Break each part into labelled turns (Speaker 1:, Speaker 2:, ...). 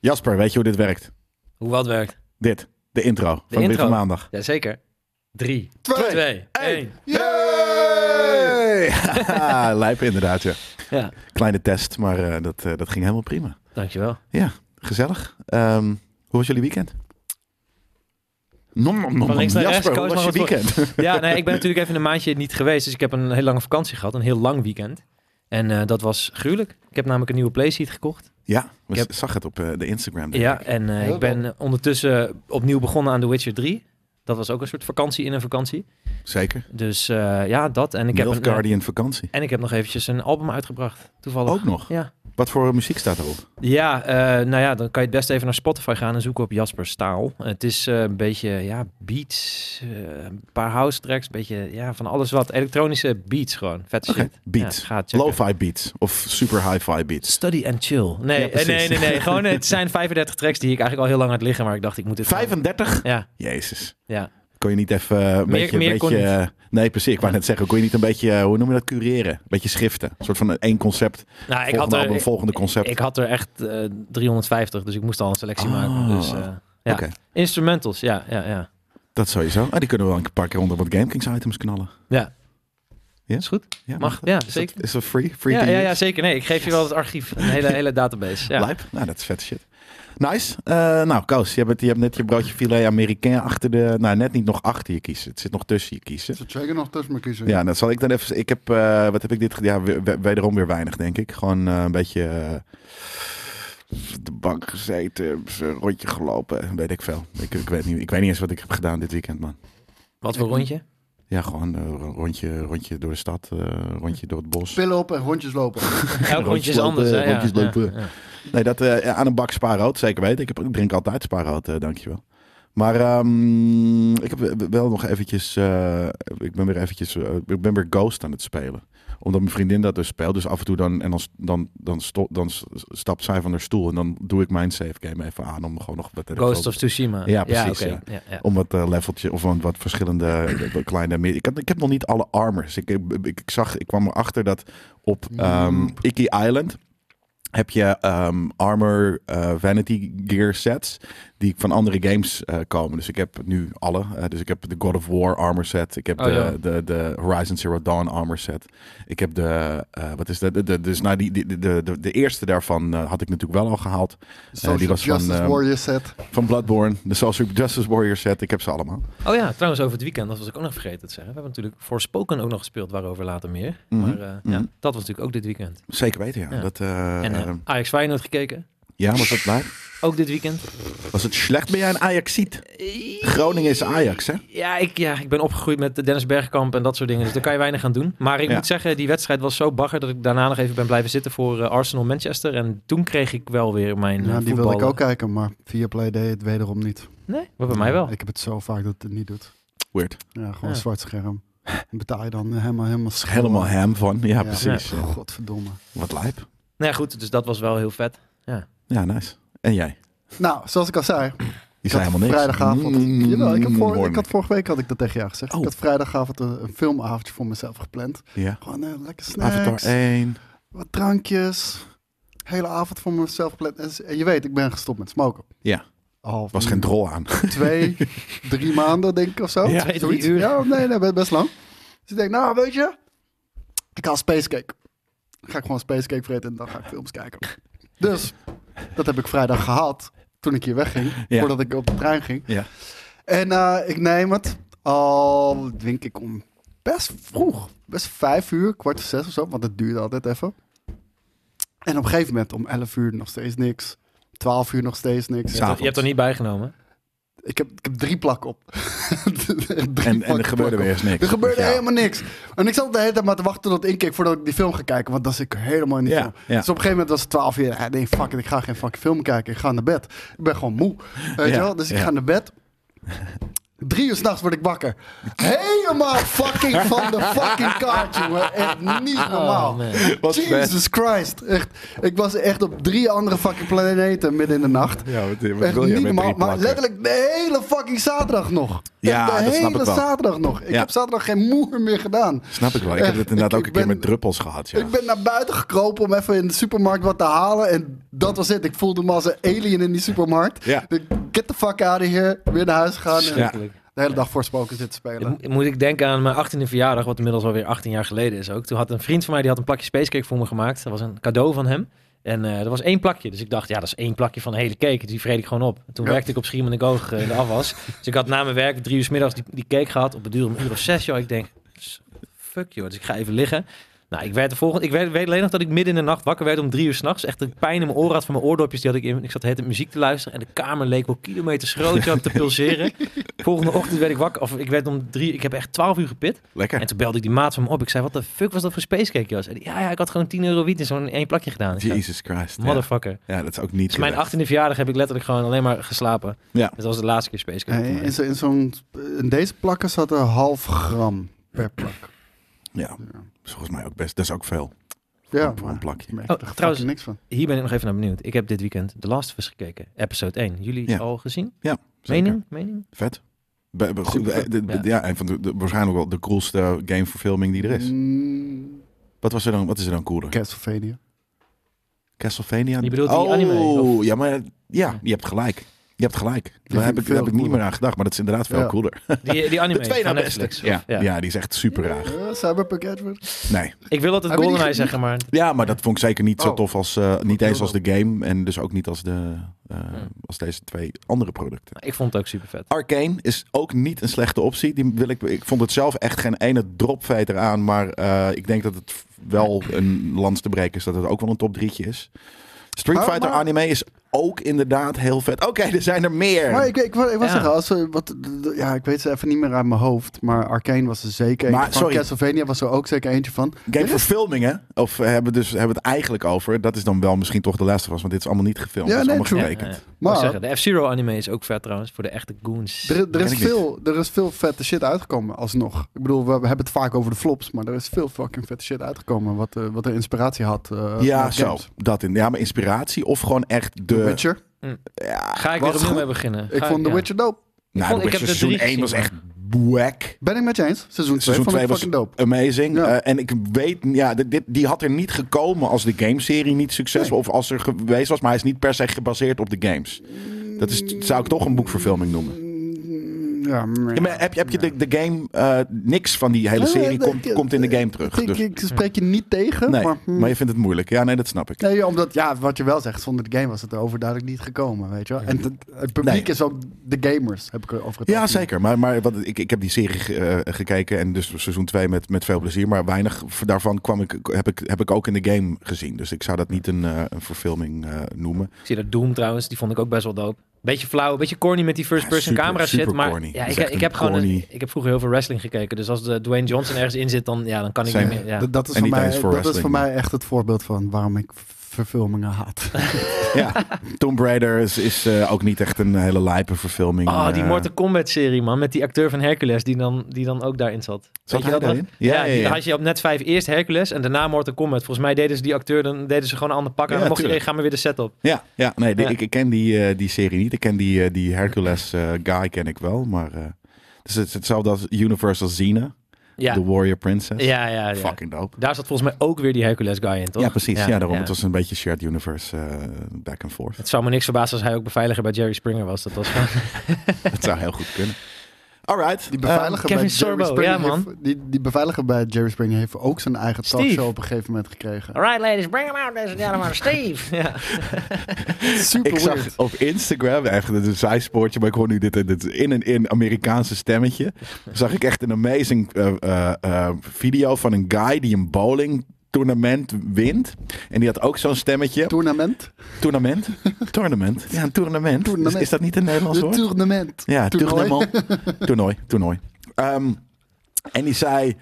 Speaker 1: Jasper, weet je hoe dit werkt?
Speaker 2: Hoe wat werkt?
Speaker 1: Dit, de intro van
Speaker 2: intro.
Speaker 1: Witte Maandag.
Speaker 2: Jazeker. Drie,
Speaker 1: Twee,
Speaker 2: twee, één.
Speaker 1: Yay! Haha, Lijp inderdaad, ja.
Speaker 2: Ja,
Speaker 1: Kleine test, maar eh, dat, eh, dat ging helemaal prima.
Speaker 2: dankjewel.
Speaker 1: Ja, gezellig. Ehm, hoe was jullie weekend? Nom, nom, nom,
Speaker 2: Van links
Speaker 1: nom.
Speaker 2: naar
Speaker 1: Jasper,
Speaker 2: rechts,
Speaker 1: hoe was
Speaker 2: koos
Speaker 1: je
Speaker 2: maar wat
Speaker 1: weekend?
Speaker 2: Ja, nee, ik ben natuurlijk even een maandje niet geweest, dus ik heb een heel lange vakantie gehad. Een heel lang weekend. En eh, dat was gruwelijk. Ik heb namelijk een nieuwe playseat gekocht.
Speaker 1: ja, we
Speaker 2: Ik heb-
Speaker 1: zag het op eh, de Instagram. denk
Speaker 2: Ja,
Speaker 1: ik.
Speaker 2: en eh,
Speaker 3: Heel
Speaker 2: ik ben eh, ondertussen opnieuw begonnen aan The Witcher 3. Dat was ook een soort vakantie in een vakantie.
Speaker 1: Zeker.
Speaker 2: Dus eh, ja, dat. En ik, heb
Speaker 1: Milf
Speaker 2: een,
Speaker 1: Guardian Oh, vakantie.
Speaker 2: en ik heb nog eventjes een album uitgebracht, toevallig.
Speaker 1: Ook nog.
Speaker 2: Ja.
Speaker 1: Wat voor muziek staat erop?
Speaker 2: Ja, eh, nou ja, dan kan je het best even naar Spotify gaan en zoeken op Jasper Staal. Het is eh, een beetje, ja, beats, eh, een paar house tracks, een beetje, ja, van alles wat. Elektronische beats gewoon, vet
Speaker 1: Oké,
Speaker 2: shit.
Speaker 1: beats.
Speaker 2: Ja, ga het checken.
Speaker 1: Lo-fi beats of super hi-fi beats?
Speaker 2: Study and chill. Nee,
Speaker 1: Ja,
Speaker 2: eh,
Speaker 1: precies.
Speaker 2: nee, nee, nee. Gewoon, het zijn 35 tracks die ik eigenlijk al heel lang had liggen, maar ik dacht, ik moet het...
Speaker 1: 35?
Speaker 2: Ja,
Speaker 1: Jezus.
Speaker 2: Ja.
Speaker 1: Kon je niet even eh, een
Speaker 2: Meer-
Speaker 1: beetje...
Speaker 2: meer
Speaker 1: een
Speaker 2: kon
Speaker 1: beetje eh, nee, precies. Ik wou net zeggen, kon je niet een beetje, eh, hoe noem je dat, cureren? Een beetje schriften. Een soort van een- één concept,
Speaker 2: nou, ik
Speaker 1: volgende
Speaker 2: had, er,
Speaker 1: album,
Speaker 2: ik,
Speaker 1: volgende concept.
Speaker 2: ik had er echt eh, 350, dus ik moest al een selectie
Speaker 1: Oh.
Speaker 2: maken. Dus, eh, ja.
Speaker 1: Oké.
Speaker 2: Instrumentals, ja, ja, ja.
Speaker 1: Dat sowieso. Ah, die kunnen we wel een paar keer onder wat GameKings items knallen.
Speaker 2: Ja.
Speaker 1: Ja?
Speaker 2: Is goed?
Speaker 1: Ja,
Speaker 2: Mag, ja,
Speaker 1: Is
Speaker 2: zeker.
Speaker 1: dat, is dat free? Free
Speaker 2: Ja,
Speaker 1: to
Speaker 2: ja,
Speaker 1: use?
Speaker 2: ja, zeker. Nee, ik geef je wel het archief. Een hele, hele database. Ja.
Speaker 1: Lijp? Nou, dat is vet shit. Nice. Eh, nou, Koos, je hebt, je hebt net je broodje filet Amerikaan achter de... Nou, net niet nog achter je kiezen. Het zit nog tussen je kiezen.
Speaker 3: Ze checken nog tussen me kiezen.
Speaker 1: Ja, dat zal ik dan even... Ik heb... eh, wat heb ik dit... ge- Ja, we- we- wederom weer weinig, denk ik. Gewoon eh, een beetje... eh, op de bank gezeten, een rondje gelopen, weet ik veel. Ik, ik, weet niet, ik weet niet eens wat ik heb gedaan dit weekend, man.
Speaker 2: Wat voor rondje?
Speaker 1: Ja, gewoon eh, een rondje, rondje door de stad, eh, een rondje door het bos.
Speaker 3: Pillen op en rondjes lopen.
Speaker 1: Eh,
Speaker 2: Elk rondje is
Speaker 1: lopen,
Speaker 2: anders. hè? Ja,
Speaker 1: rondjes lopen.
Speaker 2: ja, ja.
Speaker 1: Nee, dat eh, aan een bak spaarrood, zeker weten. Ik, heb, ik drink altijd spaarrood, eh, dankjewel. Maar ehm, ik heb wel nog eventjes, eh, ik ben weer eventjes, eh, ik ben weer Ghost aan het spelen. Omdat mijn vriendin dat dus speelt. Dus af en toe dan, en dan, dan, dan, sto- dan s- stapt zij van haar stoel en dan doe ik mijn save game even aan om gewoon nog wat
Speaker 2: Ghost of Tsushima.
Speaker 1: Ja, precies,
Speaker 2: oké. Ja, ja.
Speaker 1: om wat eh, leveltje of wat, wat verschillende eh, kleine. meer- Ik, had, ik heb nog niet alle armors. Ik, ik, ik zag, ik kwam erachter dat op ehm
Speaker 3: Mm.
Speaker 1: Iki Island heb je ehm, armor eh, vanity gear sets die van andere games eh, komen. Dus ik heb nu alle. Eh, dus ik heb de God of War armor set. Ik heb
Speaker 2: Oh,
Speaker 1: de,
Speaker 2: ja.
Speaker 1: de, de Horizon Zero Dawn armor set. Ik heb de eh, wat is dat? De, de- dus nou die, die- de, de, de eerste daarvan eh, had ik natuurlijk wel al gehaald
Speaker 3: Social
Speaker 1: die was van,
Speaker 3: Justice
Speaker 1: ehm,
Speaker 3: Warrior set.
Speaker 1: van Bloodborne. De Social Justice Warrior set. Ik heb ze allemaal.
Speaker 2: Oh ja, trouwens over het weekend, dat was ik ook nog vergeten te zeggen. We hebben natuurlijk Forspoken ook nog gespeeld, waarover later meer.
Speaker 1: Mhm.
Speaker 2: Maar eh,
Speaker 1: Mhm.
Speaker 2: ja, dat was natuurlijk ook dit weekend.
Speaker 1: Zeker weten, ja.
Speaker 2: Ja.
Speaker 1: Dat, eh,
Speaker 2: En
Speaker 1: eh,
Speaker 2: eh Ajax Feyenoord gekeken,
Speaker 1: ja, was dat blij?
Speaker 2: ook dit weekend.
Speaker 1: Was het slecht? Ben jij een Ajaxiet? Groningen is Ajax, hè?
Speaker 2: Ja ik, ja, ik ben opgegroeid met Dennis Bergkamp en dat soort dingen. Dus daar kan je weinig aan doen. Maar ik
Speaker 1: Ja.
Speaker 2: moet zeggen, die wedstrijd was zo bagger dat ik daarna nog even ben blijven zitten voor eh, Arsenal-Manchester. En toen kreeg ik wel weer mijn eh,
Speaker 3: Ja, die wilde ik
Speaker 2: voetballen.
Speaker 3: ook kijken, maar via Play deed het wederom niet.
Speaker 2: Nee, maar bij mij wel.
Speaker 3: Ik heb het zo vaak dat het niet doet.
Speaker 1: Weird.
Speaker 3: Ja, gewoon
Speaker 2: Ja.
Speaker 3: zwart scherm. Betaal je dan helemaal helemaal schil.
Speaker 1: Helemaal hem van. Ja,
Speaker 3: Ja.
Speaker 1: precies.
Speaker 3: Oh, godverdomme.
Speaker 1: Wat lijp.
Speaker 2: Nou ja, goed, dus dat was wel heel vet.
Speaker 1: Ja, nice. En jij?
Speaker 3: Nou, zoals ik al zei,
Speaker 1: Je zei
Speaker 3: had
Speaker 1: helemaal niks.
Speaker 3: vrijdagavond.
Speaker 1: Mm,
Speaker 3: Jawel, ik, heb voor, ik
Speaker 1: morning.
Speaker 3: had vorige week had ik dat tegen jou gezegd.
Speaker 1: Oh.
Speaker 3: Ik had vrijdagavond een, een filmavondje voor mezelf gepland.
Speaker 1: Ja.
Speaker 3: Gewoon eh, lekker snacks,
Speaker 1: Avatar 1.
Speaker 3: wat drankjes. Hele avond voor mezelf gepland. En, en je weet, ik ben gestopt met smoken.
Speaker 1: Ja.
Speaker 3: Al
Speaker 1: Was geen drol aan.
Speaker 3: twee, drie maanden, denk ik of zo.
Speaker 1: Ja,
Speaker 2: twee,
Speaker 3: Zoiets.
Speaker 2: drie uur.
Speaker 3: Ja, nee, nee, best- best lang. Dus ik denk, nou, weet je, ik haal spacecake. Dan ga ik gewoon spacecake vreten en dan ga ik films kijken. Dus, dat heb ik vrijdag gehad, toen ik hier wegging,
Speaker 1: Ja.
Speaker 3: voordat ik op de trein ging.
Speaker 1: Ja.
Speaker 3: En eh, ik neem het al, denk ik, om best vroeg, best vijf uur, kwart voor zes of zo, want het duurde altijd even. En op een gegeven moment om 11 uur nog steeds niks. 12 uur nog steeds niks.
Speaker 2: Je
Speaker 1: S'avonds.
Speaker 2: hebt, er- je hebt er niet bijgenomen.
Speaker 3: Ik heb, ik heb drie plakken op. Drie
Speaker 1: En, en
Speaker 3: plakken
Speaker 1: er gebeurde
Speaker 3: plak op.
Speaker 1: weer eens niks.
Speaker 3: Er gebeurde
Speaker 1: Ja.
Speaker 3: helemaal niks. En ik zat de hele tijd maar te wachten tot ik keek voordat ik die film ga kijken. Want dan zit ik helemaal in die
Speaker 1: Ja,
Speaker 3: film.
Speaker 1: ja.
Speaker 3: Dus op een gegeven moment was het 12 uur. Ja, nee, fuck it, ik ga geen fucking film kijken. Ik ga naar bed. Ik ben gewoon moe. Weet
Speaker 1: Ja,
Speaker 3: je wel? Dus ik
Speaker 1: ja.
Speaker 3: ga naar bed. Drie uur s'nachts word ik wakker. Helemaal fucking van de fucking kaart, jongen. Echt niet normaal.
Speaker 2: man.
Speaker 1: Wat
Speaker 3: Jesus Christ. Echt, ik was echt op drie andere fucking planeten midden in de nacht.
Speaker 1: Ja, wat, wat
Speaker 3: Echt
Speaker 1: wil je met drie
Speaker 3: niet normaal, maar
Speaker 1: plakken?
Speaker 3: letterlijk de hele fucking zaterdag nog. Echt
Speaker 1: Ja,
Speaker 3: de
Speaker 1: dat
Speaker 3: hele
Speaker 1: snap ik wel.
Speaker 3: zaterdag nog. Ik
Speaker 1: Ja.
Speaker 3: heb zaterdag geen moer meer gedaan.
Speaker 1: Snap ik wel. Ik
Speaker 3: Echt,
Speaker 1: heb het inderdaad
Speaker 3: ik-
Speaker 1: ook
Speaker 3: ik
Speaker 1: een keer
Speaker 3: ben-
Speaker 1: met druppels gehad. Ja.
Speaker 3: Ik ben naar buiten gekropen om even in de supermarkt wat te halen. En dat was het. Ik voelde me als een alien in die supermarkt.
Speaker 1: Ja.
Speaker 3: Ik, Get the fuck out of here. Weer naar huis gaan. En
Speaker 1: Ja.
Speaker 2: Verschrikkelijk.
Speaker 3: de hele dag voorspoken zitten spelen.
Speaker 2: Mo- Moet ik denken aan mijn 18e verjaardag, wat inmiddels alweer 18 jaar geleden is ook. Toen had een vriend van mij, die had een plakje spacecake voor me gemaakt. Dat was een cadeau van hem. En eh dat was één plakje. Dus ik dacht, ja, dat is één plakje van de hele cake. Die vreet ik gewoon op. En toen
Speaker 3: Ja.
Speaker 2: werkte ik op Schiemen en Goog eh, in de afwas. dus ik had na mijn werk drie uur 's middags die, die cake gehad. Op het duur om een uur of zes, joh. Ik denk, s- fuck joh. Dus ik ga even liggen. Nou, ik werd de volgende. Ik werd, weet alleen nog dat ik midden in de nacht wakker werd om drie uur s'nachts. Echt een pijn in mijn oren had van mijn oordopjes. Die had ik in. Ik zat de hele tijd muziek te luisteren. En de kamer leek wel kilometers groot joh, te pulseren. Volgende ochtend werd ik wakker. Of ik werd om drie. Ik heb echt twaalf uur gepit. En
Speaker 1: Lekker.
Speaker 2: toen belde ik die maat van me op. Ik zei: Wat de fuck was dat voor spacecake, Jos? En die, ja, ja, ik had gewoon 10 euro wiet in zo'n één plakje gedaan. Ik zei,
Speaker 1: Jesus Christ. Ja.
Speaker 2: Motherfucker.
Speaker 1: ja, dat is ook niet
Speaker 2: Dus mijn
Speaker 1: gerecht.
Speaker 2: 18e verjaardag heb ik letterlijk gewoon alleen maar geslapen.
Speaker 1: Ja.
Speaker 2: Dat was de laatste keer spacecake.
Speaker 3: Nee,
Speaker 2: voor mij.
Speaker 3: in, zo, in, zo'n, in deze plakken zat een half gram per plak.
Speaker 1: Ja, dat is volgens mij ook best. Dat is ook veel.
Speaker 3: Ja,
Speaker 1: voor een
Speaker 3: maar
Speaker 1: plakje.
Speaker 3: ik
Speaker 2: Oh,
Speaker 3: merk er
Speaker 2: trouwens-
Speaker 3: trouwens niks van.
Speaker 2: Hier ben ik nog even naar benieuwd. Ik heb dit weekend The Last of Us gekeken. Episode 1. Jullie
Speaker 1: Ja.
Speaker 2: al gezien?
Speaker 1: Zeker.
Speaker 2: Mening? Mening?
Speaker 1: Vet. Be- be- goed,
Speaker 3: Super
Speaker 1: eh,
Speaker 3: vet.
Speaker 1: de- de-
Speaker 2: Ja.
Speaker 1: ja. een van de, de- waarschijnlijk wel de coolste gameverfilming die er is.
Speaker 3: Mm,
Speaker 1: Wat, was er dan, wat is er dan cooler?
Speaker 3: Castlevania.
Speaker 1: Castlevania? Oh,
Speaker 2: Je bedoelt die anime, of?
Speaker 1: Ja, maar ja, je hebt gelijk. Je hebt gelijk. Daar
Speaker 3: vind
Speaker 1: heb
Speaker 3: ik
Speaker 1: ik, daar heb ik
Speaker 3: veel
Speaker 1: niet meer aan gedacht, maar dat is inderdaad veel
Speaker 3: Ja.
Speaker 1: cooler.
Speaker 2: Die, die anime
Speaker 1: De twee
Speaker 2: van
Speaker 1: na
Speaker 2: Netflix.
Speaker 1: beste. Ja.
Speaker 2: Ja.
Speaker 1: Ja. die is echt super raar.
Speaker 3: Ja, Cyberpunk Edward.
Speaker 1: Nee.
Speaker 2: Ik wil altijd
Speaker 3: Hebben die
Speaker 2: GoldenEye
Speaker 3: ge-
Speaker 2: zeggen, maar...
Speaker 1: Ja, maar dat vond ik zeker niet zo
Speaker 3: Oh.
Speaker 1: tof als, eh, niet eens als de
Speaker 3: Dildo.
Speaker 1: game en dus ook niet als, de, eh, als deze twee andere producten.
Speaker 2: Ik vond het ook super vet.
Speaker 1: Arcane is ook niet een slechte optie. Die wil ik, ik vond het zelf echt geen ene dropveter aan. Maar eh, ik denk dat het wel een lans te breken is. Dat het ook wel een top drietje is. Street
Speaker 3: Maar-
Speaker 1: Fighter
Speaker 3: Oh, maar-
Speaker 1: anime is ook inderdaad heel vet. Oké, er zijn er meer.
Speaker 3: Maar ik, ik, wou- ik was
Speaker 2: Ja.
Speaker 3: zeggen, als, we wat, d- d- ja, ik weet ze even niet meer uit mijn hoofd. Maar Arcane was er zeker eentje
Speaker 1: Maar,
Speaker 3: van.
Speaker 1: sorry.
Speaker 3: Castlevania was er ook zeker eentje van.
Speaker 1: Gameverfilming, hè? Of eh, hebben we dus, hebben we het eigenlijk over. Dat is dan wel misschien toch de laatste was. Want dit is allemaal niet gefilmd.
Speaker 3: Ja,
Speaker 1: Ja, is
Speaker 3: nee,
Speaker 1: allemaal
Speaker 3: true.
Speaker 1: getekend.
Speaker 2: Ja, ja. Ik
Speaker 3: Maar-
Speaker 2: wou zeggen, de F-Zero anime is ook vet trouwens, voor de echte goons.
Speaker 3: Er, er,
Speaker 1: ken
Speaker 3: is
Speaker 1: ik niet.
Speaker 3: veel, er is veel vette shit uitgekomen, alsnog. Ik bedoel, we hebben het vaak over de flops. Maar er is veel fucking vette shit uitgekomen. Wat, eh, wat er inspiratie had. eh,
Speaker 1: Ja,
Speaker 3: vanuit
Speaker 1: zo.
Speaker 3: games.
Speaker 1: Dat in. Ja, maar inspiratie of gewoon echt
Speaker 3: The
Speaker 1: de...
Speaker 3: Witcher.
Speaker 1: Ja,
Speaker 2: Ga ik weer
Speaker 3: was
Speaker 2: opnieuw
Speaker 3: goed.
Speaker 2: mee beginnen.
Speaker 3: Ik
Speaker 2: Ga-
Speaker 3: vond The
Speaker 2: ja.
Speaker 3: Witcher dope.
Speaker 1: nou,
Speaker 2: vond-
Speaker 1: de
Speaker 2: ik
Speaker 1: Witcher
Speaker 2: heb de
Speaker 1: seizoen
Speaker 2: drie
Speaker 1: 1 was echt whack.
Speaker 3: Ben ik met je eens. Seizoen 2
Speaker 1: Seizoen
Speaker 3: vond ik
Speaker 1: 2 was
Speaker 3: fucking dope.
Speaker 1: amazing.
Speaker 3: Ja.
Speaker 1: Eh, en ik weet, ja, dit- dit- die had er niet gekomen als de gameserie niet succesvol of als er geweest was. Maar hij is niet per se gebaseerd op de games. Mm, Dat is, zou ik toch een boekverfilming noemen.
Speaker 3: Mm, Ja, maar-
Speaker 1: Ja, maar heb, je- heb je de, de game, eh, niks van die hele
Speaker 3: Nee,
Speaker 1: serie
Speaker 3: nee,
Speaker 1: komt,
Speaker 3: nee,
Speaker 1: komt in de game terug.
Speaker 3: mm. Ik,
Speaker 1: Dus,
Speaker 3: ik spreek je niet tegen,
Speaker 1: nee,
Speaker 3: maar... mm,
Speaker 1: maar je vindt het moeilijk. Ja, nee, dat snap ik.
Speaker 3: Nee, omdat, ja, wat je wel zegt, zonder de game was het er overduidelijk niet gekomen, weet je wel. En het, het publiek
Speaker 1: Nee.
Speaker 3: is ook de gamers, heb ik over het
Speaker 1: Ja,
Speaker 3: algemeen.
Speaker 1: zeker. Maar, maar wat, ik, ik heb die serie ge- eh, gekeken en dus seizoen 2 met, met veel plezier. Maar weinig v- daarvan kwam ik, heb, ik, heb ik ook in de game gezien. Dus ik zou dat niet een, eh, een verfilming eh, noemen.
Speaker 2: Ik zie dat Doom trouwens, die vond ik ook best wel dope. Beetje flauw, beetje corny met die
Speaker 1: Ja,
Speaker 2: first-person
Speaker 1: super,
Speaker 2: camera shit.
Speaker 1: super
Speaker 2: Maar
Speaker 1: corny.
Speaker 2: ja,
Speaker 1: Dat is
Speaker 2: ik,
Speaker 1: echt
Speaker 2: ik,
Speaker 1: een
Speaker 2: heb gewoon een-
Speaker 1: corny-
Speaker 2: ik heb vroeger heel veel wrestling gekeken. Dus als de Dwayne Johnson ergens in zit, dan, ja, dan kan ik
Speaker 1: Same.
Speaker 2: niet meer. Ja.
Speaker 3: Dat, dat is
Speaker 1: En
Speaker 3: voor
Speaker 1: niet
Speaker 3: mij,
Speaker 1: eens voor
Speaker 3: dat is voor
Speaker 1: wrestling,
Speaker 3: mij echt het voorbeeld van waarom ik verfilmingen haat.
Speaker 1: Ja, Tomb Raider is, is eh, ook niet echt een hele lijpe verfilming.
Speaker 2: Oh, die
Speaker 1: Eh,
Speaker 2: Mortal Kombat serie, man. Met die acteur van Hercules, die dan, die dan ook daarin zat.
Speaker 1: Zat
Speaker 2: Weet je
Speaker 1: hij
Speaker 2: dat nog?
Speaker 1: daarin?
Speaker 2: Ja,
Speaker 1: Ja, ja,
Speaker 2: die-
Speaker 1: ja.
Speaker 2: dan had je op net 5 eerst Hercules en daarna Mortal Kombat. Volgens mij deden ze die acteur, dan deden ze gewoon een ander pak aan.
Speaker 1: Ja,
Speaker 2: dan mocht je
Speaker 1: tuurlijk.
Speaker 2: gaan maar weer de set op.
Speaker 1: Ja, ja nee, die-
Speaker 2: Ja.
Speaker 1: Ik, ik ken die, eh, die serie niet. Ik ken die, eh, die Hercules eh, guy ken ik wel, maar... eh, dus het is hetzelfde als Universal Xena,
Speaker 2: Ja,
Speaker 1: The Warrior Princess.
Speaker 2: ja, ja. ja.
Speaker 1: Fucking dope.
Speaker 2: Daar zat volgens mij ook weer die Hercules guy in, toch?
Speaker 1: Ja, precies. Ja, daarom.
Speaker 2: ja.
Speaker 1: Het was een beetje shared universe eh, back and forth.
Speaker 2: Het zou me niks verbazen als hij ook beveiliger bij Jerry Springer was. Dat was gewoon...
Speaker 1: Het zou heel goed kunnen. Alright.
Speaker 3: Die beveiliger,
Speaker 2: Kevin
Speaker 3: bij,
Speaker 2: Sorbo,
Speaker 3: Jerry Springer
Speaker 2: ja, man.
Speaker 3: Heeft, die, die beveiliger bij Jerry Springer heeft ook zijn eigen
Speaker 2: Steve.
Speaker 3: talkshow op een gegeven moment gekregen.
Speaker 2: All right, ladies, bring him out, deze gentleman, Steve. ja.
Speaker 3: Super
Speaker 1: Ik zag
Speaker 3: weird.
Speaker 1: op Instagram, echt een zijspoortje, maar ik hoor nu dit, dit in en in Amerikaanse stemmetje. Zag ik echt een amazing eh, eh, eh, video van een guy die een bowling toernament wint. En die had ook zo'n stemmetje.
Speaker 3: Tournament?
Speaker 1: Tournament? Tournament? Ja, een tournament.
Speaker 3: Tournament.
Speaker 1: Is, is dat niet een Nederlands
Speaker 3: De
Speaker 1: woord?
Speaker 3: tournament.
Speaker 1: Ja,
Speaker 3: Toernooi.
Speaker 1: toernooi. Toernooi, toernooi. Ehm, en die zei...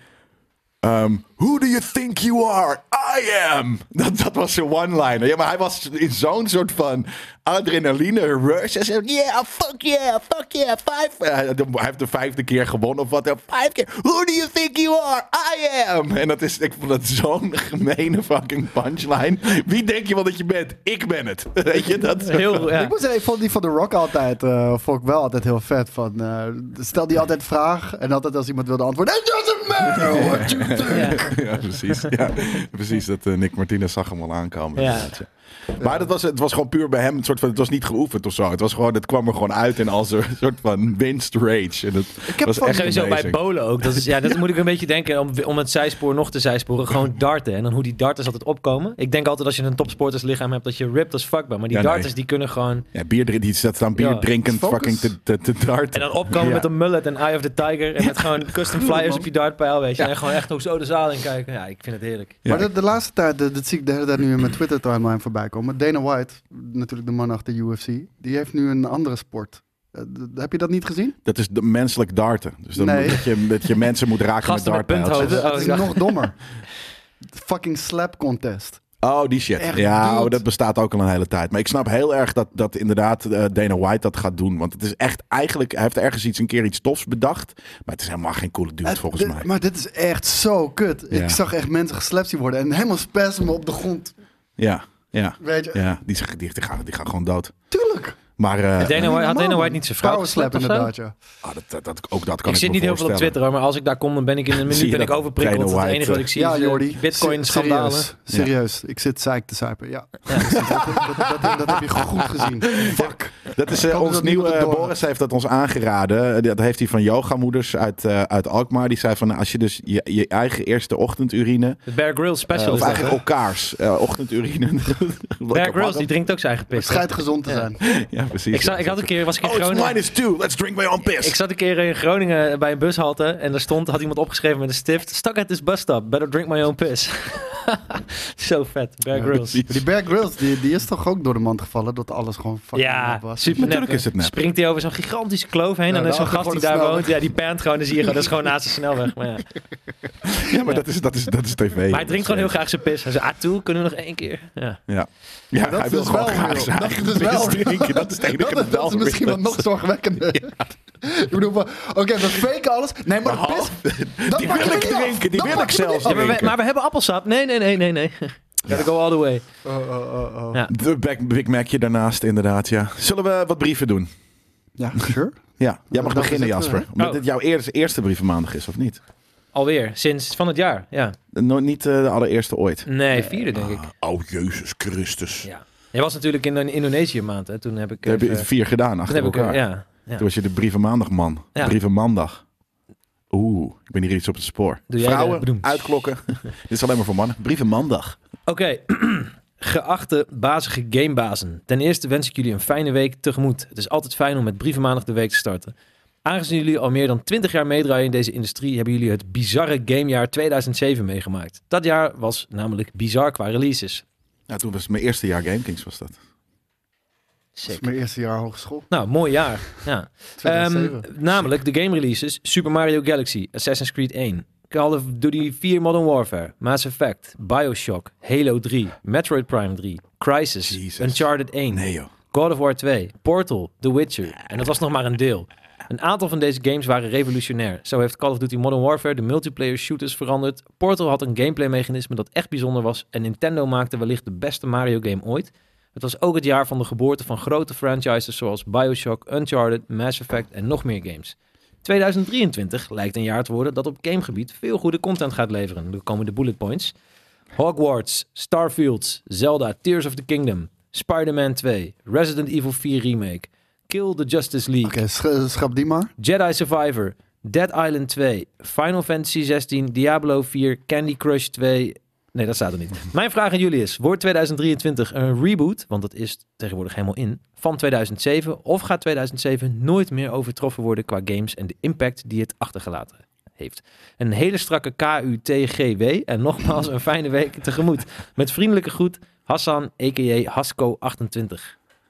Speaker 1: Ehm, Who do you think you are? I am. Dat, dat was zijn one-liner. Ja, maar hij was in zo'n soort van adrenaline rush. Hij zei, yeah, fuck yeah, fuck yeah, five. Eh, hij hij heeft de vijfde keer gewonnen of wat. dan. Vijf keer. Who do you think you are? I am. En dat is, ik vond dat zo'n gemene fucking punchline. Wie denk je wel dat je bent? Ik ben het. Weet je, dat
Speaker 2: Heel, ja.
Speaker 3: Ik moet zeggen, ik vond die van The Rock altijd, eh, vond ik wel altijd heel vet. Van, eh, stel die altijd vraag en altijd als iemand wilde antwoorden, it doesn't matter what you think.
Speaker 2: Ja.
Speaker 1: ja, precies. Ja, precies dat eh, Nick Martinez zag hem al aankomen.
Speaker 2: Ja.
Speaker 1: inderdaad, ja. Maar dat was, het was gewoon puur bij hem. Een soort van, het was niet geoefend of zo. Het, was gewoon, het kwam er gewoon uit en als een soort van winst rage. En dat
Speaker 3: Ik heb
Speaker 1: was
Speaker 3: van-
Speaker 1: echt
Speaker 2: Sowieso bij
Speaker 1: amazing.
Speaker 2: bolen ook. Dat, is, ja, dat moet ik een beetje denken om, om het zijspoor nog te zijsporen. Gewoon darten. En dan hoe die darters altijd opkomen. Ik denk altijd als je een topsporterslichaam hebt dat je ripped als fuck bent. Maar die
Speaker 1: Ja, nee.
Speaker 2: darters die kunnen gewoon...
Speaker 1: Ja, bier, drin- die staat aan bier
Speaker 2: Ja.
Speaker 1: drinkend
Speaker 3: Focus.
Speaker 1: fucking te, te, te darten.
Speaker 2: En dan opkomen
Speaker 1: Ja.
Speaker 2: met een mullet en Eye of the Tiger. En met gewoon custom flyers
Speaker 3: man.
Speaker 2: op je dartpijl, weet je. En gewoon echt ook zo de zaal in kijken. Ja, ik vind het heerlijk.
Speaker 1: Ja.
Speaker 3: Maar de, de laatste tijd, dat dat zie ik de hele tijd nu in mijn Twitter timeline voorbij komen. Dana White, natuurlijk de man achter UFC, die heeft nu een andere sport. Eh, d- heb je dat niet gezien?
Speaker 2: Oh,
Speaker 1: Dat is de menselijk darten. Dus dan
Speaker 3: Nee.
Speaker 1: dat, je, dat je mensen moet raken
Speaker 2: Gasten
Speaker 1: met
Speaker 2: met
Speaker 1: darten.
Speaker 2: punthoofd.
Speaker 3: Het
Speaker 2: Oh,
Speaker 3: is
Speaker 2: ja.
Speaker 3: nog dommer. De fucking slap contest.
Speaker 1: Oh, die shit.
Speaker 3: Echt,
Speaker 1: ja,
Speaker 3: dude.
Speaker 1: oh, dat bestaat ook al een hele tijd. Maar ik snap heel erg dat, dat inderdaad eh, Dana White dat gaat doen. Want het is echt eigenlijk... Hij heeft ergens iets, een keer iets tofs bedacht. Maar het is helemaal geen coole dude,
Speaker 3: Eh,
Speaker 1: volgens
Speaker 3: dit-
Speaker 1: mij.
Speaker 3: Maar dit is echt zo kut.
Speaker 1: Ja.
Speaker 3: Ik zag echt mensen geslapt zien worden en helemaal spasmen op de grond.
Speaker 1: Ja, ja.
Speaker 3: Weet je,
Speaker 1: Ja, die, is- die, die, gaan, die gaan gewoon dood.
Speaker 3: tuurlijk.
Speaker 1: Maar eh,
Speaker 2: Dana White, had Dana
Speaker 3: Normaal,
Speaker 2: White niet zijn vrouw
Speaker 3: power slap
Speaker 2: geslapt of zo?
Speaker 3: inderdaad, ja.
Speaker 1: ah, dat, dat, dat- ook dat kan
Speaker 2: Ik
Speaker 1: ik
Speaker 2: zit
Speaker 1: me
Speaker 2: niet heel veel op
Speaker 1: voorstellen.
Speaker 2: Twitter hoor, maar als ik daar kom, dan ben ik in een
Speaker 1: Zie
Speaker 2: minuut
Speaker 1: je
Speaker 2: ben ik
Speaker 1: dat Dana
Speaker 2: overprikkeld. Het
Speaker 1: White,
Speaker 2: enige wat ik zie
Speaker 3: Ja,
Speaker 2: is eh,
Speaker 3: Jordi.
Speaker 2: bitcoin-schandalen.
Speaker 3: Serieus, serieus. ik zit psyched te zuipen. Ja. Dat, dat- dat- dat heb je goed gezien. Fuck.
Speaker 1: Dat is eh,
Speaker 3: Kan dus
Speaker 1: ons
Speaker 3: dat niemand
Speaker 1: nieuwe...
Speaker 3: het door had.
Speaker 1: Boris heeft dat ons aangeraden. Eh, Dat heeft hij van yogamoeders uit, eh, uit Alkmaar. Die zei van, nou, als je dus je, je eigen eerste ochtendurine...
Speaker 2: Het Bear Grylls special
Speaker 1: eh,
Speaker 2: is
Speaker 1: of
Speaker 2: dat,
Speaker 1: eigenlijk
Speaker 2: hè?
Speaker 1: elkaars eh, ochtendurine...
Speaker 2: Bear Grylls, die drinkt ook zijn eigen
Speaker 3: Het
Speaker 2: pis.
Speaker 3: schijnt gezond te
Speaker 2: Ja.
Speaker 3: zijn.
Speaker 1: Ja, precies.
Speaker 2: Ik, zat- ik had een keer, was ik in
Speaker 1: Oh, it's
Speaker 2: Groningen...
Speaker 1: minus two. Let's drink my own piss.
Speaker 2: Ik zat een keer in Groningen bij een bushalte en daar stond, had iemand opgeschreven met een stift. Stuck at this bus stop, better drink my own piss. Zo vet, Bear
Speaker 3: Ja,
Speaker 2: Grylls. Ja,
Speaker 1: precies.
Speaker 3: Die Bear Grylls, die, die is toch ook door de mand gevallen dat alles gewoon fucking nep was.
Speaker 2: super
Speaker 1: Natuurlijk
Speaker 2: nep, hè.
Speaker 1: is het nep. Nou,
Speaker 2: Springt hij over zo'n gigantische kloof heen
Speaker 3: Ja,
Speaker 2: en dan is
Speaker 3: daar
Speaker 2: zo'n gast die
Speaker 3: wordt het
Speaker 2: daar
Speaker 3: snel.
Speaker 2: woont. Ja, die pant gewoon, dan zie je gewoon, dat is gewoon naast de snelweg. Maar, ja.
Speaker 1: ja, maar Dat, is, dat, is, dat is tv.
Speaker 2: maar hij drinkt gewoon heel graag zijn pis. Hij zei, ah, toe, kunnen we nog één keer? Ja.
Speaker 1: Ja, ja
Speaker 3: Dat
Speaker 1: hij
Speaker 3: is
Speaker 1: wil
Speaker 3: dus
Speaker 1: gewoon
Speaker 3: wel
Speaker 1: graag
Speaker 3: real.
Speaker 1: zijn
Speaker 3: Dat is
Speaker 1: eigen
Speaker 3: dus wel
Speaker 1: pis
Speaker 3: real.
Speaker 1: drinken. Dat is het enige
Speaker 3: Dat, dat
Speaker 1: wel
Speaker 3: is misschien
Speaker 1: real
Speaker 3: wat nog zorgwekkender. ik bedoel, maar- oké, we faken alles. Nee, maar de pis... dat
Speaker 1: Die
Speaker 3: pak
Speaker 1: wil
Speaker 3: je
Speaker 1: ik
Speaker 3: niet af.
Speaker 1: drinken, die
Speaker 3: Dat
Speaker 1: wil ik
Speaker 3: pak je niet
Speaker 1: zelfs
Speaker 2: Ja, maar,
Speaker 3: af.
Speaker 2: Oh, we,
Speaker 1: drinken.
Speaker 2: maar we hebben appelsap. Nee, nee, nee, nee, nee. Gotta go all the way.
Speaker 3: Oh, oh, oh, oh.
Speaker 2: Ja.
Speaker 1: De Big, Big Macje daarnaast, inderdaad, ja. Zullen we wat brieven doen?
Speaker 3: Ja, sure.
Speaker 1: Ja, jij
Speaker 3: Dan
Speaker 1: mag
Speaker 3: dan
Speaker 1: beginnen,
Speaker 3: is het,
Speaker 1: Jasper.
Speaker 3: eh,
Speaker 1: Omdat
Speaker 2: oh.
Speaker 1: dit jouw eerste, eerste brief van maandag is, of niet?
Speaker 2: Alweer, sinds van het jaar. Ja.
Speaker 1: Nooit niet eh, de allereerste ooit.
Speaker 2: Nee, vierde denk ik.
Speaker 1: Oh, Jezus Christus.
Speaker 2: Ja. Jij was natuurlijk in een Indonesië maand, hè? Toen heb ik. eh,
Speaker 1: Daar heb je
Speaker 2: even-
Speaker 1: vier gedaan
Speaker 2: toen
Speaker 1: achter
Speaker 2: heb ik.
Speaker 1: elkaar.
Speaker 2: Ja. ja.
Speaker 1: Toen was je de brieven maandag, man.
Speaker 2: Ja.
Speaker 1: Brieven maandag. Oeh, ik ben hier iets op het spoor.
Speaker 2: Doe jij de-
Speaker 1: Vrouwen,
Speaker 2: bedoem.
Speaker 1: uitklokken. Dit is alleen maar voor mannen. Brieven maandag.
Speaker 2: Oké. Geachte bazige gamebazen. Ten eerste wens ik jullie een fijne week tegemoet. Het is altijd fijn om met brievenmaandag de week te starten. Aangezien jullie al meer dan 20 jaar meedraaien in deze industrie, hebben jullie het bizarre gamejaar 2007 meegemaakt. Dat jaar was namelijk bizar qua releases.
Speaker 1: Ja, toen was het mijn eerste jaar GameKings, was dat.
Speaker 3: Dat is
Speaker 2: Sick.
Speaker 3: mijn eerste jaar hogeschool.
Speaker 2: Nou, mooi jaar. Ja. Ehm,
Speaker 3: 2007.
Speaker 2: namelijk de game releases: Super Mario Galaxy, Assassin's Creed 1, Call of Duty 4 Modern Warfare, Mass Effect, Bioshock, Halo 3, Metroid Prime 3, Crisis,
Speaker 1: Jezus.
Speaker 2: Uncharted 1,
Speaker 1: Nee, joh.
Speaker 2: God of War 2, Portal, The Witcher. En dat was nog maar een deel. Een aantal van deze games waren revolutionair. Zo heeft Call of Duty Modern Warfare de multiplayer shooters veranderd. Portal had een gameplaymechanisme dat echt bijzonder was. En Nintendo maakte wellicht de beste Mario game ooit. Het was ook het jaar van de geboorte van grote franchises zoals Bioshock, Uncharted, Mass Effect en nog meer games. 2023 lijkt een jaar te worden dat op gamegebied veel goede content gaat leveren. Er komen de bullet points. Hogwarts, Starfield, Zelda, Tears of the Kingdom, Spider-Man 2, Resident Evil 4 Remake, Kill the Justice League,
Speaker 3: Oké, sch- schrap die maar.
Speaker 2: Jedi Survivor, Dead Island 2, Final Fantasy 16, Diablo 4, Candy Crush 2. Nee, dat staat er niet. Mijn vraag aan jullie is: wordt 2023 een reboot, want dat is tegenwoordig helemaal in, van 2007? Of gaat 2007 nooit meer overtroffen worden qua games en de impact die het achtergelaten heeft? Een hele strakke KUTGW en nogmaals een fijne week tegemoet. Met vriendelijke groet, Hassan, a.k.a. Hasco28.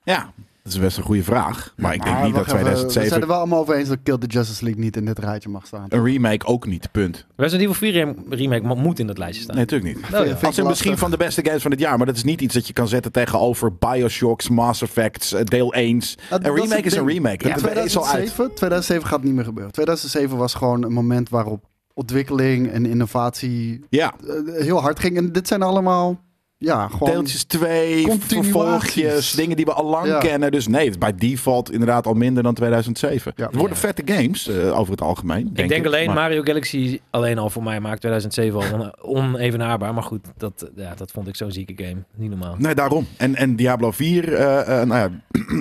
Speaker 1: Ja, dat Dat is best een goede vraag. Maar ik denk
Speaker 3: Maar
Speaker 1: niet dat
Speaker 3: wacht even, We
Speaker 1: 2007...
Speaker 3: zijn er wel allemaal over eens dat Kill the Justice League niet in dit rijtje mag staan.
Speaker 1: Een remake ook niet, punt.
Speaker 2: Resident Evil 4 rem- remake mo- moet in dat lijstje staan.
Speaker 1: Nee, natuurlijk niet.
Speaker 2: Oh, ja.
Speaker 3: Vind ik
Speaker 1: Als in misschien
Speaker 3: lastig.
Speaker 1: van de beste games van het jaar, maar dat is niet iets dat je kan zetten tegenover Bioshocks, Mass Effects, eh, deel 1.
Speaker 3: dat
Speaker 1: een
Speaker 3: is
Speaker 1: remake
Speaker 3: het
Speaker 1: is een
Speaker 3: ding.
Speaker 1: remake. Dat dat is al uit.
Speaker 3: 2007, 2007 gaat niet meer gebeuren. 2007 was gewoon een moment waarop ontwikkeling en innovatie
Speaker 1: Ja,
Speaker 3: eh, heel hard ging. En dit zijn allemaal, ja, gewoon...
Speaker 1: deeltjes 2,
Speaker 3: Continuaties.
Speaker 1: vervolgjes, dingen die we al lang
Speaker 3: Ja.
Speaker 1: kennen. Dus nee, het is bij default inderdaad al minder dan 2007.
Speaker 3: Ja.
Speaker 1: Het worden
Speaker 2: Ja.
Speaker 1: vette games eh, over het algemeen. Denk
Speaker 2: ik denk alleen
Speaker 1: maar.
Speaker 2: Mario Galaxy alleen al voor mij maakt 2007 al on- onevenaarbaar. Maar goed, dat, eh, ja, dat vond ik zo'n zieke game. Niet normaal.
Speaker 1: Nee, daarom. En, en Diablo 4, eh, eh, nou ja,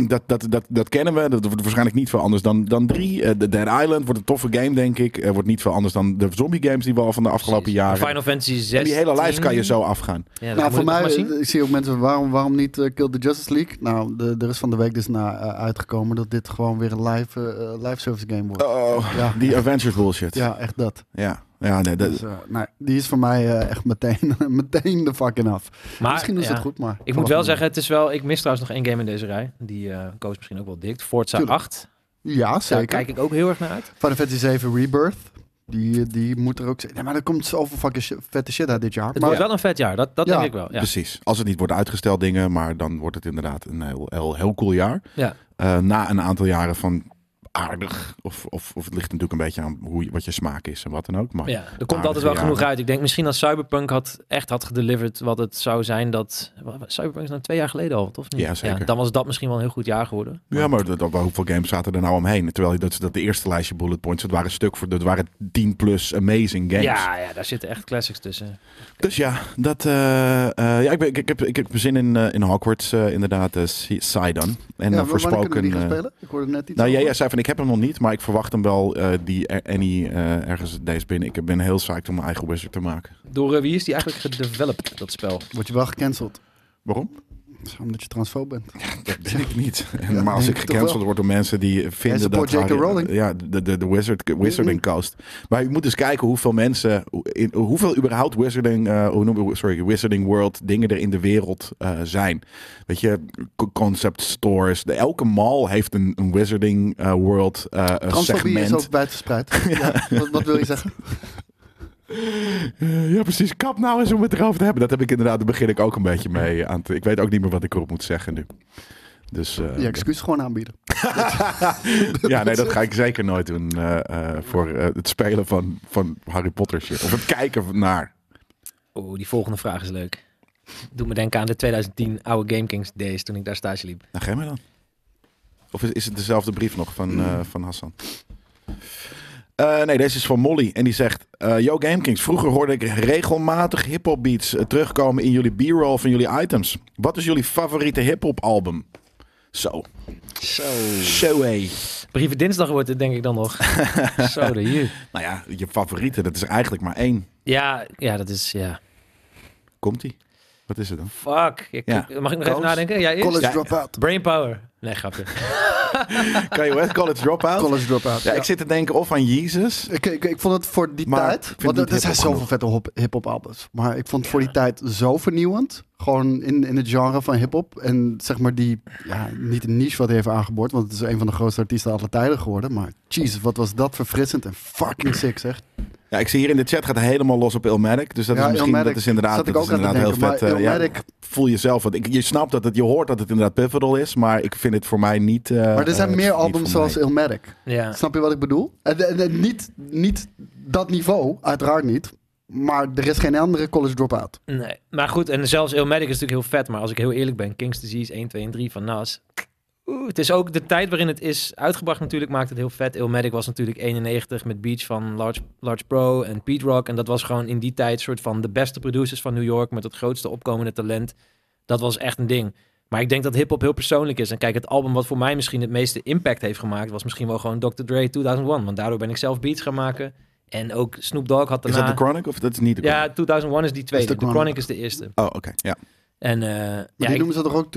Speaker 1: dat, dat, dat, dat kennen we. Dat wordt waarschijnlijk niet veel anders dan, dan 3. Eh, The Dead Island wordt een toffe game, denk ik. Eh, wordt niet veel anders dan de zombie games die we al van de afgelopen
Speaker 2: Precies.
Speaker 1: jaren...
Speaker 2: Final Fantasy 6.
Speaker 1: En die hele lijst kan je zo afgaan.
Speaker 2: Ja, dat
Speaker 3: nou,
Speaker 2: moet
Speaker 3: voor
Speaker 2: ik nog
Speaker 3: mij,
Speaker 2: maar zien.
Speaker 3: eh, ik zie ook mensen, waarom, waarom niet eh, Kill the Justice League? Nou, de, er is van de week dus na eh, uitgekomen dat dit gewoon weer een live, eh, eh, live service game wordt.
Speaker 1: Oh,
Speaker 3: Ja.
Speaker 1: die Avengers bullshit. Ja,
Speaker 3: Ja, echt dat.
Speaker 1: ja, nee, dat,
Speaker 3: Dus, eh, nee, die is voor mij eh, echt meteen, meteen de fucking af.
Speaker 2: Maar,
Speaker 3: Misschien is
Speaker 2: ja.
Speaker 3: het goed, maar...
Speaker 2: Ik moet
Speaker 3: verwacht
Speaker 2: wel
Speaker 3: niet.
Speaker 2: zeggen, het is wel, ik mis trouwens nog één game in deze rij. Die eh koos misschien ook wel dik. Forza
Speaker 3: Tuurlijk.
Speaker 2: 8.
Speaker 3: Ja,
Speaker 2: Daar
Speaker 3: zeker.
Speaker 2: kijk ik ook heel erg naar uit.
Speaker 3: Final Fantasy 7 Rebirth. Die, eh, die moet er ook zijn. Nee, maar er komt zoveel fucking shit- vette shit uit dit jaar.
Speaker 2: Het
Speaker 3: Maar
Speaker 2: wordt wel een vet jaar, dat, dat
Speaker 3: Ja,
Speaker 2: denk ik wel. Ja.
Speaker 1: Precies. Als het niet wordt uitgesteld dingen, maar dan wordt het inderdaad een heel, heel, heel cool jaar.
Speaker 2: Ja.
Speaker 1: Eh, na een aantal jaren van aardig. Of, of, of het ligt natuurlijk een beetje aan hoe, je- wat je smaak is en wat dan ook. Maar
Speaker 2: Ja, er komt
Speaker 1: Aardige
Speaker 2: altijd wel
Speaker 1: jaren.
Speaker 2: genoeg uit. Ik denk misschien als Cyberpunk had, echt had gedeliverd wat het zou zijn dat... wa- Cyberpunk is nou twee jaar geleden al, toch? Of niet?
Speaker 1: Ja, zeker.
Speaker 2: dan was dat misschien wel een heel goed jaar geworden.
Speaker 1: Ja, maar dat, dat- hoeveel games zaten er nou omheen? Terwijl je- dat, dat de eerste lijstje bullet points, dat waren stuk voor, dat waren 10 plus amazing games.
Speaker 2: Ja, ja, daar zitten echt classics tussen.
Speaker 1: Dus ja, dat, eh, eh, ja ik, ben- ik, ik heb, ik heb zin in, eh, in Hogwarts eh, inderdaad, eh, Si- Sidon. En
Speaker 3: Ja,
Speaker 1: dan
Speaker 3: maar wanneer kunnen we
Speaker 1: voorspoken...
Speaker 3: die gaan
Speaker 1: eh,
Speaker 3: spelen? Ik hoorde net iets
Speaker 1: Nou, jij,
Speaker 3: over.
Speaker 1: jij zei van ik heb hem nog niet, maar ik verwacht hem wel eh, die er- Annie eh, ergens deze binnen. Ik ben heel psyched om mijn eigen wizard te maken.
Speaker 2: Door eh, wie is die eigenlijk gedeveloped, dat spel?
Speaker 3: Word je wel gecanceld?
Speaker 1: Waarom?
Speaker 3: Dat is Omdat je transfoob bent.
Speaker 1: Dat weet ik niet. En
Speaker 3: Ja,
Speaker 1: normaal als
Speaker 3: denk
Speaker 1: ik
Speaker 3: ik toch
Speaker 1: gecanceld
Speaker 3: wel.
Speaker 1: word door mensen die vinden dat...
Speaker 3: support J.K.
Speaker 1: Harry-
Speaker 3: Rowling.
Speaker 1: Ja, de, de, de wizard, wizarding coast. Maar je moet eens kijken hoeveel mensen... hoe- In, hoeveel überhaupt wizarding... eh, hoe noemen we, sorry, wizarding world dingen er in de wereld eh, zijn. Weet je, co- concept stores. De, elke mall heeft een, een wizarding eh, world eh,
Speaker 3: Transfobie
Speaker 1: segment.
Speaker 3: is ook wijdverspreid. ja. wat, wat wil je zeggen?
Speaker 1: Eh, ja, precies. Kap nou eens om het erover te hebben. Dat heb ik inderdaad, daar begin ik ook een beetje mee aan te... Ik weet ook niet meer wat ik erop moet zeggen nu. Dus eh,
Speaker 3: Je excuus gewoon aanbieden.
Speaker 1: ja, nee, dat ga ik zeker nooit doen eh, eh, voor eh, het spelen van, van Harry Potter shit. Of het kijken van- naar.
Speaker 2: Oeh, die volgende vraag is leuk. Doe me denken aan de 2010 oude Game Kings days toen ik daar stage liep.
Speaker 1: Nou, geef mij dan. Of is, is het dezelfde brief nog van, eh, van Hassan? Eh, nee, deze is van Molly. En die zegt... eh Yo Gamekings, vroeger hoorde ik regelmatig hiphop beats eh, terugkomen in jullie b-roll van jullie items. Wat is jullie favoriete hiphop album? Zo.
Speaker 2: Zo.
Speaker 1: Zo hé.
Speaker 2: Brieven dinsdag wordt het denk ik dan nog. Zo de hier.
Speaker 1: Nou ja, je favoriete, dat is eigenlijk maar één.
Speaker 2: Ja, ja, dat is ja.
Speaker 1: Komt-ie? Wat is het dan?
Speaker 2: Fuck. Ik-
Speaker 1: Ja.
Speaker 2: Mag ik nog
Speaker 1: Koos?
Speaker 2: even nadenken? Ja, eerst.
Speaker 3: College
Speaker 1: Ja.
Speaker 3: dropout.
Speaker 2: Brain power. Nee, grapje.
Speaker 1: Kanye West, College Dropout?
Speaker 3: College dropout.
Speaker 1: Ja, ik zit te denken of aan Jesus.
Speaker 3: Ik, ik, ik vond het voor die
Speaker 1: Maar ik
Speaker 3: tijd.
Speaker 1: vind
Speaker 3: Want
Speaker 1: het
Speaker 3: er
Speaker 1: niet
Speaker 3: zijn
Speaker 1: hiphop
Speaker 3: zoveel vette hop- hip-hop albums. Maar ik vond het voor die tijd zo vernieuwend. Gewoon in, in het genre van hip-hop. En zeg maar die. Ja, niet een niche wat hij heeft aangeboord. Want het is een van de grootste artiesten aller tijden geworden. Maar jeez, wat was dat verfrissend en fucking sick, zeg.
Speaker 1: Ja, ik zie hier in de chat gaat helemaal los op Ilmatic. Dus dat is misschien
Speaker 3: Illmatic
Speaker 1: dat is inderdaad,
Speaker 3: zat ik
Speaker 1: dat
Speaker 3: ook
Speaker 1: is
Speaker 3: aan te
Speaker 1: inderdaad
Speaker 3: denken,
Speaker 1: heel vet.
Speaker 3: maar
Speaker 1: eh, ja,
Speaker 3: Illmatic-
Speaker 1: voel jezelf. Want ik, je snapt dat het, je hoort dat het inderdaad pivotal is, maar ik vind het voor mij niet. eh,
Speaker 3: maar er zijn
Speaker 1: eh,
Speaker 3: meer
Speaker 1: niet voor
Speaker 3: albums
Speaker 1: mij.
Speaker 3: zoals Illmatic.
Speaker 2: Ja.
Speaker 3: Snap je wat ik bedoel? En, en- en niet, niet dat niveau, uiteraard niet. Maar er is geen andere college dropout.
Speaker 2: Nee. Maar goed, en zelfs Illmatic is natuurlijk heel vet. Maar als ik heel eerlijk ben, Kings Disease 1, 2 en 3 van Nas. Oeh, het is ook de tijd waarin het is uitgebracht natuurlijk maakt het heel vet. Illmatic was natuurlijk 91 met Beach van Large, Large Pro en Pete Rock. En dat was gewoon in die tijd soort van de beste producers van New York met het grootste opkomende talent. Dat was echt een ding. Maar ik denk dat hip-hop heel persoonlijk is. En kijk, het album wat voor mij misschien het meeste impact heeft gemaakt, was misschien wel gewoon Dr. Dre 2001. Want daardoor ben ik zelf beats gaan maken. En ook Snoop Dogg had
Speaker 1: Is
Speaker 2: daarna...
Speaker 1: dat de Chronic of dat is niet de Chronic?
Speaker 2: Ja, 2001 is die tweede.
Speaker 3: de
Speaker 2: de,
Speaker 3: Chronic.
Speaker 2: Chronic. is de eerste.
Speaker 1: Oh, oké. Ja.
Speaker 2: En eh
Speaker 3: Maar
Speaker 2: ja,
Speaker 3: die
Speaker 2: ik-
Speaker 3: noemen ze toch ook 2001?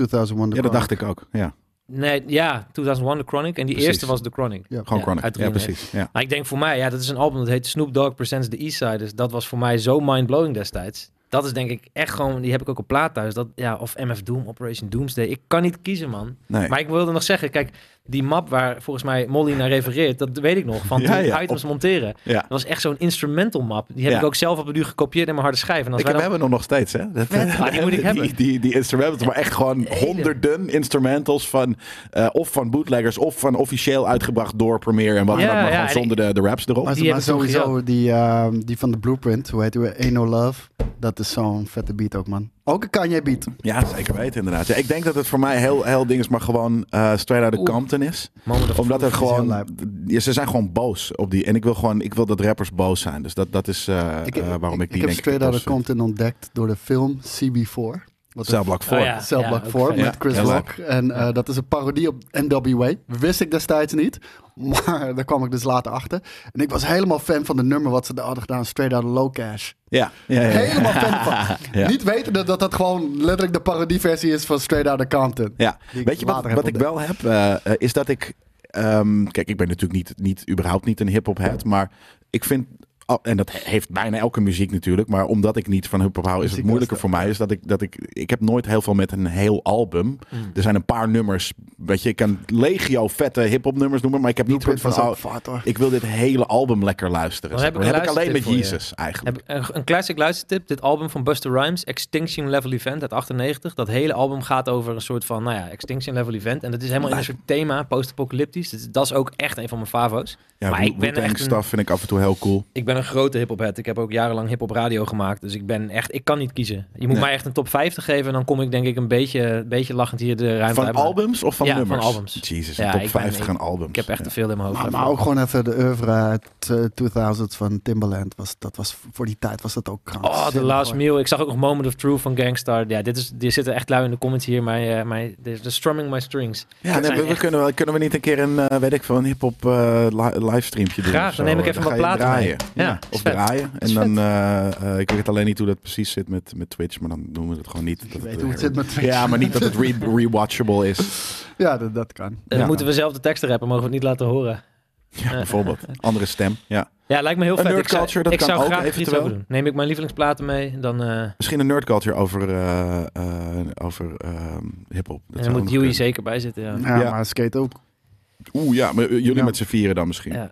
Speaker 3: The
Speaker 1: ja, dat
Speaker 3: Chronic?
Speaker 1: dacht ik ook. Ja,
Speaker 2: nee, ja, 2001 de Chronic. En die
Speaker 1: Precies.
Speaker 2: eerste was de Chronic.
Speaker 3: Ja.
Speaker 1: gewoon
Speaker 2: Ja, uit
Speaker 1: Chronic. Ja,
Speaker 2: 93.
Speaker 1: precies. Ja.
Speaker 2: Maar ik denk voor mij, ja, dat is een album dat heet Snoop Dogg Presents the East Side. Dus dat was voor mij zo mind-blowing destijds. Dat is denk ik echt gewoon, die heb ik ook op plaat thuis. Dat, ja, of MF Doom, Operation Doomsday. Ik kan niet kiezen, man.
Speaker 1: Nee.
Speaker 2: Maar ik wilde nog zeggen, kijk, die map waar volgens mij Molly naar refereert, dat weet ik nog, van
Speaker 1: Ja,
Speaker 2: toen
Speaker 1: ja,
Speaker 2: items monteren.
Speaker 1: ja.
Speaker 2: Dat was echt zo'n instrumental map. Die heb
Speaker 1: Ja.
Speaker 2: ik ook zelf op een duur gekopieerd in mijn harde schijf. En als
Speaker 1: Ik
Speaker 2: wij
Speaker 1: heb,
Speaker 2: dan-
Speaker 1: hebben hem nog steeds, hè? Dat,
Speaker 2: Vet, ah, die moet ik hebben.
Speaker 1: Die, die, die instrumentals, maar echt gewoon
Speaker 2: Hele.
Speaker 1: honderden instrumentals van... eh, of van bootleggers, of van officieel uitgebracht door Premiere en wat dan
Speaker 2: Ja,
Speaker 1: ook, maar
Speaker 2: ja,
Speaker 1: gewoon
Speaker 2: en
Speaker 1: zonder de, de raps erop.
Speaker 3: Maar,
Speaker 2: die
Speaker 3: maar
Speaker 2: hebben ze
Speaker 3: sowieso die, ehm, die van de Blueprint, hoe heet die? Ain't No Love. Dat is zo'n vette beat ook, man. Ook een Kanye beat.
Speaker 1: Ja, zeker weten inderdaad. Ja, ik denk dat het voor mij heel, heel ding is, maar gewoon eh straight out of
Speaker 2: Oeh.
Speaker 1: Compton is.
Speaker 2: Moment of-
Speaker 1: Omdat er
Speaker 3: is heel
Speaker 1: gewoon...
Speaker 3: lijp.
Speaker 1: ja, ze zijn gewoon boos op die. En ik wil gewoon... Ik wil dat rappers boos zijn. Dus dat, dat is eh, eh, waarom ik, die
Speaker 3: heb
Speaker 1: denk ik
Speaker 3: Straight
Speaker 1: boos
Speaker 3: Outta
Speaker 1: vind.
Speaker 3: Compton ontdekt door de film CB4. Wat
Speaker 1: Cell Block 4.
Speaker 2: Oh, ja.
Speaker 3: Cell Block
Speaker 2: ook
Speaker 3: 4
Speaker 2: vet.
Speaker 3: met
Speaker 1: Ja,
Speaker 3: Chris
Speaker 1: heel
Speaker 3: Rock. En eh, dat is een parodie op NWA. Wist ik destijds niet. Maar daar kwam ik dus later achter. En ik was helemaal fan van de nummer wat ze daar hadden gedaan. Straight Outta Low Cash.
Speaker 1: Ja, ja, ja, ja.
Speaker 3: Helemaal fan van.
Speaker 1: Ja.
Speaker 3: Niet weten dat, dat dat gewoon letterlijk de parodieversie is van Straight Outta Compton.
Speaker 1: Ja,
Speaker 3: Die ik
Speaker 1: weet je wat,
Speaker 3: later heb
Speaker 1: wat ik wel heb? eh, eh, is dat ik... ehm, kijk, ik ben natuurlijk niet, niet, überhaupt niet een hip-hop head, maar ik vind... oh, en dat heeft bijna elke muziek natuurlijk, maar omdat ik niet van hip-hop hou, is het
Speaker 3: Muziek
Speaker 1: moeilijker
Speaker 3: was
Speaker 1: voor mij. Is dat ik, dat ik, ik heb nooit heel veel met een heel album.
Speaker 3: Mm.
Speaker 1: Er zijn een paar nummers, weet je, ik kan legio vette hip-hop nummers noemen, maar ik heb niet
Speaker 3: Blueprint
Speaker 1: goed van,
Speaker 3: was ook
Speaker 1: oh,
Speaker 3: vaat hoor.
Speaker 1: ik wil dit hele album lekker luisteren.
Speaker 2: Dan
Speaker 1: zeg
Speaker 2: heb
Speaker 1: maar.
Speaker 2: ik
Speaker 1: Dan
Speaker 2: een
Speaker 1: heb ik alleen met
Speaker 2: luistertip voor je.
Speaker 1: Jezus eigenlijk.
Speaker 2: Heb ik een, een classic luistertip. Dit album van Buster Rhymes, Extinction Level Event uit 98. Dat hele album gaat over een soort van, nou ja, Extinction Level Event. En dat is helemaal in een soort thema, post-apocalyptisch. Dus dat is ook echt een van mijn favo's.
Speaker 1: Ja,
Speaker 2: maar ik ben
Speaker 1: Wu-Tang
Speaker 2: echt een-
Speaker 1: stuff vind ik af en toe heel cool.
Speaker 2: Ik ben een grote hip-hop head. Ik heb ook jarenlang hip-hop radio gemaakt. Dus ik ben echt, ik kan niet kiezen. Je moet
Speaker 1: Nee.
Speaker 2: mij echt een top 50 geven. En dan kom ik denk ik een beetje, een beetje lachend hier de ruimte
Speaker 1: Van
Speaker 2: uit. Maar
Speaker 1: albums of van
Speaker 2: Ja, van
Speaker 1: nummers?
Speaker 2: albums.
Speaker 1: Jezus,
Speaker 2: Ja,
Speaker 1: een top
Speaker 2: ik ben-
Speaker 1: 50 aan albums.
Speaker 2: Ik heb echt
Speaker 1: Ja.
Speaker 2: te veel in mijn hoofd.
Speaker 3: Maar, maar ook gewoon even de oeuvre uit eh, 2000 van Timbaland. Was, dat was, voor die tijd was dat ook
Speaker 2: Oh, The
Speaker 3: krankzinnig,
Speaker 2: Last
Speaker 3: hoor.
Speaker 2: Meal. Ik zag ook nog Moment of Truth van Gangstar. Ja, dit is, die zitten echt lui in de comments hier. Maar, eh, maar de, de strumming my strings.
Speaker 1: Ja,
Speaker 2: Dat
Speaker 1: nee,
Speaker 2: zijn
Speaker 1: we, we
Speaker 2: echt-
Speaker 1: kunnen, wel- kunnen we niet een keer een, eh, weet ik veel, een hip-hop eh, li- livestreampje doen?
Speaker 2: Graag,
Speaker 1: of zo?
Speaker 2: dan neem ik even
Speaker 1: ga
Speaker 2: wat
Speaker 1: je
Speaker 2: platen
Speaker 1: draaien.
Speaker 2: mee.
Speaker 1: Ja,
Speaker 2: Ja, is
Speaker 1: of
Speaker 2: vet.
Speaker 1: draaien. En
Speaker 2: Is
Speaker 1: dan, eh, eh, ik weet het alleen niet hoe dat precies zit met, met Twitch, maar dan doen we het gewoon niet. Dat
Speaker 3: Ik weet hoe het zit met Twitch.
Speaker 1: Ja, maar niet dat het re- rewatchable is.
Speaker 3: Ja, dat, dat kan.
Speaker 2: Dan
Speaker 1: Ja.
Speaker 2: moeten we zelf de teksten rappen. Mogen we het niet laten horen.
Speaker 1: Ja, bijvoorbeeld. Andere stem, ja.
Speaker 2: Ja, lijkt me heel
Speaker 1: Een
Speaker 2: vet.
Speaker 1: nerd
Speaker 2: ik zou,
Speaker 1: culture, dat
Speaker 2: ik
Speaker 1: kan
Speaker 2: zou
Speaker 1: ook
Speaker 2: graag iets
Speaker 1: eventueel.
Speaker 2: over doen. Neem ik mijn lievelingsplaten mee, dan, eh,
Speaker 1: Misschien een nerdculture over, eh eh, over ehm, hip-hop. Dat
Speaker 2: en dan
Speaker 1: zou
Speaker 2: moet
Speaker 1: nog
Speaker 2: Huey
Speaker 1: kunnen.
Speaker 2: zeker bij zitten. Ja.
Speaker 3: Ja,
Speaker 1: Ja.
Speaker 3: maar skate ook.
Speaker 1: Oeh, ja, maar eh, jullie
Speaker 3: Ja.
Speaker 1: met z'n vieren dan misschien.
Speaker 2: Ja.
Speaker 1: Ja,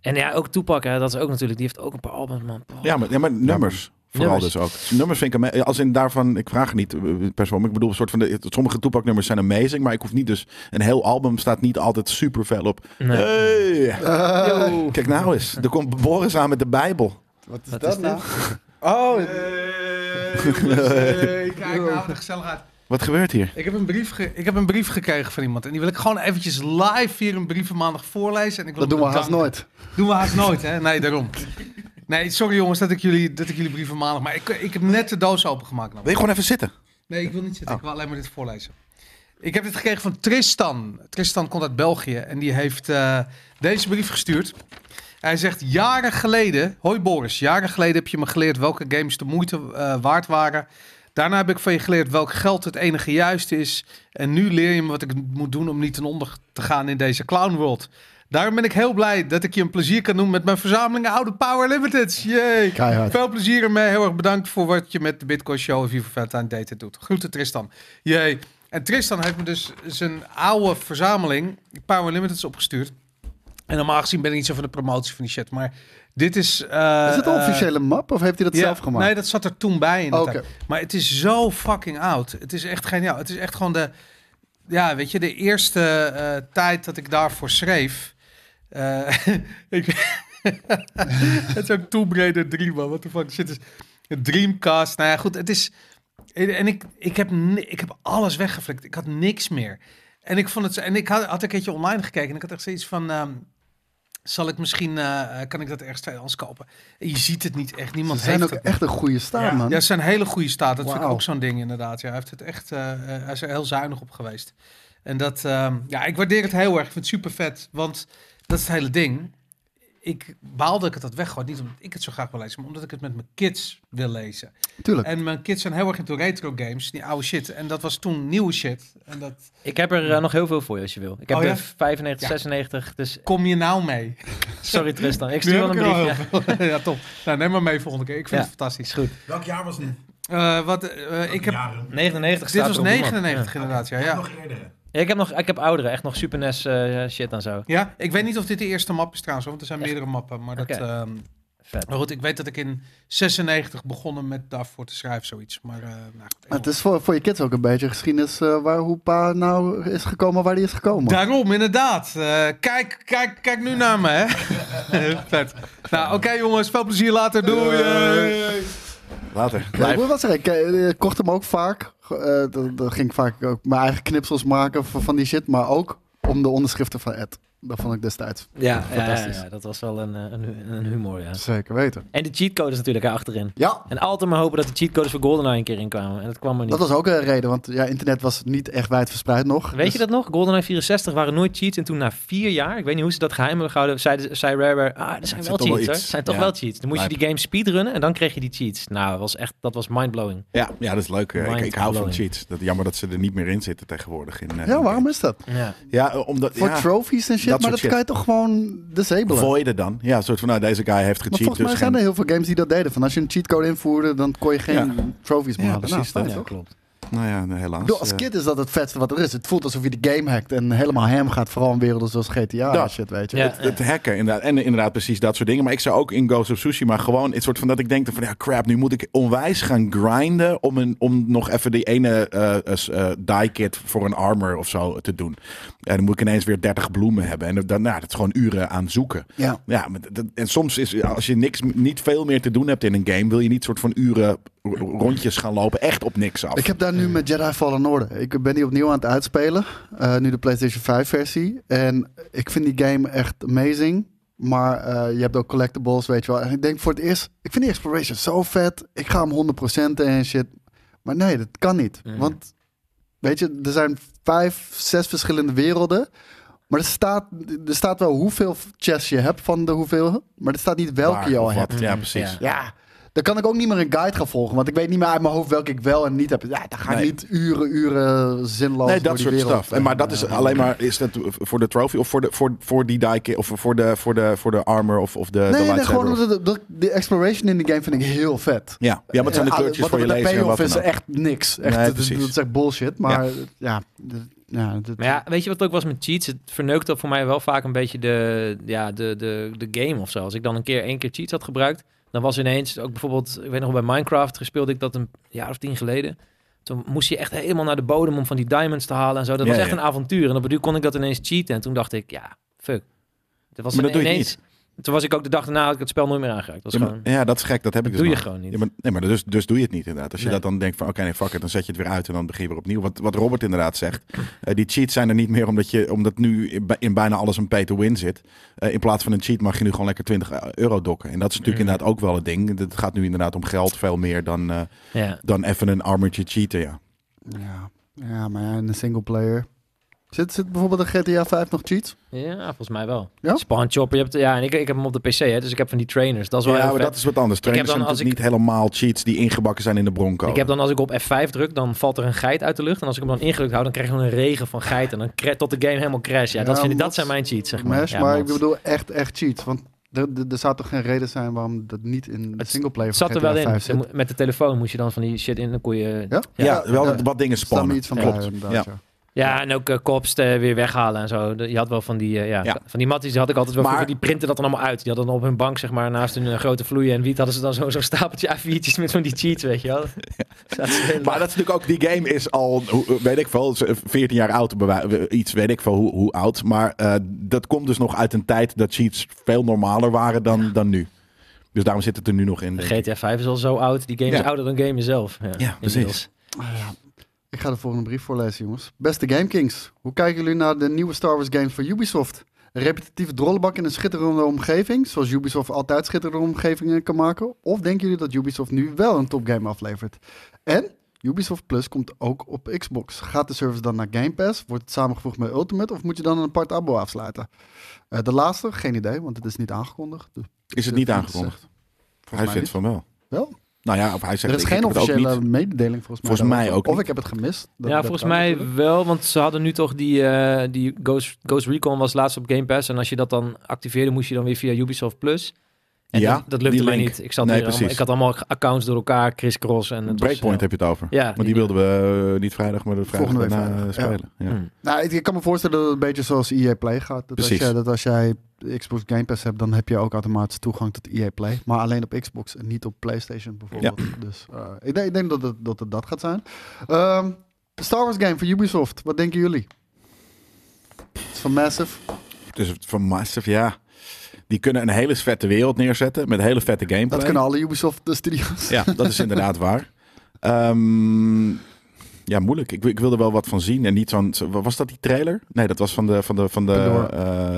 Speaker 2: En ja, ook Tupac, hè, dat is ook natuurlijk. Die heeft ook een paar albums, man. Boah.
Speaker 1: maar, ja, maar nummers. Vooral
Speaker 2: Nummers.
Speaker 1: dus ook. Nummers vind ik, ama- als in daarvan, ik vraag het niet eh, per se, maar ik bedoel, een soort van de, sommige Tupac-nummers zijn amazing, maar ik hoef niet dus, een heel album staat niet altijd super fel op.
Speaker 2: Nee.
Speaker 1: Hey!
Speaker 3: Eh,
Speaker 2: Yo.
Speaker 1: Kijk nou eens, er komt Boris aan met de Bijbel.
Speaker 3: wat is
Speaker 2: Wat
Speaker 3: dat
Speaker 2: is
Speaker 3: nou?
Speaker 4: Oh! kijk nou, wat een gezelligheid.
Speaker 1: Wat gebeurt hier?
Speaker 4: Ik heb, een brief ge- ik heb een brief gekregen van iemand. En die wil ik gewoon eventjes live hier een brief van maandag voorlezen. En ik wil
Speaker 3: Dat
Speaker 4: hem
Speaker 3: doen we haast
Speaker 4: bedanken.
Speaker 3: nooit.
Speaker 4: Doen we haast nooit, hè? Nee, daarom. Nee, sorry jongens dat ik jullie, dat ik jullie brief van maandag... Maar ik, ik heb net de doos opengemaakt. Nou.
Speaker 1: Wil je gewoon even zitten?
Speaker 4: Nee, ik wil niet zitten. Ik wil alleen maar dit voorlezen. Ik heb dit gekregen van Tristan. Tristan komt uit België en die heeft eh, deze brief gestuurd. Hij zegt, jaren geleden... Hoi Boris, jaren geleden heb je me geleerd welke games de moeite eh, waard waren. Daarna heb ik van je geleerd welk geld het enige juiste is. En nu leer je me wat ik moet doen om niet ten onder te gaan in deze clownworld. Daarom ben ik heel blij dat ik je een plezier kan doen met mijn verzameling oude Power Limiteds. Yay!
Speaker 3: Keihard.
Speaker 4: Veel plezier ermee. Heel erg bedankt voor wat je met de Bitcoin Show en Viva Valentine Date doet. Groeten Tristan. Jee. En Tristan heeft me dus zijn oude verzameling Power Limiteds opgestuurd. En normaal gezien ben ik niet zo van de promotie van die shit. Maar dit is... eh,
Speaker 3: Is het een
Speaker 4: eh,
Speaker 3: officiële map of heeft hij dat
Speaker 4: ja,
Speaker 3: zelf gemaakt?
Speaker 4: Nee, dat zat er toen bij in de
Speaker 3: Oké.
Speaker 4: tijd. Maar het is zo fucking oud. Het is echt geniaal. Het is echt gewoon de... Ja, weet je, de eerste eh, tijd dat ik daarvoor schreef... eh, ik, het is ook Tomb Raider 3, man. Wat de fuck shit is... Dreamcast, nou ja, goed. Het is... En ik, ik, heb, ni- ik heb alles weggeflikt. Ik had niks meer. En ik, vond het, zo- en ik had, had een keertje online gekeken en ik had echt zoiets van... ehm, zal ik misschien, eh, eh, kan ik dat ergens tweedehands kopen? En je ziet het niet echt, niemand
Speaker 3: Ze zijn ook
Speaker 4: heeft het.
Speaker 3: echt een goede staat, man.
Speaker 4: Ja, ze zijn hele goede staat. Dat vind ik
Speaker 3: Wauw.
Speaker 4: ook zo'n ding inderdaad. Ja, hij, heeft het echt, eh, eh, hij is er heel zuinig op geweest. En dat, ehm, ja, ik waardeer het heel erg. Ik vind het super vet, want dat is het hele ding. ik baalde dat ik het had weggooid. Niet omdat ik het zo graag wil lezen, maar omdat ik het met mijn kids wil lezen.
Speaker 3: Tuurlijk.
Speaker 4: En mijn kids zijn heel erg into retro games, die oude shit. En dat was toen nieuwe shit. En dat
Speaker 2: Ik heb er eh, nog heel veel voor je als je wil. Ik heb
Speaker 4: Oh, ja?
Speaker 2: er 95,
Speaker 4: Ja.
Speaker 2: 96. Dus
Speaker 4: kom je nou mee.
Speaker 2: sorry Tristan, ik
Speaker 4: Nu
Speaker 2: stuur wel een
Speaker 4: heb ik er al
Speaker 2: briefje.
Speaker 4: heel veel. Ja, top. Nou, neem maar mee volgende keer. Ik vind
Speaker 2: Ja.
Speaker 4: het fantastisch.
Speaker 2: Is goed.
Speaker 5: Welk jaar was dit?
Speaker 4: Eh, wat, eh, ik heb,
Speaker 2: 99
Speaker 4: dit
Speaker 2: staat
Speaker 4: was
Speaker 2: er op de man.
Speaker 4: 99 inderdaad, ja. ja.
Speaker 5: Nog eerder.
Speaker 2: Ja, ik heb nog, ik heb oudere, echt nog Super NES eh, shit en zo.
Speaker 4: Ja, ik weet niet of dit de eerste map is trouwens, want er zijn
Speaker 2: Echt?
Speaker 4: meerdere mappen. Maar, dat,
Speaker 2: Oké.
Speaker 4: ehm,
Speaker 2: Vet.
Speaker 4: maar goed, ik weet dat ik in 96 begonnen met daarvoor te schrijven, zoiets. Maar eh, nou, goed,
Speaker 3: Maar het is voor, voor je kids ook een beetje geschiedenis eh, waar hoe pa nou is gekomen waar hij is gekomen.
Speaker 4: Daarom, inderdaad. Eh, kijk, kijk, kijk nu naar me, hè. Vet. Nou, oké jongens, veel plezier later. Doei.
Speaker 1: Doei. Later.
Speaker 3: Ja, ik moet wel zeggen, ik eh, ik kocht hem ook vaak. Eh, dan, dan ging ik vaak ook mijn eigen knipsels maken van, van die shit. Maar ook om de onderschriften van Ed. Dat vond ik destijds.
Speaker 2: Ja,
Speaker 3: Fantastisch.
Speaker 2: ja, ja, dat was wel een, eh, een, hu- een humor, ja.
Speaker 3: Zeker weten.
Speaker 2: En de cheatcodes natuurlijk hè, achterin.
Speaker 3: Ja,
Speaker 2: En altijd maar hopen dat de cheatcodes voor GoldenEye een keer inkwamen. En dat kwam er niet.
Speaker 3: dat was ook een reden. Want ja, internet was niet echt wijdverspreid nog. Dus
Speaker 2: Weet
Speaker 1: dus-
Speaker 2: je dat nog? GoldenEye 64 waren nooit cheats. En toen na vier jaar, ik weet niet hoe ze dat geheim hebben gehouden, zei, zei Rareware, ah, er zijn
Speaker 1: zit
Speaker 2: wel
Speaker 1: toch wel
Speaker 2: cheats hoor. Er
Speaker 1: iets.
Speaker 2: zijn toch
Speaker 1: Ja.
Speaker 2: wel cheats. Dan moest je die game speedrunnen en dan kreeg je die cheats. Nou, dat was echt, dat was mindblowing.
Speaker 1: Ja, ja, dat is leuk. Eh, Ik, ik hou van
Speaker 2: Mind-blowing.
Speaker 1: cheats. Dat, jammer dat ze er niet meer in zitten tegenwoordig. In, eh,
Speaker 3: Ja, waarom is dat?
Speaker 2: Ja.
Speaker 1: Ja, eh, omdat...
Speaker 3: Voor
Speaker 1: ja,
Speaker 3: trophies en shit.
Speaker 1: Dat
Speaker 3: maar dat
Speaker 1: soort
Speaker 3: kan je toch gewoon disabelen?
Speaker 1: voiden dan. Ja, een soort van, nou, deze guy heeft
Speaker 3: maar
Speaker 1: gecheat.
Speaker 3: volgens mij
Speaker 1: dus
Speaker 3: zijn er
Speaker 1: geen-
Speaker 3: heel veel games die dat deden. Van als je een cheatcode invoerde, dan kon je geen trophies meer
Speaker 1: Ja,
Speaker 3: halen.
Speaker 1: precies
Speaker 3: Nou,
Speaker 1: dat.
Speaker 3: fijn, toch?
Speaker 2: klopt.
Speaker 1: Nou ja, nee, helaas.
Speaker 3: Ik bedoel, als
Speaker 1: eh,
Speaker 3: kid is dat het vetste wat er is. Het voelt alsof je de game hackt en helemaal hem gaat. Vooral in werelden zoals GTA en
Speaker 1: Dat.
Speaker 3: shit, weet je.
Speaker 2: Ja.
Speaker 1: Het, het hacken inderdaad. En inderdaad precies dat soort dingen. Maar ik zou ook in Ghost of Tsushima gewoon het soort van dat ik denk van ja crap, nu moet ik onwijs gaan grinden om, een, om nog even die ene eh, s- eh, die kit voor een armor of zo te doen. En dan moet ik ineens weer 30 bloemen hebben. En dan, nou, dat is gewoon uren aan zoeken.
Speaker 3: Ja.
Speaker 1: Ja, maar dat- en soms is als je niks, niet veel meer te doen hebt in een game, wil je niet soort van uren r- rondjes gaan lopen. Echt op niks af.
Speaker 3: Ik heb daar nu met Jedi Fallen Order. Ik ben die opnieuw aan het uitspelen. Eh, nu de PlayStation 5 versie. En ik vind die game echt amazing. Maar eh, je hebt ook collectibles, weet je wel. En ik denk voor het eerst... Ik vind die exploration zo vet. Ik ga hem 100% en shit. Maar nee, dat kan niet.
Speaker 2: Mm.
Speaker 3: Want, weet je, er zijn vijf, zes verschillende werelden. Maar er staat, er staat wel hoeveel chests je hebt van de hoeveel. Maar er staat niet welke
Speaker 1: Waar
Speaker 3: je al
Speaker 1: of
Speaker 3: hebt.
Speaker 1: wat. Ja, precies.
Speaker 2: Ja.
Speaker 3: Ja, dan kan ik ook niet meer een guide gaan volgen. Want ik weet niet meer uit mijn hoofd welke ik wel en niet heb. Ja, dan ga ik
Speaker 1: Nee.
Speaker 3: niet uren, uren zinloos
Speaker 1: Nee,
Speaker 3: door
Speaker 1: dat
Speaker 3: die
Speaker 1: soort
Speaker 3: wereld. eh,
Speaker 1: stuff. En, maar dat is alleen maar is dat voor de trophy of voor de voor, voor die die kit of voor de voor de voor de armor of of de de
Speaker 3: Nee, nee,
Speaker 1: eh, lightsaber
Speaker 3: gewoon
Speaker 1: of-
Speaker 3: omdat de, de, de exploration in de game vind ik heel vet.
Speaker 1: Ja, ja, maar het zijn de
Speaker 3: Eh,
Speaker 1: kleurtjes
Speaker 3: wat
Speaker 1: voor je
Speaker 3: de
Speaker 1: lezer en
Speaker 3: payoff
Speaker 1: wat dan
Speaker 3: is
Speaker 1: ook.
Speaker 3: echt niks. Echt,
Speaker 1: Nee,
Speaker 3: dat-
Speaker 1: precies.
Speaker 3: Dat is echt bullshit. Maar ja, ja, d- ja, dat-
Speaker 2: Maar ja, weet je wat het ook was met cheats? Het verneukt voor mij wel vaak een beetje de, ja, de, de, de game of zo. Als ik dan een keer één keer cheats had gebruikt, dan was ineens ook bijvoorbeeld, ik weet nog wel, bij Minecraft speelde ik dat een jaar of tien geleden. Toen moest je echt helemaal naar de bodem om van die diamonds te halen en zo. Dat
Speaker 1: Ja,
Speaker 2: was echt
Speaker 1: ja.
Speaker 2: een avontuur. En op het duur kon ik dat ineens cheaten. En toen dacht ik, ja, fuck. Dat was
Speaker 1: Maar dat doe je
Speaker 2: ineens. Toen was ik ook de dag daarna had ik het spel nooit meer aangeraakt. Dat was
Speaker 1: Ja, maar-
Speaker 2: gewoon,
Speaker 1: ja, dat is gek. Dat heb ik
Speaker 2: dat
Speaker 1: dus
Speaker 2: doe je
Speaker 1: nog.
Speaker 2: gewoon niet.
Speaker 1: Ja, maar, nee, maar dus, dus doe je het niet inderdaad. Als je
Speaker 2: Nee.
Speaker 1: dat dan denkt van oké, nee, fuck it, dan zet je het weer uit en dan begin je weer opnieuw. Wat, wat Robert inderdaad zegt, eh, die cheats zijn er niet meer omdat, je, omdat nu in, bij- in bijna alles een pay to win zit. Eh, in plaats van een cheat mag je nu gewoon lekker 20 euro dokken. En dat is natuurlijk
Speaker 2: Mm.
Speaker 1: inderdaad ook wel het ding. Het gaat nu inderdaad om geld veel meer dan, eh,
Speaker 2: ja.
Speaker 1: dan even een armertje cheaten, ja.
Speaker 3: ja, ja, maar ja, in de single player. Zit, zit bijvoorbeeld een GTA 5 nog cheats?
Speaker 2: ja, volgens mij wel.
Speaker 3: Ja?
Speaker 2: Spawn chopper. Je hebt, ja, en ik, ik heb hem op de PC, hè, dus ik heb van die trainers. Dat is wel
Speaker 1: ja,
Speaker 2: heel
Speaker 1: maar
Speaker 2: vet.
Speaker 1: dat is wat anders.
Speaker 2: heb
Speaker 1: Trainers
Speaker 2: dan
Speaker 1: zijn
Speaker 2: als
Speaker 1: natuurlijk niet helemaal cheats die ingebakken zijn in de bronco.
Speaker 2: Ik heb dan als ik op F5 druk, dan valt er een geit uit de lucht. En als ik hem dan ingedrukt hou, dan krijg ik gewoon een regen van geit. En dan cra- tot de game helemaal crash. Ja, dat,
Speaker 3: Ja,
Speaker 2: vind ik, dat
Speaker 3: mods.
Speaker 2: zijn mijn cheats, zeg maar.
Speaker 3: Mash,
Speaker 2: Ja,
Speaker 3: maar ik
Speaker 2: mods.
Speaker 3: bedoel echt, echt cheats. Want er, er, er zou toch geen reden zijn waarom dat niet in de
Speaker 2: Het
Speaker 3: single player
Speaker 2: het
Speaker 3: van
Speaker 2: zat er wel
Speaker 3: GTA
Speaker 2: in.
Speaker 3: 5 zit.
Speaker 2: Ze mo- Met de telefoon moest je dan van die shit in. Dan kon je... Ja,
Speaker 3: Ja?
Speaker 1: ja, wel
Speaker 3: ja.
Speaker 1: wat dingen
Speaker 3: Staat me
Speaker 1: spannen.
Speaker 3: iets van
Speaker 1: Klopt.
Speaker 3: bij, inderdaad, ja.
Speaker 2: en ook eh, kops eh, weer weghalen en zo. De- Je had wel van die... eh, ja,
Speaker 1: Ja.
Speaker 2: Van die matties die had ik altijd wel
Speaker 1: Maar-
Speaker 2: vroeger, Die printen dat dan allemaal uit. Die hadden dan op hun bank, zeg maar, naast hun eh, grote vloeien en wiet... hadden ze dan zo- zo'n stapeltje A4'tjes met van die cheats, weet je wel. Zaten ze helemaal-
Speaker 1: Maar dat is natuurlijk ook, die game is al, hoe- weet ik veel, 14 jaar oud, bewij- iets weet ik veel hoe, hoe oud. Maar eh, dat komt dus nog uit een tijd dat cheats veel normaler waren dan, dan nu. Dus daarom zit het er nu nog in.
Speaker 2: De
Speaker 1: denk ik.
Speaker 2: GTA 5 is al zo oud. Die game
Speaker 1: Ja.
Speaker 2: is ouder dan game zelf. Ja,
Speaker 1: precies.
Speaker 2: inmiddels.
Speaker 3: Ah, ja. Ik ga de volgende brief voorlezen, jongens. Beste Game Kings, hoe kijken jullie naar de nieuwe Star Wars games van Ubisoft? Een repetitieve drollenbak in een schitterende omgeving, zoals Ubisoft altijd schitterende omgevingen kan maken? Of denken jullie dat Ubisoft nu wel een topgame aflevert? En Ubisoft Plus komt ook op Xbox. Gaat de service dan naar Game Pass? Wordt het samengevoegd met Ultimate? Of moet je dan een apart abo afsluiten? Eh, de laatste, geen idee, want het is niet aangekondigd. Dus
Speaker 1: Is het
Speaker 3: Ik
Speaker 1: niet
Speaker 3: vind het,
Speaker 1: aangekondigd?
Speaker 3: volgens
Speaker 1: Hij
Speaker 3: mij
Speaker 1: vindt van wel.
Speaker 3: Wel?
Speaker 1: Nou ja, of hij
Speaker 3: Er
Speaker 1: zegt
Speaker 3: is
Speaker 1: ik
Speaker 3: geen
Speaker 1: heb het ook
Speaker 3: officiële
Speaker 1: niet.
Speaker 3: mededeling volgens mij.
Speaker 1: Volgens mij
Speaker 3: daarover.
Speaker 1: ook
Speaker 3: Of
Speaker 1: niet.
Speaker 3: ik heb het gemist. Dat-
Speaker 2: ja,
Speaker 3: dat
Speaker 2: volgens
Speaker 3: kan
Speaker 2: mij
Speaker 3: natuurlijk.
Speaker 2: wel, want ze hadden nu toch die, eh, die Ghost, Ghost Recon was laatst op Game Pass. En als je dat dan activeerde, moest je dan weer via Ubisoft Plus. En
Speaker 1: Ja,
Speaker 2: dat, dat lukte
Speaker 1: die
Speaker 2: mij
Speaker 1: link.
Speaker 2: niet. Ik, zat
Speaker 1: Nee,
Speaker 2: weer allemaal,
Speaker 1: precies.
Speaker 2: ik had allemaal accounts door elkaar, crisscross. En het was,
Speaker 1: Breakpoint
Speaker 2: eh,
Speaker 1: heb je het over.
Speaker 2: ja,
Speaker 1: Maar die wilden we eh, niet vrijdag, maar de vrijdag
Speaker 3: Volgende week
Speaker 1: daarna eh,
Speaker 3: vrijdag, ja.
Speaker 1: spelen. Ja.
Speaker 2: Hmm.
Speaker 3: Nou, ik, ik kan me voorstellen dat het een beetje zoals EA Play gaat. Dat als,
Speaker 1: Precies.
Speaker 3: jij, dat als jij Xbox Game Pass hebt, dan heb je ook automatisch toegang tot EA Play. Maar alleen op Xbox en niet op PlayStation bijvoorbeeld. Dus eh, ik, denk, ik denk dat het dat, het dat gaat zijn. Ehm, Star Wars game van Ubisoft. Wat denken jullie? Het is van Massive.
Speaker 1: Dus van Massive, ja. Die kunnen een hele vette wereld neerzetten met hele vette gameplay.
Speaker 3: Dat kunnen alle Ubisoft eh, studios.
Speaker 1: Ja, dat is inderdaad waar. Ehm, ja, moeilijk. Ik, wi- ik wilde wel wat van zien en niet zo'n... zo- wa- Was dat die trailer? Nee, dat was van de... Van de, van de
Speaker 3: Pandora.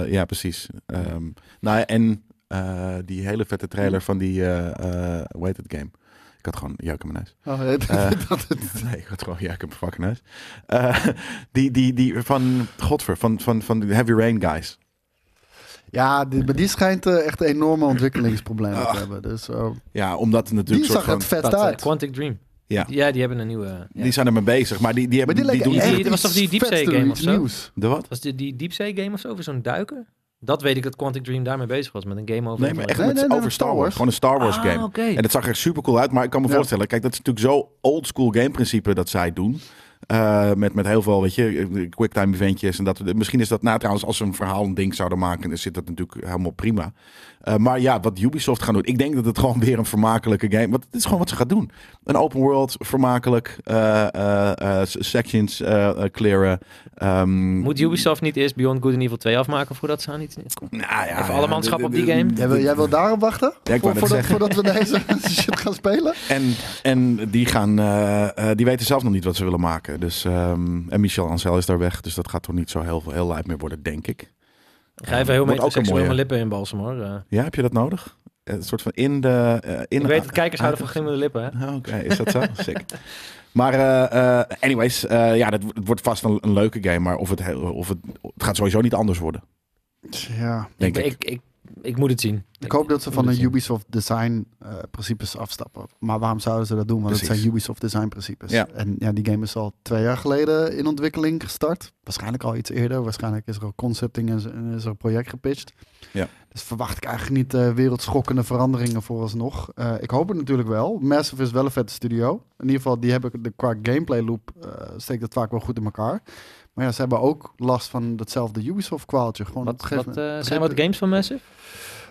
Speaker 1: eh, ja, precies. Ehm, nou, ja, en eh, die hele vette trailer van die... eh eh hoe heet het game? Ik had gewoon Jaak in mijn neus.
Speaker 3: Oh, nee, dat-
Speaker 1: Eh.
Speaker 3: dat het-
Speaker 1: Nee, ik had gewoon Jaak in mijn fucking neus. Eh, die, die, die van... Godver, van, van, van de Heavy Rain guys.
Speaker 3: ja, die, maar die schijnt eh, echt enorme ontwikkelingsproblemen te
Speaker 1: Ach.
Speaker 3: hebben. Dus, eh,
Speaker 1: Ja, omdat het natuurlijk
Speaker 3: die
Speaker 1: soort
Speaker 3: zag
Speaker 1: van...
Speaker 3: het vet
Speaker 2: dat, eh,
Speaker 3: uit.
Speaker 2: Quantic Dream.
Speaker 1: Ja.
Speaker 2: ja, die hebben een nieuwe... ja.
Speaker 1: Die zijn ermee bezig, maar die, die,
Speaker 3: Maar
Speaker 1: hebben,
Speaker 3: die
Speaker 1: die,
Speaker 3: leek
Speaker 1: doen...
Speaker 3: echt
Speaker 1: Echt...
Speaker 2: Die- dat was toch die
Speaker 3: iets
Speaker 2: Deepzee
Speaker 3: vets te
Speaker 2: game
Speaker 3: doen,
Speaker 2: of
Speaker 3: iets
Speaker 2: zo?
Speaker 3: nieuws.
Speaker 1: De wat?
Speaker 2: Was die, die Deepzee game of zo, over zo'n duiken? Dat weet ik dat Quantic Dream daarmee bezig was, met een game over...
Speaker 1: Nee, maar echt
Speaker 3: Nee,
Speaker 1: met,
Speaker 3: nee, nee,
Speaker 1: over
Speaker 3: met
Speaker 1: Star
Speaker 3: Star
Speaker 1: Wars.
Speaker 3: Wars.
Speaker 1: Gewoon een Star Wars game.
Speaker 2: Ah, oké.
Speaker 1: En dat zag er super cool uit, maar ik kan me
Speaker 3: Ja.
Speaker 1: voorstellen, kijk, dat is natuurlijk zo old school game principe dat zij doen. Eh, met, met heel veel, weet je, quicktime eventjes en dat. Misschien is dat, nou trouwens, als ze een verhaal een ding zouden maken, dan zit dat natuurlijk helemaal prima. Eh, maar ja, wat Ubisoft gaat doen, ik denk dat het gewoon weer een vermakelijke game, want het is gewoon wat ze gaat doen. Een open world, vermakelijk, eh, eh, eh, sections eh, eh, clearen. ehm,
Speaker 2: Moet Ubisoft niet eerst Beyond Good and Evil 2 afmaken voordat ze aan iets... Kom.
Speaker 1: nou ja,
Speaker 2: Even alle manschap op die
Speaker 1: dit- dit-
Speaker 2: game.
Speaker 3: Jij wil, jij wil daarop wachten?
Speaker 1: Ja, ik wou net
Speaker 3: voordat,
Speaker 1: zeggen.
Speaker 3: voordat we deze shit gaan spelen?
Speaker 1: En, en die, gaan, eh, eh, die weten zelf nog niet wat ze willen maken. Dus, ehm, en Michel Ancel is daar weg. Dus dat gaat toch niet zo heel, heel lijp meer worden, denk ik.
Speaker 2: Ik ga even heel
Speaker 1: Wordt
Speaker 2: met
Speaker 1: ook een
Speaker 2: seksueel mijn
Speaker 1: mooie.
Speaker 2: lippen in balsem, hoor. Eh,
Speaker 1: Ja, heb je dat nodig? Eh, Een soort van in de... eh, in
Speaker 2: ik weet dat kijkers houden van glimmende lippen, hè?
Speaker 1: Ah, Oké, is dat zo? Sick. Maar eh, eh, anyways, eh, ja, dat, wo- het wordt vast een, een leuke game. Maar of het, heel- of het, het gaat sowieso niet anders worden,
Speaker 3: Ja.
Speaker 1: denk ik.
Speaker 2: ik, ik, ik, ik moet het zien.
Speaker 3: Ik hoop dat ze van
Speaker 2: moet
Speaker 3: de
Speaker 2: het zien.
Speaker 3: Ubisoft design eh, principes afstappen. Maar waarom zouden ze dat doen? Want het
Speaker 1: Precies.
Speaker 3: zijn Ubisoft design principes.
Speaker 1: Ja.
Speaker 3: En ja, die game is al twee jaar geleden in ontwikkeling gestart. Waarschijnlijk al iets eerder. Waarschijnlijk is er al concepting en, z- en is er een project gepitcht.
Speaker 1: Ja.
Speaker 3: Dus verwacht ik eigenlijk niet eh, wereldschokkende veranderingen vooralsnog. Eh, ik hoop het natuurlijk wel. Massive is wel een vette studio. In ieder geval, die hebben de, qua gameplay loop eh, steekt dat vaak wel goed in elkaar. Maar ja, ze hebben ook last van datzelfde Ubisoft kwaaltje. Gewoon op een
Speaker 2: Wat,
Speaker 3: gegeven
Speaker 2: wat,
Speaker 3: moment-
Speaker 2: eh, zijn wat games van Massive?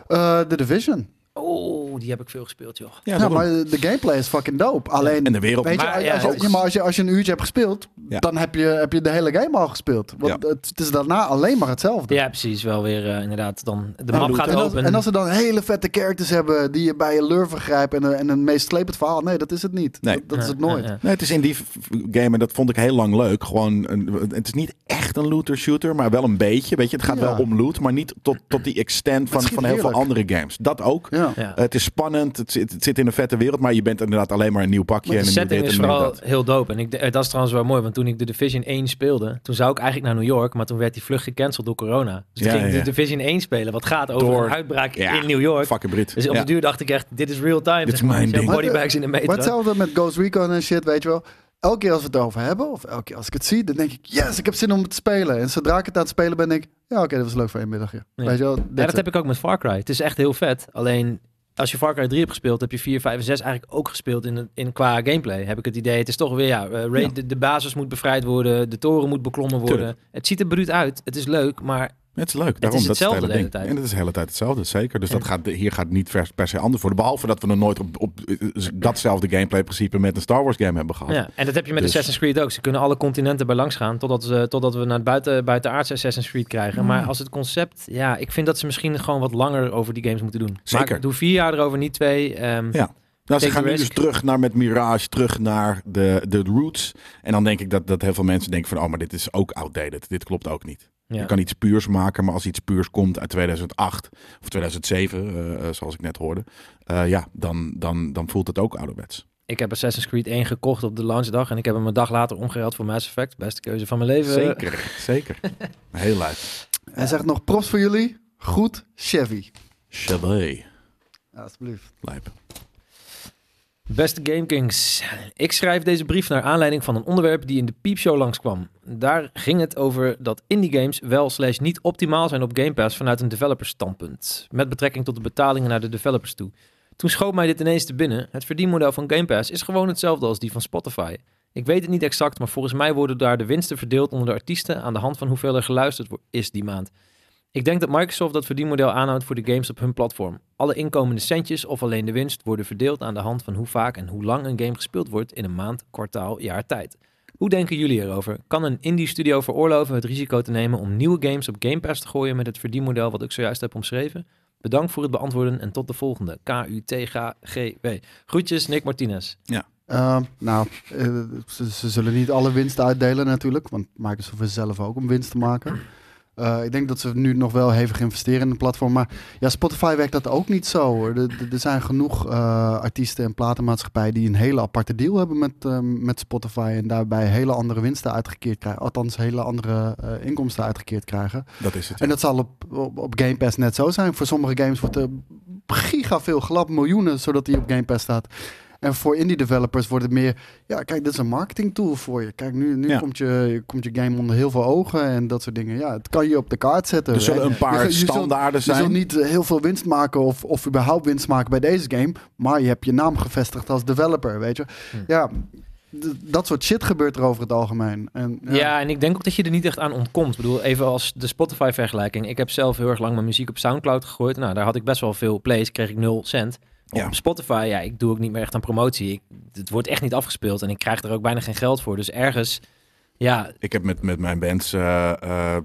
Speaker 3: Eh, The Division.
Speaker 2: Oh, die heb ik veel gespeeld, joh.
Speaker 1: Ja,
Speaker 3: Ja,
Speaker 1: daarom.
Speaker 3: Nou, maar de gameplay is fucking dope. Alleen,
Speaker 1: en de wereld.
Speaker 3: weet je,
Speaker 2: Maar
Speaker 3: als,
Speaker 2: ja,
Speaker 3: je-
Speaker 2: ook.
Speaker 3: ja, maar als je, als je een uurtje hebt gespeeld,
Speaker 1: Ja.
Speaker 3: dan heb je, heb je de hele game al gespeeld. Want het, het is daarna alleen maar hetzelfde.
Speaker 2: Ja, precies. Wel weer eh, inderdaad. Dan, de
Speaker 1: Ja,
Speaker 2: map
Speaker 1: doet
Speaker 2: gaat
Speaker 3: Nou, en, als,
Speaker 2: open.
Speaker 3: en als ze dan hele vette characters hebben die je bij je lurven grijpt en, een- en een meest slepend verhaal. Nee, dat is het niet.
Speaker 1: Nee.
Speaker 3: Dat, dat is het
Speaker 2: Ja,
Speaker 3: nooit.
Speaker 2: ja, ja.
Speaker 1: Nee, het is in die v- v- game en dat vond ik heel lang leuk. Gewoon, een, het is niet echt een looter shooter, maar wel een beetje. Weet je, het gaat
Speaker 3: Ja.
Speaker 1: wel om loot, maar niet tot, tot die extent van,
Speaker 3: schiet
Speaker 1: van heel veel
Speaker 3: heerlijk.
Speaker 1: andere games. Dat ook.
Speaker 3: Ja.
Speaker 2: Ja. Eh,
Speaker 1: Het is spannend, het zit, het zit in een vette wereld, maar je bent inderdaad alleen maar een nieuw pakje.
Speaker 2: Maar
Speaker 1: en
Speaker 2: de
Speaker 1: een
Speaker 2: setting
Speaker 1: nieuw
Speaker 2: is
Speaker 1: dit en een nieuw
Speaker 2: vooral
Speaker 1: dat.
Speaker 2: heel dope. En ik, eh, dat is trouwens wel mooi, want toen ik de Division 1 speelde, toen zou ik eigenlijk naar New York, maar toen werd die vlucht gecanceld door corona. Dus toen
Speaker 1: Ja,
Speaker 2: ging ik
Speaker 1: ja.
Speaker 2: de Division 1 spelen, wat gaat over
Speaker 1: Door-
Speaker 2: een uitbraak
Speaker 1: Ja,
Speaker 2: in New York.
Speaker 1: Fucking Brit.
Speaker 2: Dus op
Speaker 1: Ja.
Speaker 2: de duur dacht ik echt, dit is real time.
Speaker 1: Dit is
Speaker 2: zeg maar.
Speaker 1: mijn
Speaker 2: Weet je,
Speaker 1: ding.
Speaker 2: Bodybags in de
Speaker 3: Maar
Speaker 2: metro.
Speaker 3: hetzelfde met Ghost Recon en shit, weet je wel. Elke keer als we het over hebben, of elke keer als ik het zie, dan denk ik, yes, ik heb zin om het te spelen. En zodra ik het aan het spelen ben, denk ik, ja, oké, dat was leuk voor één middagje.
Speaker 2: Ja.
Speaker 3: Weet je wel,
Speaker 2: Ja,
Speaker 3: that's
Speaker 2: dat
Speaker 3: it.
Speaker 2: heb ik ook met Far Cry. Het is echt heel vet. Alleen als je Far Cry 3 hebt gespeeld, heb je 4, 5 en 6 eigenlijk ook gespeeld in, het- in qua gameplay. Heb ik het idee. Het is toch weer, ja, eh, raid-
Speaker 1: Ja.
Speaker 2: De, de basis moet bevrijd worden, de toren moet beklommen worden.
Speaker 1: Tuurlijk.
Speaker 2: Het ziet er bruut uit, het is leuk, maar
Speaker 1: Het is leuk, daarom.
Speaker 2: is
Speaker 1: dat is
Speaker 2: hetzelfde
Speaker 1: het hele
Speaker 2: de hele
Speaker 1: ding.
Speaker 2: tijd.
Speaker 1: En het is de hele tijd hetzelfde, zeker. Dus
Speaker 2: Ja.
Speaker 1: dat gaat, hier gaat niet per, per se anders worden. Behalve dat we nog nooit op, op eh, datzelfde gameplay principe met een Star Wars game hebben gehad.
Speaker 2: ja. En dat heb je met
Speaker 1: Dus-
Speaker 2: Assassin's Creed ook. Ze kunnen alle continenten bij langs gaan, totdat, ze, totdat we naar het buiten, buitenaardse Assassin's Creed krijgen. Maar als het concept, ja, ik vind dat ze misschien gewoon wat langer over die games moeten doen.
Speaker 1: Zeker.
Speaker 2: Maar doe vier jaar erover, niet twee. ehm,
Speaker 1: Ja. Nou, ze
Speaker 2: Take
Speaker 1: gaan
Speaker 2: the
Speaker 1: nu
Speaker 2: risk.
Speaker 1: dus terug naar met Mirage, terug naar de, de roots. En dan denk ik dat, dat heel veel mensen denken van... oh, maar dit is ook outdated. Dit klopt ook niet.
Speaker 2: ja.
Speaker 1: Je kan iets puurs maken, maar als iets puurs komt uit 2008 of 2007... eh, eh, zoals ik net hoorde, eh, ja, dan, dan, dan voelt het ook ouderwets.
Speaker 2: Ik heb Assassin's Creed 1 gekocht op de launchdag en ik heb hem een dag later omgeruild voor Mass Effect. Beste keuze van mijn leven.
Speaker 1: Zeker, zeker. Heel leuk.
Speaker 3: Hij zegt nog props voor jullie. Goed, Chevy.
Speaker 1: Chalet.
Speaker 3: Ja, alsjeblieft.
Speaker 1: Lijp.
Speaker 2: Beste GameKings, ik schrijf deze brief naar aanleiding van een onderwerp die in de piepshow langskwam. Daar ging het over dat indie games wel slash niet optimaal zijn op Game Pass vanuit een developerstandpunt. Met betrekking tot de betalingen naar de developers toe. Toen schoot mij dit ineens te binnen. Het verdienmodel van Game Pass is gewoon hetzelfde als die van Spotify. Ik weet het niet exact, maar volgens mij worden daar de winsten verdeeld onder de artiesten aan de hand van hoeveel er geluisterd wo- is die maand. Ik denk dat Microsoft dat verdienmodel aanhoudt voor de games op hun platform. Alle inkomende centjes of alleen de winst worden verdeeld aan de hand van hoe vaak en hoe lang een game gespeeld wordt in een maand, kwartaal, jaar tijd. Hoe denken jullie erover? Kan een indie studio veroorloven het risico te nemen om nieuwe games op Game Pass te gooien met het verdienmodel wat ik zojuist heb omschreven? Bedankt voor het beantwoorden en tot de volgende. K-U-T-G-G-W. Groetjes, Nick Martinez.
Speaker 3: Ehm, nou, eh, ze, ze zullen niet alle winst uitdelen natuurlijk, want Microsoft is zelf ook om winst te maken. Eh, ik denk dat ze nu nog wel hevig investeren in de platform, maar ja, Spotify werkt dat ook niet zo hoor. Er- Er er zijn genoeg eh, artiesten en platenmaatschappijen die een hele aparte deal hebben met, eh, met Spotify en daarbij hele andere winsten uitgekeerd krijgen, althans hele andere eh, inkomsten uitgekeerd krijgen.
Speaker 1: Dat is het.
Speaker 3: En dat zal op, op, op Game Pass net zo zijn. Voor sommige games wordt er giga veel glad, miljoenen, zodat die op Game Pass staat. En voor indie developers wordt het meer, ja, kijk, dit is een marketing tool voor je. Kijk, nu, nu
Speaker 1: Ja.
Speaker 3: komt, je, komt je game onder heel veel ogen en dat soort dingen. Ja, het kan je op de kaart zetten.
Speaker 1: Er zullen
Speaker 3: En
Speaker 1: een paar
Speaker 3: je- je zult-
Speaker 1: standaarden
Speaker 3: je zult
Speaker 1: zijn.
Speaker 3: niet heel veel winst maken of, of überhaupt winst maken bij deze game, maar je hebt je naam gevestigd als developer, weet je.
Speaker 2: Hm.
Speaker 3: Ja, d- dat soort shit gebeurt er over het algemeen. En,
Speaker 2: Ja. en ik denk ook dat je er niet echt aan ontkomt. Ik bedoel, even als de Spotify-vergelijking. Ik heb zelf heel erg lang mijn muziek op Soundcloud gegooid. Nou, daar had ik best wel veel plays, kreeg ik 0 cent.
Speaker 1: Ja.
Speaker 2: Op Spotify, ja, ik doe ook niet meer echt aan promotie. Ik, het wordt echt niet afgespeeld en ik krijg er ook bijna geen geld voor. Dus ergens, ja,
Speaker 1: Ik heb met, met mijn bands eh, eh,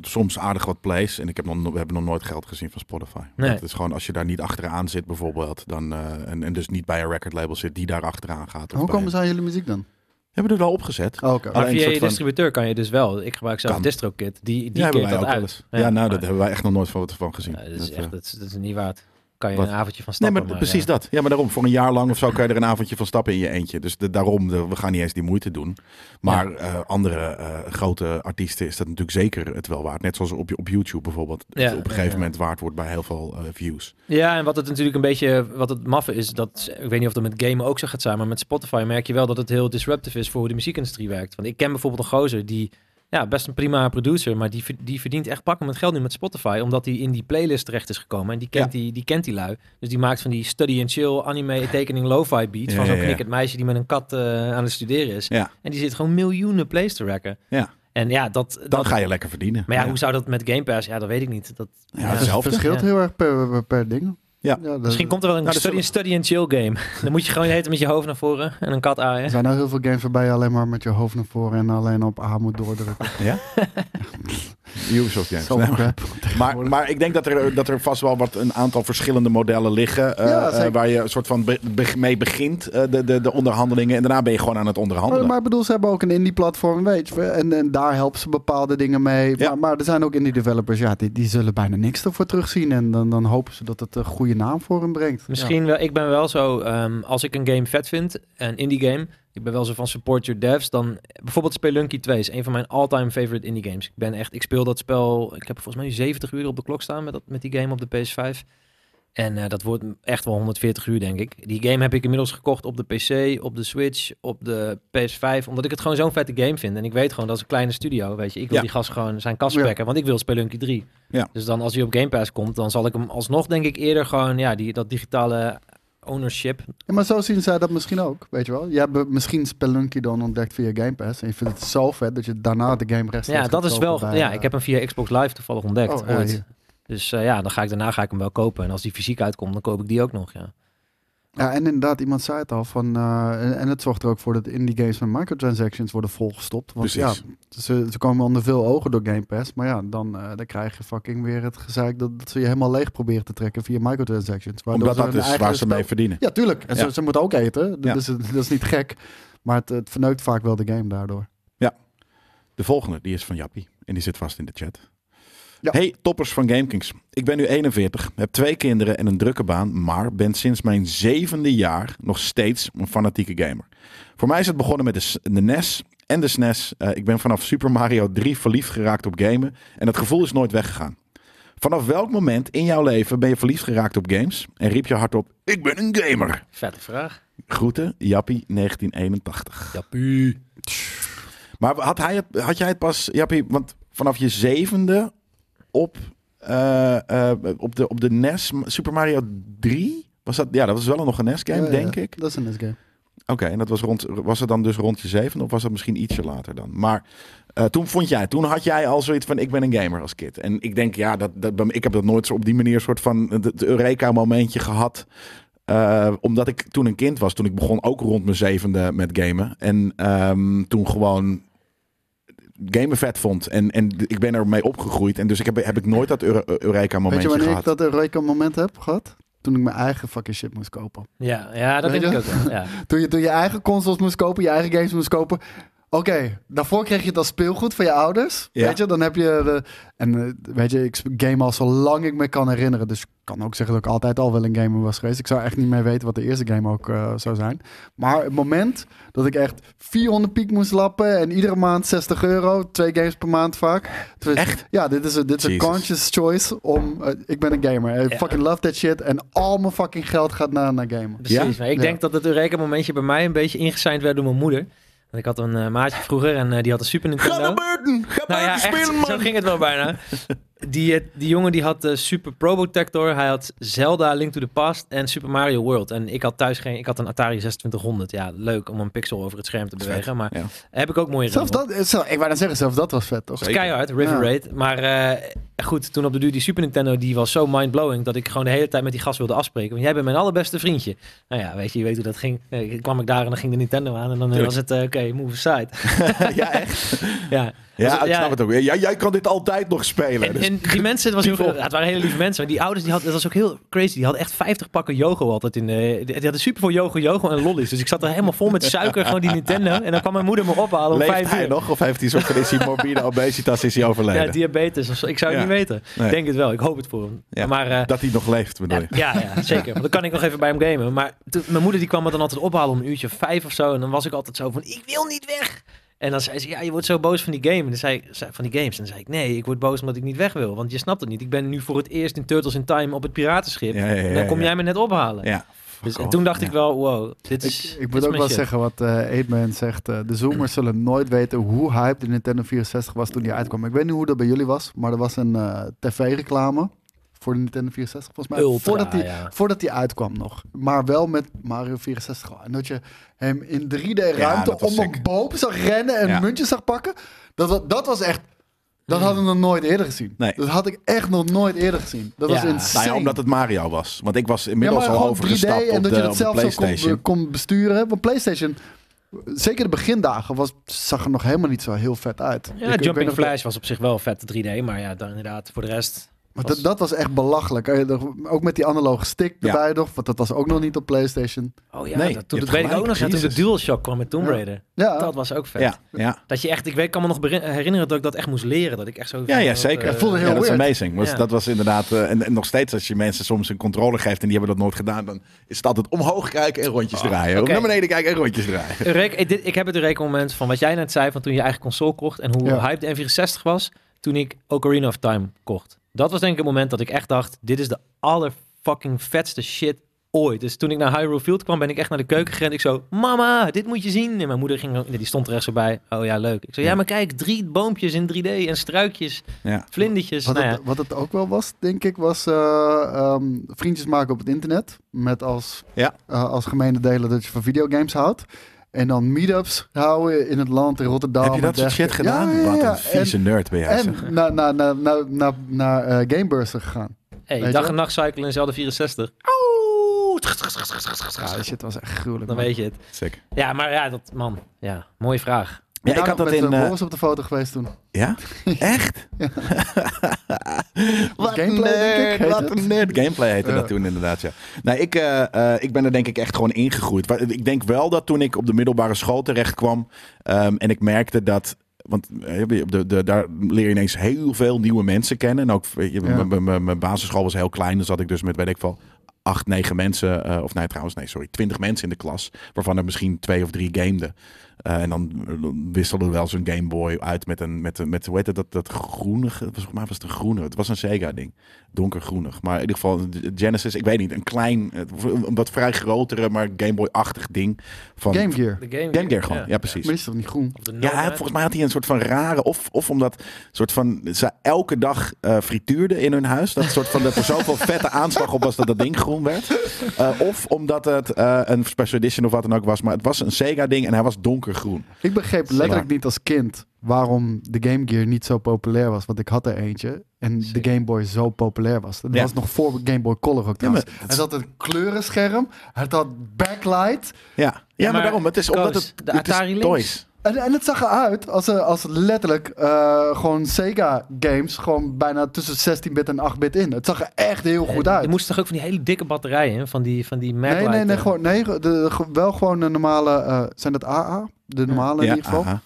Speaker 1: soms aardig wat plays. En ik heb nog, no- we hebben nog nooit geld gezien van Spotify.
Speaker 2: Nee.
Speaker 1: Dat is gewoon als je daar niet achteraan zit bijvoorbeeld. Dan, eh, en, en dus niet bij een recordlabel zit die daar achteraan gaat. of
Speaker 3: Hoe
Speaker 1: bij
Speaker 3: komen
Speaker 1: een-
Speaker 3: ze aan jullie muziek dan?
Speaker 1: Hebben we er wel opgezet.
Speaker 3: Oh, oké.
Speaker 2: maar
Speaker 1: Alleen een
Speaker 2: via
Speaker 1: soort
Speaker 2: je
Speaker 1: van-
Speaker 2: distributeur kan je dus wel. Ik gebruik zelf
Speaker 1: Kan.
Speaker 2: DistroKit. Die,
Speaker 1: Die hebben
Speaker 2: die keert
Speaker 1: wij ook
Speaker 2: dat
Speaker 1: wel
Speaker 2: uit.
Speaker 1: eens. Ja,
Speaker 2: Ja,
Speaker 1: nou,
Speaker 2: maar-
Speaker 1: dat hebben wij echt nog nooit van, van gezien.
Speaker 2: Ja, dat, is
Speaker 1: Dat, eh,
Speaker 2: echt, dat, is, dat is niet waard. Kan je
Speaker 1: Wat?
Speaker 2: een avondje van
Speaker 1: Nee,
Speaker 2: stappen
Speaker 1: maar
Speaker 2: maken.
Speaker 1: precies dat. Ja, maar daarom, voor een jaar lang of zo kan je er een avondje van stappen in je eentje. Dus de- daarom, de- we gaan niet eens die moeite doen. Maar eh, andere eh, grote artiesten is dat natuurlijk zeker het wel waard. Net zoals op, je- op YouTube bijvoorbeeld.
Speaker 2: Ja,
Speaker 1: dat op een gegeven
Speaker 2: ja, ja.
Speaker 1: moment waard wordt bij heel veel eh, views.
Speaker 2: Ja, en wat het natuurlijk een beetje, wat het maffe is, dat, ik weet niet of dat met gamen ook zo gaat zijn, maar met Spotify merk je wel dat het heel disruptive is voor hoe de muziekindustrie werkt. Want ik ken bijvoorbeeld een gozer die, ja, best een prima producer, maar die, ver- die verdient echt pakken met geld nu met Spotify, omdat hij in die playlist terecht is gekomen en die kent, die, die, kent die lui. Dus die maakt van die study and chill anime tekening lo-fi beats
Speaker 1: Ja,
Speaker 2: van zo'n
Speaker 1: ja, ja.
Speaker 2: knikkend meisje die met een kat eh, aan het studeren is.
Speaker 1: Ja.
Speaker 2: En die zit gewoon miljoenen plays te racken.
Speaker 1: Ja.
Speaker 2: En ja, dat...
Speaker 1: Dan
Speaker 2: dat
Speaker 1: ga je lekker verdienen.
Speaker 2: maar ja, hoe zou dat met Game Pass? Ja, dat weet ik niet. Dat,
Speaker 1: Ja,
Speaker 2: ja.
Speaker 3: Het
Speaker 1: hetzelfde.
Speaker 3: verschilt
Speaker 2: Ja.
Speaker 3: heel erg per, per, per ding.
Speaker 1: Ja.
Speaker 3: dat-
Speaker 2: Misschien komt er wel een
Speaker 1: Nou, er
Speaker 2: study, study and chill game. Dan moet je gewoon heten met je hoofd naar voren en een kat
Speaker 3: Er
Speaker 2: aaien.
Speaker 3: zijn nou heel veel games waarbij je alleen maar met je hoofd naar voren en alleen op A moet doordrukken.
Speaker 1: Ja? Ubisoft games.
Speaker 3: Zo
Speaker 1: Nee, maar-
Speaker 3: crap.
Speaker 1: maar, maar ik denk dat er, dat er vast wel wat een aantal verschillende modellen liggen. eh,
Speaker 3: Ja,
Speaker 1: eh,
Speaker 3: zeker.
Speaker 1: waar je een soort van be- be- mee begint, eh, de, de, de onderhandelingen. En daarna ben je gewoon aan het onderhandelen.
Speaker 3: Maar ik bedoel, ze hebben ook een indie-platform, weet je. En, en daar helpen ze bepaalde dingen mee.
Speaker 1: Ja.
Speaker 3: Maar, maar er zijn ook indie-developers, ja, die, die zullen bijna niks ervoor terugzien. En dan, dan hopen ze dat het een goede naam voor hen brengt.
Speaker 2: Misschien wel, ik ben wel zo, ehm, als ik een game vet vind, een indie game, ik ben wel zo van support your devs, dan bijvoorbeeld Spelunky 2 is een van mijn all-time favorite indie games. Ik ben echt, ik speel dat spel, ik heb volgens mij nu 70 uur op de klok staan met, dat, met die game op de PS5. En eh, dat wordt echt wel 140 uur, denk ik. Die game heb ik inmiddels gekocht op de PC, op de Switch, op de PS5. Omdat ik het gewoon zo'n vette game vind. En ik weet gewoon, dat is een kleine studio, weet je. Ik wil
Speaker 1: Ja.
Speaker 2: die gast gewoon zijn kast
Speaker 3: Ja.
Speaker 2: spekken, want ik wil Spelunky 3.
Speaker 1: Ja.
Speaker 2: Dus dan als hij op Game Pass komt, dan zal ik hem alsnog, denk ik, eerder gewoon... Ja, die, dat digitale ownership.
Speaker 3: Ja, maar zo zien zij dat misschien ook, weet je wel. Je hebt misschien Spelunky dan ontdekt via Game Pass. En je vindt het zo vet dat je daarna de game rechtstreeks
Speaker 2: Ja,
Speaker 3: gaat
Speaker 2: dat is
Speaker 3: kopen
Speaker 2: wel...
Speaker 3: bij,
Speaker 2: ja,
Speaker 3: eh,
Speaker 2: ik heb hem via Xbox Live toevallig ontdekt.
Speaker 3: Oh, ja,
Speaker 2: ooit.
Speaker 3: hier.
Speaker 2: Dus eh, ja, dan ga ik, daarna ga ik hem wel kopen. En als die fysiek uitkomt, dan koop ik die ook nog, ja.
Speaker 3: Ja, en inderdaad, iemand zei het al. Van, eh, en, en het zorgt er ook voor dat indie games met microtransactions worden volgestopt. Want
Speaker 1: Precies.
Speaker 3: ja, ze, ze komen onder veel ogen door Game Pass. Maar ja, dan, eh, dan krijg je fucking weer het gezeik dat, dat ze je helemaal leeg proberen te trekken via microtransactions. waardoor
Speaker 1: Omdat
Speaker 3: ze
Speaker 1: dat
Speaker 3: hun
Speaker 1: is
Speaker 3: eigen
Speaker 1: waar ze mee
Speaker 3: spel-
Speaker 1: verdienen.
Speaker 3: Ja, tuurlijk. En
Speaker 1: Ja.
Speaker 3: Ze, ze moeten ook eten. Dat,
Speaker 1: Ja.
Speaker 3: is, dat is niet gek. Maar het, het verneukt vaak wel de game daardoor.
Speaker 1: De volgende, die is van Jappie. En die zit vast in de chat.
Speaker 3: Ja.
Speaker 1: Hey, toppers van GameKings. Ik ben nu 41, heb twee kinderen en een drukke baan, maar ben sinds mijn zevende jaar nog steeds een fanatieke gamer. Voor mij is het begonnen met de, S- de NES en de SNES. Eh, ik ben vanaf Super Mario 3 verliefd geraakt op gamen en dat gevoel is nooit weggegaan. Vanaf welk moment in jouw leven ben je verliefd geraakt op games en riep je hardop, ik ben een gamer?
Speaker 2: Vette vraag.
Speaker 1: Groeten, Jappie 1981.
Speaker 2: Jappie.
Speaker 1: Maar had, hij het, had jij het pas, Jappie, want vanaf je zevende op, eh, eh, op, de, op de NES, Super Mario 3? Was dat, ja, dat was wel nog een NES-game,
Speaker 3: Ja, ja,
Speaker 1: denk ik.
Speaker 3: Dat is een NES-game.
Speaker 1: Oké, en dat was, rond, was het dan dus rond je zevende of was dat misschien ietsje later dan? Maar eh, toen vond jij, toen had jij al zoiets van, ik ben een gamer als kid. En ik denk, ja, dat, dat, ik heb dat nooit zo op die manier soort van het- het Eureka-momentje gehad. Eh, omdat ik toen een kind was, toen ik begon ook rond mijn zevende met gamen. En ehm, toen gewoon gamen vet vond. En, en ik ben ermee opgegroeid. En dus ik heb, heb ik nooit dat Eure-
Speaker 3: Weet je
Speaker 1: Eureka-momentje
Speaker 3: wanneer
Speaker 1: gehad.
Speaker 3: ik dat Eureka moment heb gehad? Toen ik mijn eigen fucking shit moest kopen.
Speaker 2: Ja, ja, dat
Speaker 3: Weet
Speaker 2: denk ik
Speaker 3: je?
Speaker 2: ook wel. Ja.
Speaker 3: Toen je, toen je eigen consoles moest kopen, je eigen games moest kopen. Oké, daarvoor kreeg je het als speelgoed van je ouders.
Speaker 1: Ja.
Speaker 3: Weet je, dan heb je... De, en eh, weet je, ik sp- game al zolang ik me kan herinneren. Dus ik kan ook zeggen dat ik altijd al wel een gamer was geweest. Ik zou echt niet meer weten wat de eerste game ook eh, zou zijn. Maar het moment dat ik echt 400 piek moest lappen... en iedere maand 60 euro, twee games per maand vaak. Toen was-
Speaker 1: Echt?
Speaker 3: Ja, dit is een dit is een
Speaker 1: Jesus.
Speaker 3: conscious choice om... eh, ik ben een gamer. I
Speaker 2: Ja.
Speaker 3: fucking love that shit. En al mijn fucking geld gaat naar, naar gamen.
Speaker 2: Precies,
Speaker 1: Ja?
Speaker 2: maar ik
Speaker 3: Ja.
Speaker 2: denk dat het Eureka-momentje bij mij een beetje ingeseind werd door mijn moeder. Want ik had een eh, maatje vroeger en eh, die had een Super Nintendo.
Speaker 1: Ga naar Burton! Ga
Speaker 2: nou ja,
Speaker 1: buiten
Speaker 2: echt,
Speaker 1: spelen,
Speaker 2: zo
Speaker 1: man!
Speaker 2: ging het wel bijna. Die, eh, die jongen die had de Super Probotector, hij had Zelda, Link to the Past en Super Mario World. En ik had thuis geen, ik had een Atari 2600. Ja, leuk om een pixel over het scherm te
Speaker 1: Vet,
Speaker 2: bewegen, maar
Speaker 1: ja.
Speaker 2: heb ik ook mooie
Speaker 3: Zelfs
Speaker 2: herinneringen.
Speaker 3: dat, eh, zo, ik wou dan zeggen, zelfs dat was vet, toch?
Speaker 1: Zeker.
Speaker 2: Het is keihard, River
Speaker 3: Ja.
Speaker 2: Raid. Maar eh, goed, toen op de duur die Super Nintendo, die was zo mindblowing dat ik gewoon de hele tijd met die gast wilde afspreken. Want jij bent mijn allerbeste vriendje. Nou ja, weet je, je weet hoe dat ging. Eh, kwam ik daar en dan ging de Nintendo aan en dan eh,
Speaker 1: Tuurlijk.
Speaker 2: was het, eh, oké, move aside.
Speaker 1: ja, echt.
Speaker 2: ja.
Speaker 1: Ja,
Speaker 2: Dus,
Speaker 1: ik snap het ook. Ja, jij kan dit altijd nog spelen.
Speaker 2: En,
Speaker 1: Dus-
Speaker 2: en die mensen, het, was heel,
Speaker 1: People.
Speaker 2: ja, het waren hele lieve mensen, maar die ouders, die hadden, dat was ook heel crazy. Die hadden echt 50 pakken yogo altijd in. eh, die die hadden super voor yogo, yogo en lollies. Dus ik zat er helemaal vol met suiker, gewoon die Nintendo. En dan kwam mijn moeder me ophalen om
Speaker 1: Leeft
Speaker 2: vijf
Speaker 1: hij
Speaker 2: uur.
Speaker 1: nog? Of heeft hij zo'n is hij morbide obesitas, is hij overleden?
Speaker 2: Ja, diabetes of zo. Ik zou het
Speaker 1: Ja.
Speaker 2: niet weten.
Speaker 1: Nee.
Speaker 2: Ik denk het wel. Ik hoop het voor hem.
Speaker 1: Ja.
Speaker 2: Maar eh,
Speaker 1: Dat hij nog leeft, bedoel je?
Speaker 2: Ja, ja, zeker. Want dan kan ik nog even bij hem gamen. Maar toen- mijn moeder die kwam me dan altijd ophalen om een uurtje of vijf of zo. En dan was ik altijd zo van, ik wil niet weg. En dan zei ze, ja, je wordt zo boos van die game. En dan zei, zei- van die games. En dan zei ik, nee, ik word boos omdat ik niet weg wil. Want je snapt het niet. Ik ben nu voor het eerst in Turtles in Time op het piratenschip.
Speaker 1: Ja, ja, ja,
Speaker 2: en dan kom
Speaker 1: ja.
Speaker 2: jij me net ophalen.
Speaker 1: Ja. Nou
Speaker 2: Dus, en
Speaker 1: off.
Speaker 2: toen dacht
Speaker 1: Ja.
Speaker 2: ik wel, wow, dit is
Speaker 3: Ik,
Speaker 2: dit
Speaker 3: ik
Speaker 2: is
Speaker 3: moet ook
Speaker 2: mijn
Speaker 3: wel
Speaker 2: shit.
Speaker 3: zeggen wat eh Aidman zegt. eh, de Zoomers zullen nooit weten hoe hype de Nintendo 64 was toen die uitkwam. Ik weet niet hoe dat bij jullie was, maar er was een eh, tv-reclame voor de Nintendo 64 volgens mij.
Speaker 2: Ultra,
Speaker 3: voordat, die,
Speaker 2: ja.
Speaker 3: voordat die uitkwam nog. Maar wel met Mario 64 al. En dat je hem in 3D-ruimte
Speaker 1: dat was
Speaker 3: om een
Speaker 1: sick.
Speaker 3: boom zag rennen en
Speaker 1: Ja.
Speaker 3: muntjes zag pakken. Dat, wa- dat was echt... Dat hadden we nog nooit eerder gezien.
Speaker 1: Nee.
Speaker 3: Dat had ik echt nog nooit eerder gezien. Dat
Speaker 2: Ja.
Speaker 3: was
Speaker 2: Nou ja,
Speaker 3: insane.
Speaker 1: Nou ja, omdat het Mario was. Want ik was
Speaker 3: Ja, maar
Speaker 1: inmiddels al
Speaker 3: gewoon 3D
Speaker 1: overgestapt
Speaker 3: en
Speaker 1: op
Speaker 3: dat
Speaker 1: de,
Speaker 3: je
Speaker 1: op
Speaker 3: dat
Speaker 1: de
Speaker 3: zelf zo kon,
Speaker 1: PlayStation.
Speaker 3: kon besturen. Want PlayStation, zeker de begindagen, was, zag er nog helemaal niet zo heel vet uit. Ik- ik
Speaker 2: Ja,
Speaker 3: weet
Speaker 2: Jumping
Speaker 3: nog-
Speaker 2: Flash was op zich wel vet 3D. Maar ja, dan inderdaad, voor de rest...
Speaker 3: Maar
Speaker 2: was-
Speaker 3: dat, dat was echt belachelijk. Eh, er- Ook met die analoge stick
Speaker 1: Ja.
Speaker 3: erbij nog, want dat was ook nog niet op PlayStation.
Speaker 2: Oh ja,
Speaker 1: Nee, je
Speaker 2: dat, toen, dat
Speaker 1: hebt
Speaker 2: weet ik
Speaker 1: gelijk,
Speaker 2: ook nog. Ja, toen de
Speaker 1: Jezus.
Speaker 2: DualShock kwam met Tomb
Speaker 3: Ja.
Speaker 2: Raider.
Speaker 3: Ja,
Speaker 2: Dat was ook vet.
Speaker 1: Ja, ja.
Speaker 2: Dat je echt, ik weet, kan me nog berin- herinneren dat ik dat echt moest leren. Dat ik echt zo.
Speaker 1: Ja, ja,
Speaker 2: dat,
Speaker 1: zeker.
Speaker 2: eh,
Speaker 3: Het voelde heel
Speaker 1: ja, dat
Speaker 3: weird.
Speaker 1: is amazing. Was,
Speaker 2: Ja.
Speaker 1: Dat was inderdaad... eh, en, en nog steeds, als je mensen soms een controle geeft... en die hebben dat nooit gedaan... dan is het altijd omhoog kijken en rondjes draaien.
Speaker 2: Oh, oké.
Speaker 1: Naar beneden kijken en rondjes draaien.
Speaker 2: Eureka- ik, dit, ik heb het Eureka moment van wat jij net zei van toen je eigen console kocht en hoe
Speaker 3: Ja.
Speaker 2: hype de N64 was toen ik Ocarina of Time kocht. Dat was denk ik het moment dat ik echt dacht, dit is de allerfucking vetste shit ooit. Dus toen ik naar Hyrule Field kwam, ben ik echt naar de keuken gerend. Ik zo, mama, dit moet je zien. En mijn moeder ging, die stond er echt zo bij. Oh ja, leuk. Ik zo, ja, maar kijk, drie boompjes in 3D en struikjes,
Speaker 1: Ja.
Speaker 2: vlindertjes.
Speaker 3: Wat,
Speaker 2: Nou ja.
Speaker 3: het, wat het ook wel was, denk ik, was eh, ehm, vriendjes maken op het internet. Met als,
Speaker 1: Ja.
Speaker 3: eh, als gemene delen dat je van videogames houdt. En dan meetups houden in het land, in Rotterdam.
Speaker 1: Heb je
Speaker 3: en
Speaker 1: dat soort shit
Speaker 3: dergelijke.
Speaker 1: gedaan?
Speaker 3: Ja, ja, ja,
Speaker 1: Wat
Speaker 3: ja.
Speaker 1: een vieze nerd ben jij. zeg.
Speaker 3: En naar, naar, naar, naar, naar, naar eh, gamebeurzen gegaan.
Speaker 2: Hey,
Speaker 3: Weet je
Speaker 2: dag
Speaker 3: wel?
Speaker 2: en nacht cyclen in Zelda Nou, 64.
Speaker 3: Ja, shit was echt gruwelijk.
Speaker 2: Dan weet je het.
Speaker 1: Sick.
Speaker 2: Ja, maar ja, dat man. Ja, mooie vraag.
Speaker 1: Ja, ik had dat in...
Speaker 3: Uh,
Speaker 1: eh, Oh,
Speaker 3: Boris op de foto geweest toen.
Speaker 1: Ja? Echt?
Speaker 3: Wat een Gameplay, nerd, denk ik, heet wat het.
Speaker 1: een nerd. Gameplay heette
Speaker 3: Ja.
Speaker 1: dat toen inderdaad, ja. Nou, ik, eh, eh, ik ben er denk ik echt gewoon ingegroeid. Wa- Ik denk wel dat toen ik op de middelbare school terecht kwam... ehm, en ik merkte dat Want eh, je- op de, de, daar leer je ineens heel veel nieuwe mensen kennen. En ook, weet je,
Speaker 3: Ja.
Speaker 1: mijn- mijn- mijn basisschool was heel klein. Dan zat ik dus met, weet ik veel, acht, negen mensen. eh, of nee, trouwens, nee, sorry, twintig mensen in de klas. Waarvan er misschien twee of drie gameden. Eh, en dan eh, dan wisselde wel zo'n Game Boy uit met een, met, een- met hoe heet het, dat, dat groene, ge- volgens mij was het een groene, het was een Sega-ding, donkergroenig. Maar in ieder geval, een Genesis, ik weet niet, een klein, eh, een wat vrij grotere, maar Game Boy-achtig ding. Van,
Speaker 3: Game Gear.
Speaker 2: De Game,
Speaker 1: Game Gear gewoon, ja,
Speaker 3: Maar
Speaker 1: precies.
Speaker 3: die is toch niet groen?
Speaker 2: Of de
Speaker 1: Ja,
Speaker 2: Nokia.
Speaker 1: hij had- volgens mij had hij een soort van rare, of, of omdat soort van, ze elke dag eh frituurden in hun huis. Dat soort van, dat er zoveel vette aanslag op was dat dat ding groen werd. Eh, of omdat het eh, een special edition of wat dan ook was. Maar het was een Sega ding en hij was donkergroen.
Speaker 3: Ik begreep letterlijk niet als kind waarom de Game Gear niet zo populair was. Want ik had er eentje en de
Speaker 2: Zeker.
Speaker 3: Game Boy zo populair was. Dat
Speaker 1: Ja.
Speaker 3: was nog voor Game Boy Color ook trouwens.
Speaker 1: maar
Speaker 3: Er zat een kleurenscherm, het had backlight.
Speaker 1: Ja, ja, maar,
Speaker 2: maar
Speaker 1: daarom. Het is
Speaker 2: Koos,
Speaker 1: omdat het,
Speaker 2: de
Speaker 1: het is
Speaker 2: Atari links.
Speaker 1: toys.
Speaker 3: En, en het zag eruit als, eh, als letterlijk eh, gewoon Sega games. Gewoon bijna tussen 16-bit en 8-bit in. Het zag er echt heel goed
Speaker 2: Eh, Je
Speaker 3: uit.
Speaker 2: moest toch ook van die hele dikke batterijen, hè, van die, van die
Speaker 3: Nee,
Speaker 2: Maglite,
Speaker 3: nee, nee,
Speaker 2: eh,
Speaker 3: gewoon, nee ge- de, ge- wel gewoon een normale. eh, zijn dat AA? De normale in
Speaker 1: Ja,
Speaker 3: ieder geval.
Speaker 1: aha.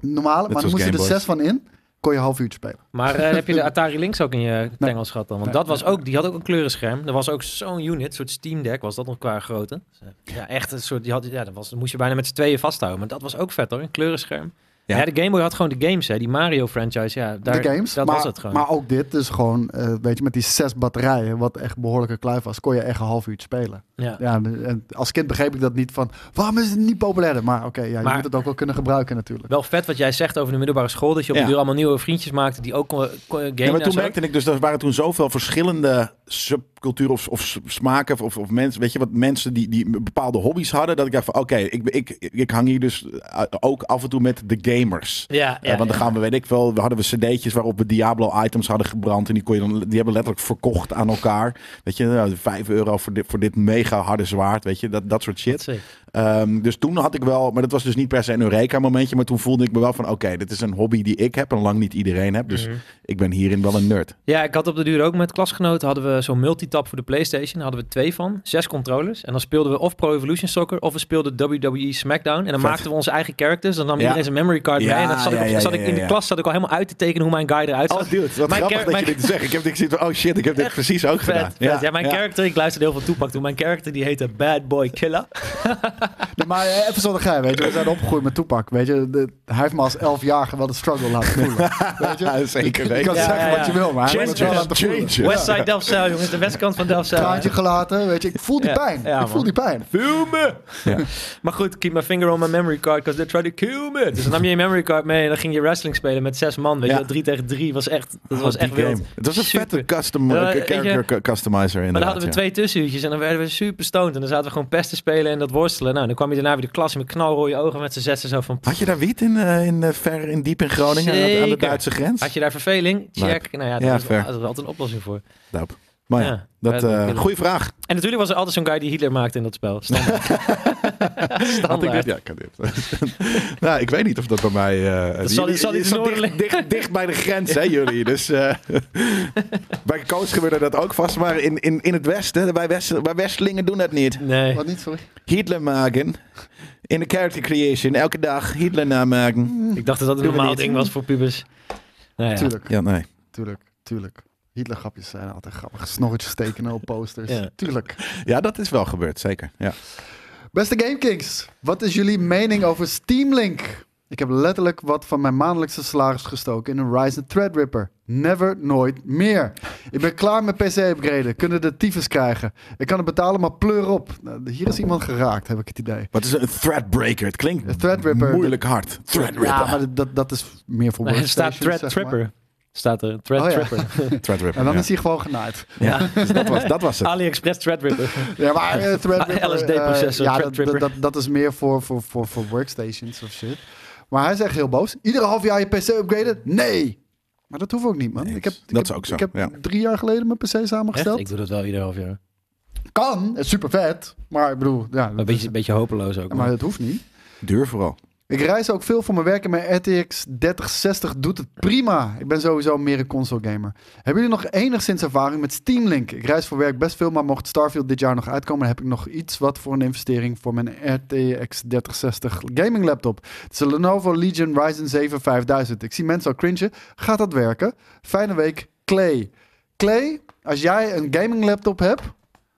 Speaker 3: Normale, maar dan
Speaker 1: zoals
Speaker 3: moest je er
Speaker 1: Game Boys.
Speaker 3: zes van in. Kon je een half uurtje spelen.
Speaker 2: Maar eh, heb je de Atari Lynx ook in je tengels gehad dan? Want
Speaker 3: Nee.
Speaker 2: dat was ook, die had ook een kleurenscherm. Er was ook zo'n unit, een soort Steam Deck was dat nog qua grootte. Dus, eh, Ja, echt een soort, die had, ja, dat was, dat moest je bijna met z'n tweeën vasthouden. Maar dat was ook vet hoor, een kleurenscherm.
Speaker 1: Ja.
Speaker 2: Ja, de Game Boy had gewoon de games hè, die Mario franchise. Ja, daar,
Speaker 3: de games.
Speaker 2: Dat
Speaker 3: maar,
Speaker 2: was het gewoon.
Speaker 3: maar ook dit, dus gewoon, eh, weet je, met die zes batterijen, wat echt een behoorlijke kluif was, kon je echt een half uurtje spelen.
Speaker 2: ja.
Speaker 3: Ja, en en als kind begreep ik dat niet van, waarom is het niet populairder? Maar oké, ja, je
Speaker 2: Maar-
Speaker 3: moet het ook wel kunnen gebruiken natuurlijk.
Speaker 2: Wel vet wat jij zegt over de middelbare school. Dat je op
Speaker 1: Ja.
Speaker 2: de duur allemaal nieuwe vriendjes maakte die ook kon, kon gamen
Speaker 1: Ja, maar
Speaker 2: en
Speaker 1: toen
Speaker 2: nou zo.
Speaker 1: merkte ik dus, er waren toen zoveel verschillende subculturen of, of smaken of, of mensen, weet je wat, mensen die, die bepaalde hobby's hadden, dat ik dacht van, oké, ik, ik, ik hang hier dus eh, ook af en toe met de gamers.
Speaker 2: Ja,
Speaker 1: Eh,
Speaker 2: ja,
Speaker 1: want dan
Speaker 2: ja.
Speaker 1: gaan we, weet ik wel, we hadden we cd'tjes waarop we Diablo-items hadden gebrand. En die, kon je dan, die hebben we letterlijk verkocht aan elkaar. Weet je, nou, 5 euro voor dit, voor dit mega harde zwaard, weet je, dat, dat soort shit.
Speaker 2: Zeker.
Speaker 1: Ehm, dus toen had ik wel, maar dat was dus niet per se een Eureka-momentje. Maar toen voelde ik me wel van: oké, dit is een hobby die ik heb en lang niet iedereen heb. Dus
Speaker 2: Mhm.
Speaker 1: ik ben hierin wel een nerd.
Speaker 2: Ja, ik had op de duur ook met klasgenoten hadden we zo'n multitap voor de PlayStation. Daar hadden we twee van, zes controllers. En dan speelden we of Pro Evolution Soccer of we speelden WWE SmackDown. En dan
Speaker 1: Vet.
Speaker 2: maakten we onze eigen characters. Dan nam
Speaker 1: Ja.
Speaker 2: iedereen zijn memory card
Speaker 1: Ja,
Speaker 2: mee. En dan zat ik, op-
Speaker 1: ja, ja,
Speaker 2: zat ik
Speaker 1: ja,
Speaker 2: in de
Speaker 1: ja.
Speaker 2: klas zat ik al helemaal uit te tekenen hoe mijn guy eruit zag.
Speaker 1: Oh, dude, wat
Speaker 2: Mijn
Speaker 1: grappig
Speaker 2: ker-
Speaker 1: dat je
Speaker 2: mijn-
Speaker 1: dit zegt. Ik heb dit gezien van: oh shit, ik heb dit precies ook
Speaker 2: Vet,
Speaker 1: gedaan.
Speaker 2: vet. Ja, mijn character, ik luisterde heel veel toepak toen. Mijn character die heette Bad Boy Killer.
Speaker 3: Nee, maar eh, even zonder gein, weet je, we zijn opgegroeid met Toepak, weet je. De- hij heeft me als elfjarige wel de struggle laten voelen. Weet je?
Speaker 1: Ja, zeker
Speaker 3: Je
Speaker 1: weten.
Speaker 3: kan
Speaker 2: Ja,
Speaker 3: zeggen
Speaker 2: ja,
Speaker 3: wat
Speaker 2: ja.
Speaker 3: je wil, maar hij heeft
Speaker 1: Changes,
Speaker 3: me het wel laten voelen.
Speaker 1: changes.
Speaker 2: Westside Delfzijl, jongens. De westkant van Delfzijl.
Speaker 3: Traantje gelaten, weet je, ik voel die
Speaker 2: eh, Ja,
Speaker 3: pijn.
Speaker 2: ja,
Speaker 3: ik voel
Speaker 2: man.
Speaker 3: die pijn.
Speaker 2: Maar goed, keep my finger on my memory card, because they try to kill me. Dus dan nam je je memory card mee en dan ging je wrestling spelen met zes man. Weet
Speaker 1: Ja.
Speaker 2: je, wel, drie tegen drie was echt, dat
Speaker 1: Oh,
Speaker 2: was
Speaker 1: die
Speaker 2: echt wild.
Speaker 1: game. Het was een
Speaker 2: Super.
Speaker 1: vette custom,
Speaker 2: Ja,
Speaker 1: eh,
Speaker 2: weet je-
Speaker 1: character cu- customizer inderdaad.
Speaker 2: Maar dan hadden we
Speaker 1: ja.
Speaker 2: twee tussenuurtjes en dan werden we super stoned. En dan zaten we gewoon pest te spelen en dat worstelen. Nou, en dan kwam je daarna weer de klas met knalrode ogen met z'n zessen zo van...
Speaker 1: Had je daar wiet in, eh, in eh, ver in diep in Groningen aan de- aan de
Speaker 2: Zeker.
Speaker 1: Duitse grens?
Speaker 2: Had je daar verveling? Check. Nou ja,
Speaker 1: Ja,
Speaker 2: daar is,
Speaker 1: fair.
Speaker 2: daar is altijd een oplossing voor.
Speaker 1: Dope. Maar ja,
Speaker 2: Ja,
Speaker 1: dat,
Speaker 2: Bad Boy
Speaker 1: eh,
Speaker 2: Killer.
Speaker 1: goeie vraag.
Speaker 2: En natuurlijk was er altijd zo'n guy die Hitler maakte in dat spel. Standaard.
Speaker 1: Had ik dit?
Speaker 2: Standaard.
Speaker 1: Ja, ik had dit. nou, ik weet niet of dat bij mij... eh
Speaker 2: Dat zal-
Speaker 1: jullie-
Speaker 2: zal
Speaker 1: jullie
Speaker 2: iets
Speaker 1: staan dicht,
Speaker 2: noorden
Speaker 1: dicht, dicht bij de grens, hè, jullie. Dus eh, bij Koos gebeurde dat ook vast. Maar in, in, in het Westen, bij, West, bij Westelingen doen dat niet.
Speaker 2: Nee.
Speaker 3: Wat niet, sorry.
Speaker 1: Hitler maken. In de character creation, elke dag Hitler namaken.
Speaker 2: Ik dacht dat dat een
Speaker 1: Doe we
Speaker 2: normaal
Speaker 1: niet.
Speaker 2: ding was voor pubers. Nou ja.
Speaker 3: Tuurlijk.
Speaker 1: Ja, nee.
Speaker 3: Tuurlijk, tuurlijk. Hitlergrapjes zijn altijd grappig. Snorretjes tekenen op posters.
Speaker 2: Ja.
Speaker 3: Tuurlijk.
Speaker 1: Ja, dat is wel gebeurd, zeker. Ja.
Speaker 3: Beste GameKings, wat is jullie mening over Steam Link? Ik heb letterlijk wat van mijn maandelijkse salaris gestoken in een Ryzen Threadripper. Never, nooit meer. Ik ben klaar met PC-upgraden. Kunnen de tyfus krijgen. Ik kan het betalen, maar pleur op. Nou, hier is iemand geraakt, heb ik het idee.
Speaker 1: Wat is een threadbreaker? Het klinkt
Speaker 3: Een threadripper.
Speaker 1: moeilijk hard. Threadripper.
Speaker 3: Ja, maar dat, dat is meer voor
Speaker 2: Maar er
Speaker 3: workstations,
Speaker 2: staat Thread
Speaker 3: zeg maar.
Speaker 2: Tripper. Staat er. Thread
Speaker 3: Oh ja.
Speaker 2: Tripper.
Speaker 1: Threadripper,
Speaker 3: En dan
Speaker 1: ja.
Speaker 3: is hij gewoon genaaid.
Speaker 1: Ja, dus dat, was, dat was het.
Speaker 3: Ah.
Speaker 2: AliExpress Threadripper.
Speaker 3: Ja, maar eh, Threadripper...
Speaker 2: LSD-processor,
Speaker 3: eh, ja, dat,
Speaker 2: Threadripper.
Speaker 3: dat, dat, dat is meer voor, voor, voor, voor workstations of shit. Maar hij is echt heel boos. Iedere half jaar je PC upgraden? Nee! Maar dat hoeft ook niet, man.
Speaker 1: Nee,
Speaker 3: Ik heb, ik
Speaker 1: dat is
Speaker 3: heb-
Speaker 1: ook zo,
Speaker 3: Ik heb
Speaker 1: ja.
Speaker 3: drie jaar geleden mijn PC samengesteld.
Speaker 2: Ik doe dat wel ieder half jaar.
Speaker 3: Kan, is super vet. Maar ik bedoel, ja,
Speaker 2: Een
Speaker 3: dat is-
Speaker 2: beetje, beetje hopeloos ook.
Speaker 3: maar
Speaker 2: maar-
Speaker 3: dat hoeft niet.
Speaker 1: Duur vooral.
Speaker 3: Ik reis ook veel voor mijn werk en mijn RTX 3060 doet het prima. Ik ben sowieso meer een console gamer. Hebben jullie nog enigszins ervaring met Steam Link? Ik reis voor werk best veel, maar mocht Starfield dit jaar nog uitkomen, dan heb ik nog iets wat voor een investering voor mijn RTX 3060 gaming laptop. Het is een Lenovo Legion Ryzen 7 5000. Ik zie mensen al cringen. Gaat dat werken? Fijne week, Clay. Clay, als jij een gaming laptop hebt,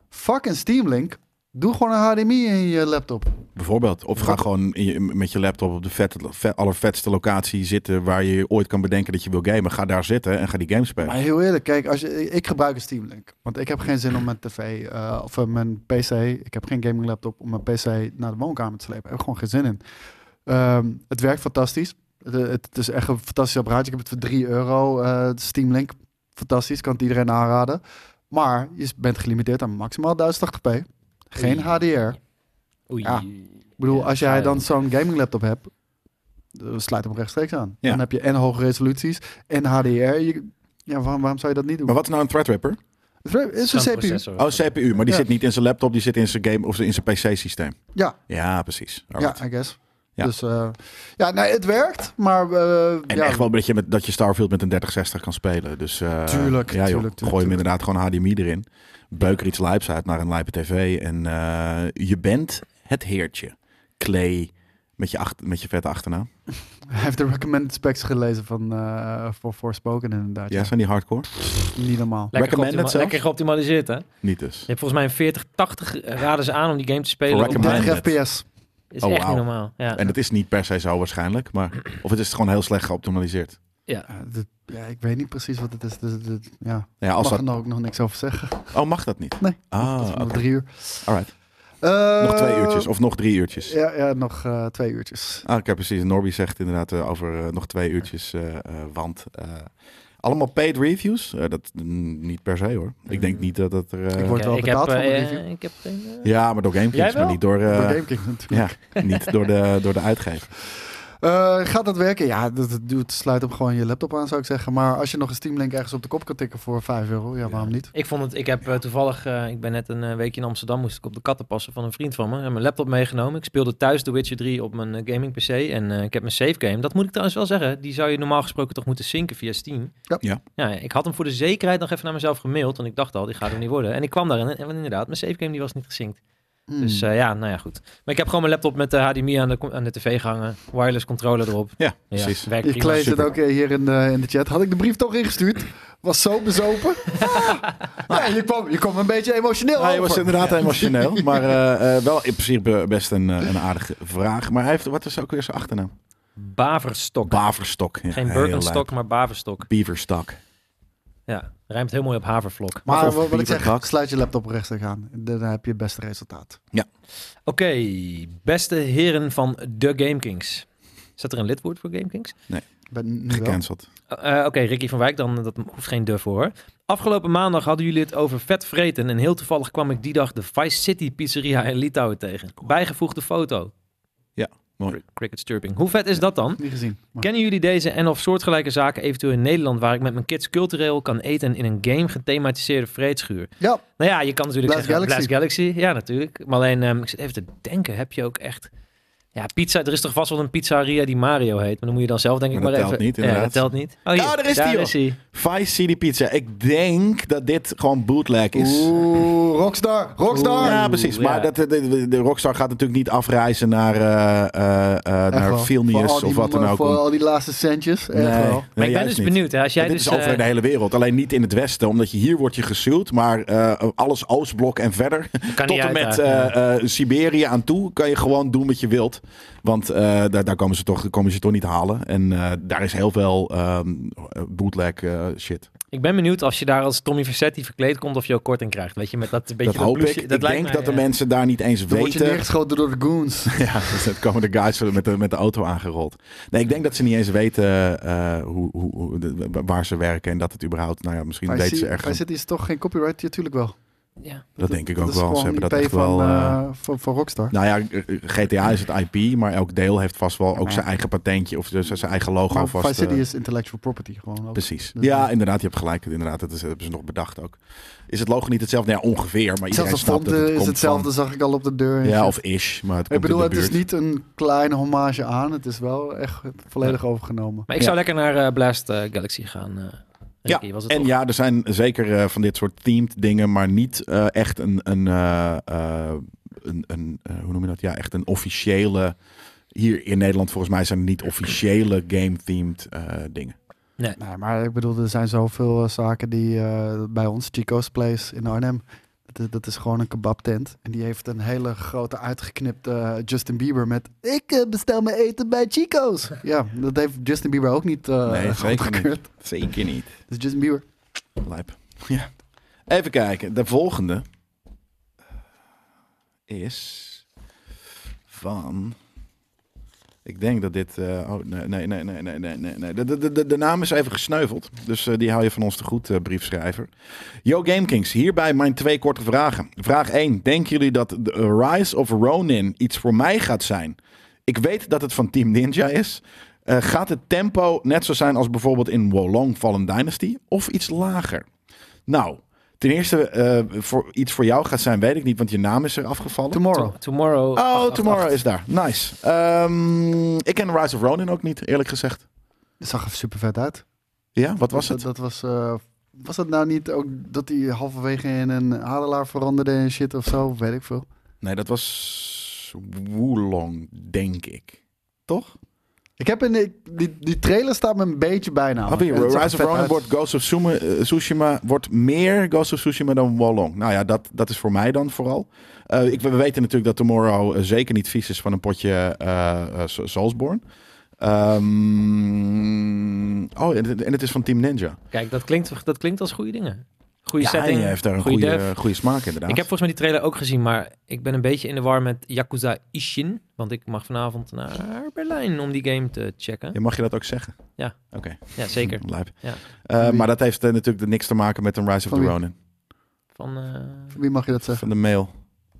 Speaker 3: fucking Steam Link, doe gewoon een HDMI in je laptop.
Speaker 1: Bijvoorbeeld. Of ga gewoon in je- met je laptop op de vette, ve- allervetste locatie zitten waar je ooit kan bedenken dat je wil gamen. Ga daar zitten en ga die game spelen.
Speaker 3: Maar heel eerlijk, kijk, als je, ik gebruik een Steam Link. Want ik heb geen zin om mijn tv eh, of eh, mijn PC. Ik heb geen gaming laptop om mijn PC naar de woonkamer te slepen. Ik heb er gewoon geen zin in. Ehm, het werkt fantastisch. Het, het, het is echt een fantastisch apparaat. Ik heb het voor 3 euro. eh, de Steam Link, fantastisch. Kan het iedereen aanraden. Maar je bent gelimiteerd aan maximaal 1080p. Geen
Speaker 2: Oei.
Speaker 3: HDR.
Speaker 2: Oei.
Speaker 3: Ja. Ik bedoel,
Speaker 2: Ja,
Speaker 3: als jij
Speaker 2: ja.
Speaker 3: dan zo'n gaming laptop hebt, eh, sluit hem rechtstreeks aan.
Speaker 1: Ja.
Speaker 3: Dan heb je en hoge resoluties en HDR. Je- ja, waarom, waarom zou je dat niet doen?
Speaker 1: Maar wat is nou een Threadripper?
Speaker 3: Het is
Speaker 2: Zo'n
Speaker 3: een CPU.
Speaker 2: processor.
Speaker 1: Oh, CPU. Maar die
Speaker 3: Ja.
Speaker 1: zit niet in zijn laptop, die zit in zijn game of in zijn PC-systeem.
Speaker 3: Ja,
Speaker 1: Ja, precies. Alright.
Speaker 3: ja, I guess.
Speaker 1: Ja.
Speaker 3: Dus eh, ja, nee, het werkt, maar eh,
Speaker 1: En
Speaker 3: ja,
Speaker 1: echt wel een beetje met, dat je Starfield met een 3060 kan spelen. Dus, eh,
Speaker 3: Tuurlijk,
Speaker 1: ja, joh.
Speaker 3: tuurlijk, tuurlijk,
Speaker 1: Gooi hem
Speaker 3: tuurlijk.
Speaker 1: inderdaad gewoon HDMI erin. Beuk er iets lijps uit naar een lijpe tv. En eh, je bent het heertje. Clay met je, achter, met je vette achternaam.
Speaker 3: hij heeft de recommended specs gelezen van eh voor Forspoken inderdaad.
Speaker 1: Ja,
Speaker 3: Ja.
Speaker 1: zijn die hardcore?
Speaker 3: Niet normaal.
Speaker 1: recommended
Speaker 2: Lekker, geoptima-
Speaker 1: zelfs?
Speaker 2: lekker geoptimaliseerd, hè? Je
Speaker 1: Niet dus.
Speaker 2: hebt volgens mij een 40, 80 eh, raden ze aan om die game te spelen.
Speaker 1: Recommended.
Speaker 2: Op-
Speaker 3: 30 fps.
Speaker 2: Is
Speaker 1: Oh,
Speaker 2: echt niet
Speaker 1: wauw.
Speaker 2: normaal. Ja.
Speaker 1: En dat is niet per se zo waarschijnlijk. Maar, of het is gewoon heel slecht geoptimaliseerd.
Speaker 3: Eh, dit- ja, ik weet niet precies wat het is. Dus, dit- ja.
Speaker 1: Ja, als
Speaker 3: Mag
Speaker 1: dat...
Speaker 3: er nou ook nog niks over zeggen.
Speaker 1: Oh, mag dat niet?
Speaker 3: Nee.
Speaker 1: Ah,
Speaker 3: dat is nog
Speaker 1: oké.
Speaker 3: drie uur.
Speaker 1: Alright.
Speaker 3: Eh,
Speaker 1: Nog twee uurtjes of nog drie uurtjes.
Speaker 3: Ja, ja nog eh, twee uurtjes.
Speaker 1: Ah, ik heb precies. Norby zegt inderdaad eh, over eh, nog twee uurtjes. eh, eh, want eh, allemaal paid reviews? Eh, dat mm, niet per se hoor. Ik denk niet dat dat er. eh,
Speaker 3: Ik word- wel betaald
Speaker 2: heb,
Speaker 3: voor mijn
Speaker 2: eh,
Speaker 3: review.
Speaker 2: ik heb, eh,
Speaker 1: Ja, maar door
Speaker 2: Jij
Speaker 1: GameKings,
Speaker 2: wel?
Speaker 1: maar niet door, eh,
Speaker 3: Voor GameKings natuurlijk.
Speaker 1: ja, niet door de, door de uitgever.
Speaker 3: Eh, gaat dat werken? Ja, dat, dat doet, sluit hem gewoon je laptop aan, zou ik zeggen. Maar als je nog een Steam Link ergens op de kop kan tikken voor 5 euro, ja, waarom niet?
Speaker 2: Ik vond het, ik heb eh, toevallig, eh, ik ben net een eh, weekje in Amsterdam, moest ik op de katten passen van een vriend van me. Ik heb mijn laptop meegenomen. Ik speelde thuis The Witcher 3 op mijn eh, gaming PC en eh, ik heb mijn save game. Dat moet ik trouwens wel zeggen, die zou je normaal gesproken toch moeten zinken via Steam.
Speaker 3: Ja.
Speaker 1: Ja.
Speaker 2: ja. Ik had hem voor de zekerheid nog even naar mezelf gemaild, want ik dacht al, die gaat hem niet worden. En ik kwam daar en, en inderdaad, mijn save game die was niet gezinkt.
Speaker 3: Hmm.
Speaker 2: Dus eh, ja, nou ja, goed. Maar ik heb gewoon mijn laptop met de HDMI aan de, aan de tv gehangen, wireless controller erop.
Speaker 1: Ja,
Speaker 2: Ja,
Speaker 1: precies.
Speaker 2: werkt
Speaker 3: Ik
Speaker 2: prima.
Speaker 3: kleed het
Speaker 1: Super.
Speaker 3: ook eh, hier in de, in de chat. Had ik de brief toch ingestuurd? Was zo bezopen. ja, je, kwam, je kwam een beetje emotioneel
Speaker 1: Hij
Speaker 3: over.
Speaker 1: was inderdaad emotioneel, maar eh, eh, wel in principe best een, eh, een aardige vraag. Maar hij heeft, wat is ook weer zijn achternaam?
Speaker 2: Baverstok.
Speaker 1: Baverstok. Ja,
Speaker 2: Geen
Speaker 1: heel lijp.
Speaker 2: Birkenstock, maar Baverstok.
Speaker 1: Beaverstok.
Speaker 2: Ja, rijmt heel mooi op havervlok.
Speaker 3: Maar
Speaker 1: Of
Speaker 3: wat, wat ik zeg,
Speaker 1: bieberkak.
Speaker 3: sluit je laptop rechtstreeks aan. Dan heb je het beste resultaat.
Speaker 2: Oké, beste heren van de GameKings. Zat er een lidwoord voor GameKings?
Speaker 3: Ik Ben nu wel.
Speaker 1: Gecanceld.
Speaker 2: Eh, eh, Oké, Ricky van Wijk, dan, eh, dat hoeft geen de voor. hoor. Afgelopen maandag hadden jullie het over vet vreten. En heel toevallig kwam ik die dag de Vice City pizzeria in Litouwen tegen. Bijgevoegde foto.
Speaker 1: Ja, mooi.
Speaker 2: Cri- Cricket chirping. Hoe vet is dat dan?
Speaker 3: Niet gezien. Maar-
Speaker 2: Kennen jullie deze en of soortgelijke zaken eventueel in Nederland... waar ik met mijn kids cultureel kan eten in een game gethematiseerde vreedschuur?
Speaker 3: Ja,
Speaker 2: Nou ja, je kan natuurlijk
Speaker 3: Blast
Speaker 2: zeggen
Speaker 3: Galaxy.
Speaker 2: Blast Galaxy. Ja, natuurlijk. Maar alleen, ehm, ik zit even te denken, heb je ook echt... Ja, pizza, er is toch vast wel een pizzeria die Mario heet. Maar dan moet je dan zelf denk ik
Speaker 1: Maar dat
Speaker 2: maar even...
Speaker 1: telt niet,
Speaker 2: ja,
Speaker 1: inderdaad.
Speaker 2: dat telt niet. Oh,
Speaker 1: Daar, daar is die, joh.
Speaker 2: hij.
Speaker 1: Vice City Pizza. Ik denk dat dit gewoon bootleg is.
Speaker 3: oeh, Rockstar, Rockstar.
Speaker 1: Ja, precies.
Speaker 2: Oeh, ja.
Speaker 1: Maar dat, de, de, de Rockstar gaat natuurlijk niet afreizen naar, eh eh eh
Speaker 3: Echt
Speaker 1: naar
Speaker 3: wel. Voor al
Speaker 1: Vilnius
Speaker 3: die-
Speaker 1: of wat dan ook.
Speaker 3: Voor
Speaker 1: om-
Speaker 3: al die laatste centjes. Echt wel.
Speaker 2: Maar ik ben
Speaker 1: juist
Speaker 2: dus
Speaker 1: niet.
Speaker 2: benieuwd. Hè, als jij
Speaker 1: dit
Speaker 2: dus...
Speaker 1: is over
Speaker 2: eh,
Speaker 1: de hele wereld. Alleen niet in het westen, omdat je hier wordt je gesuwd. Maar eh, alles Oostblok en verder,
Speaker 2: kan
Speaker 1: tot
Speaker 2: niet
Speaker 1: en met
Speaker 2: uit, ja.
Speaker 1: eh, eh, Siberië aan toe, kan je gewoon doen wat je wilt. Want eh, daar, daar komen, ze toch, komen ze toch niet halen. En eh, daar is heel veel ehm, bootleg eh, shit.
Speaker 2: Ik ben benieuwd als je daar als Tommy Vercetti verkleed komt... of je ook korting krijgt. Weet je, met dat een beetje...
Speaker 1: dat hoop
Speaker 2: blouseje.
Speaker 1: ik.
Speaker 2: Dat
Speaker 1: ik
Speaker 2: lijkt
Speaker 1: denk
Speaker 2: mij,
Speaker 1: dat de
Speaker 2: eh,
Speaker 1: mensen daar niet eens
Speaker 3: Dan word je
Speaker 1: weten
Speaker 3: neergeschoten door de goons.
Speaker 1: Ja, dus dan komen de guys met de, met de auto aangerold. Nee, ik denk dat ze niet eens weten eh, hoe, hoe, hoe- de- waar ze werken en dat het überhaupt, nou ja, misschien
Speaker 3: Maar
Speaker 1: weten
Speaker 3: zie-
Speaker 1: ze
Speaker 3: maar
Speaker 1: ergens.
Speaker 3: zit is toch geen copyright? Ja, tuurlijk wel.
Speaker 2: eh, Ja.
Speaker 1: Dat denk ik ook
Speaker 3: is
Speaker 1: wel. Ze
Speaker 3: gewoon
Speaker 1: hebben dat
Speaker 3: IP
Speaker 1: echt wel...
Speaker 3: van,
Speaker 1: eh,
Speaker 3: eh, van, van Rockstar.
Speaker 1: Nou ja, GTA is het IP, maar elk deel heeft vast wel ook
Speaker 3: maar-
Speaker 1: zijn eigen patentje of z- z- zijn eigen logo
Speaker 3: maar
Speaker 1: vast.
Speaker 3: Vice City
Speaker 1: eh,
Speaker 3: is intellectual property gewoon ook.
Speaker 1: Precies.
Speaker 3: Dus-
Speaker 1: Ja, inderdaad, je hebt gelijk. Inderdaad, dat, is, dat hebben ze nog bedacht ook. Is het logo niet hetzelfde? Nou Ja, ongeveer, maar iedereen
Speaker 3: Zelfs de
Speaker 1: snapt
Speaker 3: font
Speaker 1: dat het
Speaker 3: eh, is
Speaker 1: komt
Speaker 3: hetzelfde, zag ik al op de deur.
Speaker 1: van- ja, of ish, maar het komt
Speaker 3: ik bedoel,
Speaker 1: in
Speaker 3: het
Speaker 1: de
Speaker 3: is
Speaker 1: buurt.
Speaker 3: niet een kleine hommage aan. Het is wel echt volledig overgenomen.
Speaker 2: Maar ik zou lekker naar eh, Blast eh, Galaxy gaan. eh, Ricky, was het
Speaker 1: En
Speaker 2: toch?
Speaker 1: ja, er zijn zeker eh, van dit soort themed dingen, maar niet eh, echt een, een, eh, eh, een, een eh, hoe noem je dat? Ja, echt een officiële. Hier in Nederland volgens mij zijn er niet officiële game-themed eh, dingen.
Speaker 3: Nee, maar ik bedoel, er zijn zoveel eh, zaken die eh, bij ons, Chico's Place in Arnhem. Dat is, dat is gewoon een kebabtent. En die heeft een hele grote uitgeknipte eh, Justin Bieber met... Ik eh, bestel mijn eten bij Chico's. ja, dat heeft Justin Bieber ook niet eh
Speaker 1: Nee, zeker niet.
Speaker 3: goedgekeurd.
Speaker 1: Zeker niet.
Speaker 3: Dus Justin Bieber.
Speaker 1: Lijp. Ja. Even kijken. De volgende is van. Ik denk dat dit. eh, oh, nee, nee, nee, nee, nee, nee, nee, nee. De, de, de, de naam is even gesneuveld. Dus eh, die hou je van ons te goed, eh, briefschrijver. Yo Gamekings, hierbij mijn twee korte vragen. Vraag 1. Denken jullie dat de Rise of Ronin iets voor mij gaat zijn? Ik weet dat het van Team Ninja is. Eh, gaat het tempo net zo zijn als bijvoorbeeld in Wolong Fallen Dynasty? Of iets lager? Nou, ten eerste, eh, voor, iets voor jou gaat zijn, weet ik niet, want je naam is er afgevallen.
Speaker 3: Tomorrow.
Speaker 2: To- tomorrow.
Speaker 1: Oh,
Speaker 2: 888.
Speaker 1: Tomorrow is daar. Nice. Ehm, ik ken Rise of Ronin ook niet, eerlijk gezegd.
Speaker 3: Dat zag er super vet uit.
Speaker 1: Ja, wat was
Speaker 3: dat,
Speaker 1: het?
Speaker 3: Dat was... eh, was dat nou niet ook dat hij halverwege in een adelaar veranderde en shit of zo? Weet ik veel.
Speaker 1: Nee, dat was Wulong, denk ik. Toch?
Speaker 3: Ik heb in die, die, die trailer staat me een beetje bijna.
Speaker 1: Heb je Rise of Ronin wordt Ghost of Tsuma- eh, Tsushima wordt meer Ghost of Tsushima dan Wolong. Nou ja, dat, dat is voor mij dan vooral. Eh, ik, we weten natuurlijk dat Tomorrow eh, zeker niet vies is van een potje eh eh, Sa- Soulsborne. Ehm, oh, en, het- en het is van Team Ninja.
Speaker 2: Kijk, dat klinkt, dat klinkt als goede dingen. Goede
Speaker 1: Ja,
Speaker 2: setting.
Speaker 1: hij heeft daar een
Speaker 2: goede
Speaker 1: goede,
Speaker 2: dev.
Speaker 1: goede, smaak inderdaad.
Speaker 2: Ik heb volgens mij die trailer ook gezien, maar ik ben een beetje in de war met Yakuza Ishin. Want ik mag vanavond naar Berlijn om die game te checken.
Speaker 1: Ja, mag je dat ook zeggen?
Speaker 2: Ja.
Speaker 1: Oké.
Speaker 2: Ja, zeker.
Speaker 1: Lijp.
Speaker 2: Ja.
Speaker 1: Eh,
Speaker 3: Wie?
Speaker 1: maar dat heeft eh, natuurlijk niks te maken met een Rise of
Speaker 3: Van
Speaker 1: the
Speaker 3: wie?
Speaker 1: Ronin.
Speaker 2: Van, eh,
Speaker 3: Wie mag je dat Oh, zeggen?
Speaker 1: Van de mail.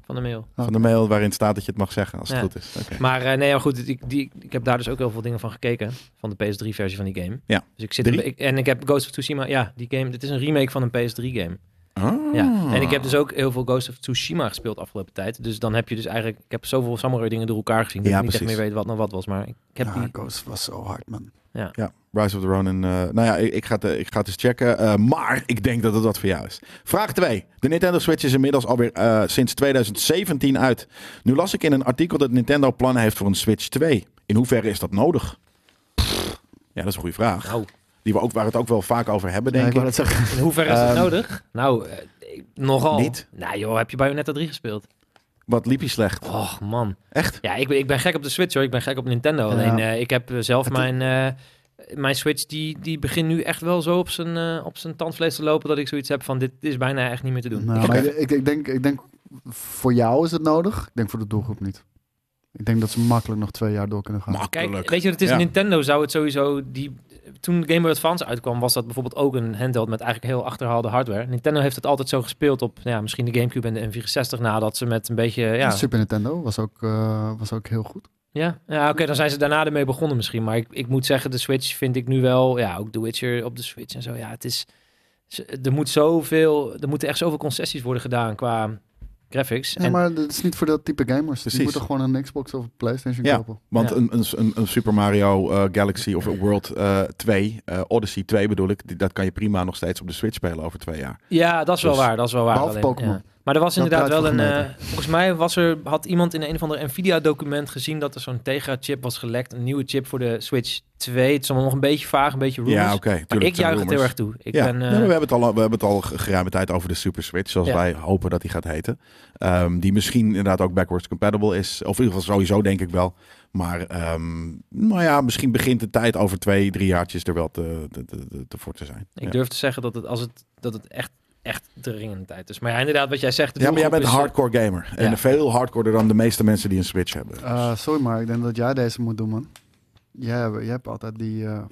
Speaker 2: van de mail.
Speaker 1: Van de mail waarin staat dat je het mag zeggen als het
Speaker 2: Ja.
Speaker 1: goed is. Oké.
Speaker 2: Maar eh, nee, maar goed, ik, die, ik heb daar dus ook heel veel dingen van gekeken. Van de PS3-versie van die game.
Speaker 1: Ja.
Speaker 2: Dus ik zit
Speaker 1: Drie?
Speaker 2: ik- en ik heb Ghost of Tsushima. Ja, die game. Dit is een remake van een PS3-game.
Speaker 1: Ah.
Speaker 2: Ja. En ik heb dus ook heel veel Ghost of Tsushima gespeeld afgelopen tijd. Dus dan heb je dus eigenlijk. Ik heb zoveel samurai-dingen door elkaar gezien. Dat
Speaker 1: Ja,
Speaker 2: ik niet echt
Speaker 1: precies.
Speaker 2: meer weet wat nou wat was. Maar ik heb
Speaker 3: Ja,
Speaker 2: die.
Speaker 3: Ghost was zo hard, man.
Speaker 1: Ja, Rise of the Ronin. eh, nou ja, ik, ik ga het, eh, ik ga het eens checken. eh, maar ik denk dat het wat voor jou is. Vraag 2. De Nintendo Switch is inmiddels alweer eh, sinds 2017 uit. Nu las ik in een artikel dat Nintendo plannen heeft voor een Switch 2. In hoeverre is dat nodig? Ja, dat is een goede vraag.
Speaker 2: Nou,
Speaker 1: Die we ook, waar we het ook wel vaak over hebben, denk
Speaker 3: Ja,
Speaker 1: ik.
Speaker 3: wou dat zeggen.
Speaker 2: in hoeverre is het
Speaker 1: Ehm,
Speaker 2: nodig? Nou, eh, ik- nogal.
Speaker 1: Niet.
Speaker 2: Nou joh, heb je Bayonetta 3 gespeeld?
Speaker 1: Wat liep je slecht?
Speaker 2: Och man.
Speaker 1: Echt?
Speaker 2: Ja, ik ben, ik ben gek op de Switch hoor. Ik ben gek op Nintendo.
Speaker 3: Ja.
Speaker 2: Alleen eh, ik heb eh, zelf
Speaker 3: Het-
Speaker 2: mijn, eh, mijn Switch, die, die begint nu echt wel zo op zijn, eh, op zijn tandvlees te lopen dat ik zoiets heb van dit is bijna echt niet meer te doen.
Speaker 3: Nou,
Speaker 2: Ik-
Speaker 3: maar ik, ik denk, ik denk, voor jou is het nodig. Ik denk voor de doelgroep niet. Ik denk dat ze makkelijk nog twee jaar door kunnen gaan.
Speaker 2: Kijk,
Speaker 1: Makkelijk.
Speaker 2: weet je wat het is?
Speaker 1: Ja. Nintendo.
Speaker 2: Nintendo zou het sowieso... Die, toen Game Boy Advance uitkwam, was dat bijvoorbeeld ook een handheld met eigenlijk heel achterhaalde hardware. Nintendo heeft het altijd zo gespeeld op nou ja, misschien de Gamecube en de N64 nadat ze met een beetje... Ja,
Speaker 3: Super Nintendo was ook, eh, was ook heel goed.
Speaker 2: Ja, ja oké, dan zijn ze daarna ermee begonnen misschien. Maar ik, ik moet zeggen, de Switch vind ik nu wel... Ja, ook The Witcher op de Switch en zo. Ja, het is... ze- Er, moet zoveel, er moeten echt zoveel concessies worden gedaan qua graphics.
Speaker 3: Ja,
Speaker 2: en,
Speaker 3: maar dat is niet voor dat type gamers.
Speaker 1: Precies.
Speaker 3: Die moeten gewoon een Xbox of een PlayStation
Speaker 1: Ja.
Speaker 3: kopen.
Speaker 1: Want
Speaker 2: Ja.
Speaker 1: een, een, een, een Super Mario eh, Galaxy of World eh 2, eh, Odyssey 2 bedoel ik, die- dat kan je prima nog steeds op de Switch spelen over twee jaar.
Speaker 2: ja, dat is wel
Speaker 1: Dus,
Speaker 2: waar. Dat is wel waar.
Speaker 3: behalve
Speaker 2: alleen,
Speaker 3: Pokémon.
Speaker 2: ja. Maar er was
Speaker 3: Dat
Speaker 2: inderdaad
Speaker 3: draait
Speaker 2: wel een...
Speaker 3: voor
Speaker 2: eh, volgens mij was er, had iemand in een of ander Nvidia-document gezien... dat er zo'n Tegra-chip was gelekt. Een nieuwe chip voor de Switch 2. Het is allemaal nog een beetje vaag, een beetje rumors.
Speaker 1: Ja, oké.
Speaker 2: maar
Speaker 1: tuurlijk,
Speaker 2: ik juich het
Speaker 1: rumors.
Speaker 2: heel erg toe. Ik
Speaker 1: ja,
Speaker 2: ben,
Speaker 1: nee,
Speaker 2: eh,
Speaker 1: maar we hebben het al, we hebben het al ge- geruime tijd over de Super Switch, zoals
Speaker 2: Ja.
Speaker 1: wij hopen dat die gaat heten. Ehm, die misschien inderdaad ook backwards compatible is, of in ieder geval sowieso denk ik wel. Maar ehm, nou ja, misschien begint de tijd over twee, drie jaartjes er wel te, te, te, te- te voor te zijn.
Speaker 2: Ik
Speaker 1: ja.
Speaker 2: durf te zeggen dat het, als het, dat het echt, echt dringende tijd is. Maar ja, inderdaad, wat jij zegt. de
Speaker 1: Ja, maar jij
Speaker 2: doelgroep
Speaker 1: bent een
Speaker 2: is-
Speaker 1: hardcore gamer. En
Speaker 2: Ja.
Speaker 1: veel hardcorder dan de meeste mensen die een Switch hebben.
Speaker 3: Eh, sorry, maar ik denk dat jij deze moet doen, man. Jij, hebt- jij hebt altijd die... eh,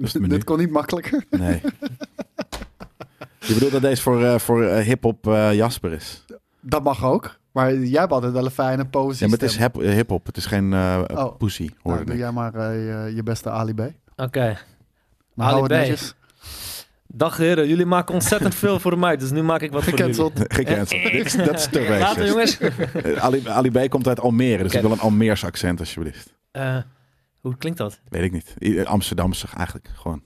Speaker 1: Dus het menu.
Speaker 3: dit kon niet makkelijker.
Speaker 1: Nee. Je bedoelt dat deze voor, eh, voor eh, hip-hop eh, Jasper is.
Speaker 3: Dat mag ook. Maar jij hebt altijd wel een fijne pose.
Speaker 1: Ja, maar het is hip- eh, hip-hop. Het is geen eh
Speaker 3: Oh.
Speaker 1: pussy,
Speaker 3: Nou,
Speaker 1: hoorde
Speaker 3: doe
Speaker 1: ik.
Speaker 3: jij maar eh, je- je beste Ali B.
Speaker 2: Oké.
Speaker 3: Maar
Speaker 2: Ali
Speaker 3: hou het
Speaker 2: B.
Speaker 3: netjes.
Speaker 2: Dag heren, jullie maken ontzettend veel voor mij, dus nu maak ik wat voor jullie.
Speaker 3: Gecanceld.
Speaker 1: Gecanceld. Dit is- Dat is te
Speaker 2: Later
Speaker 1: racist.
Speaker 2: jongens.
Speaker 1: Eh, Ali, Ali B komt uit Almere, dus
Speaker 2: Oké.
Speaker 1: ik wil een Almeers accent alsjeblieft.
Speaker 2: Eh, hoe klinkt dat?
Speaker 1: Weet ik niet. I- eh, Amsterdamse eigenlijk, gewoon.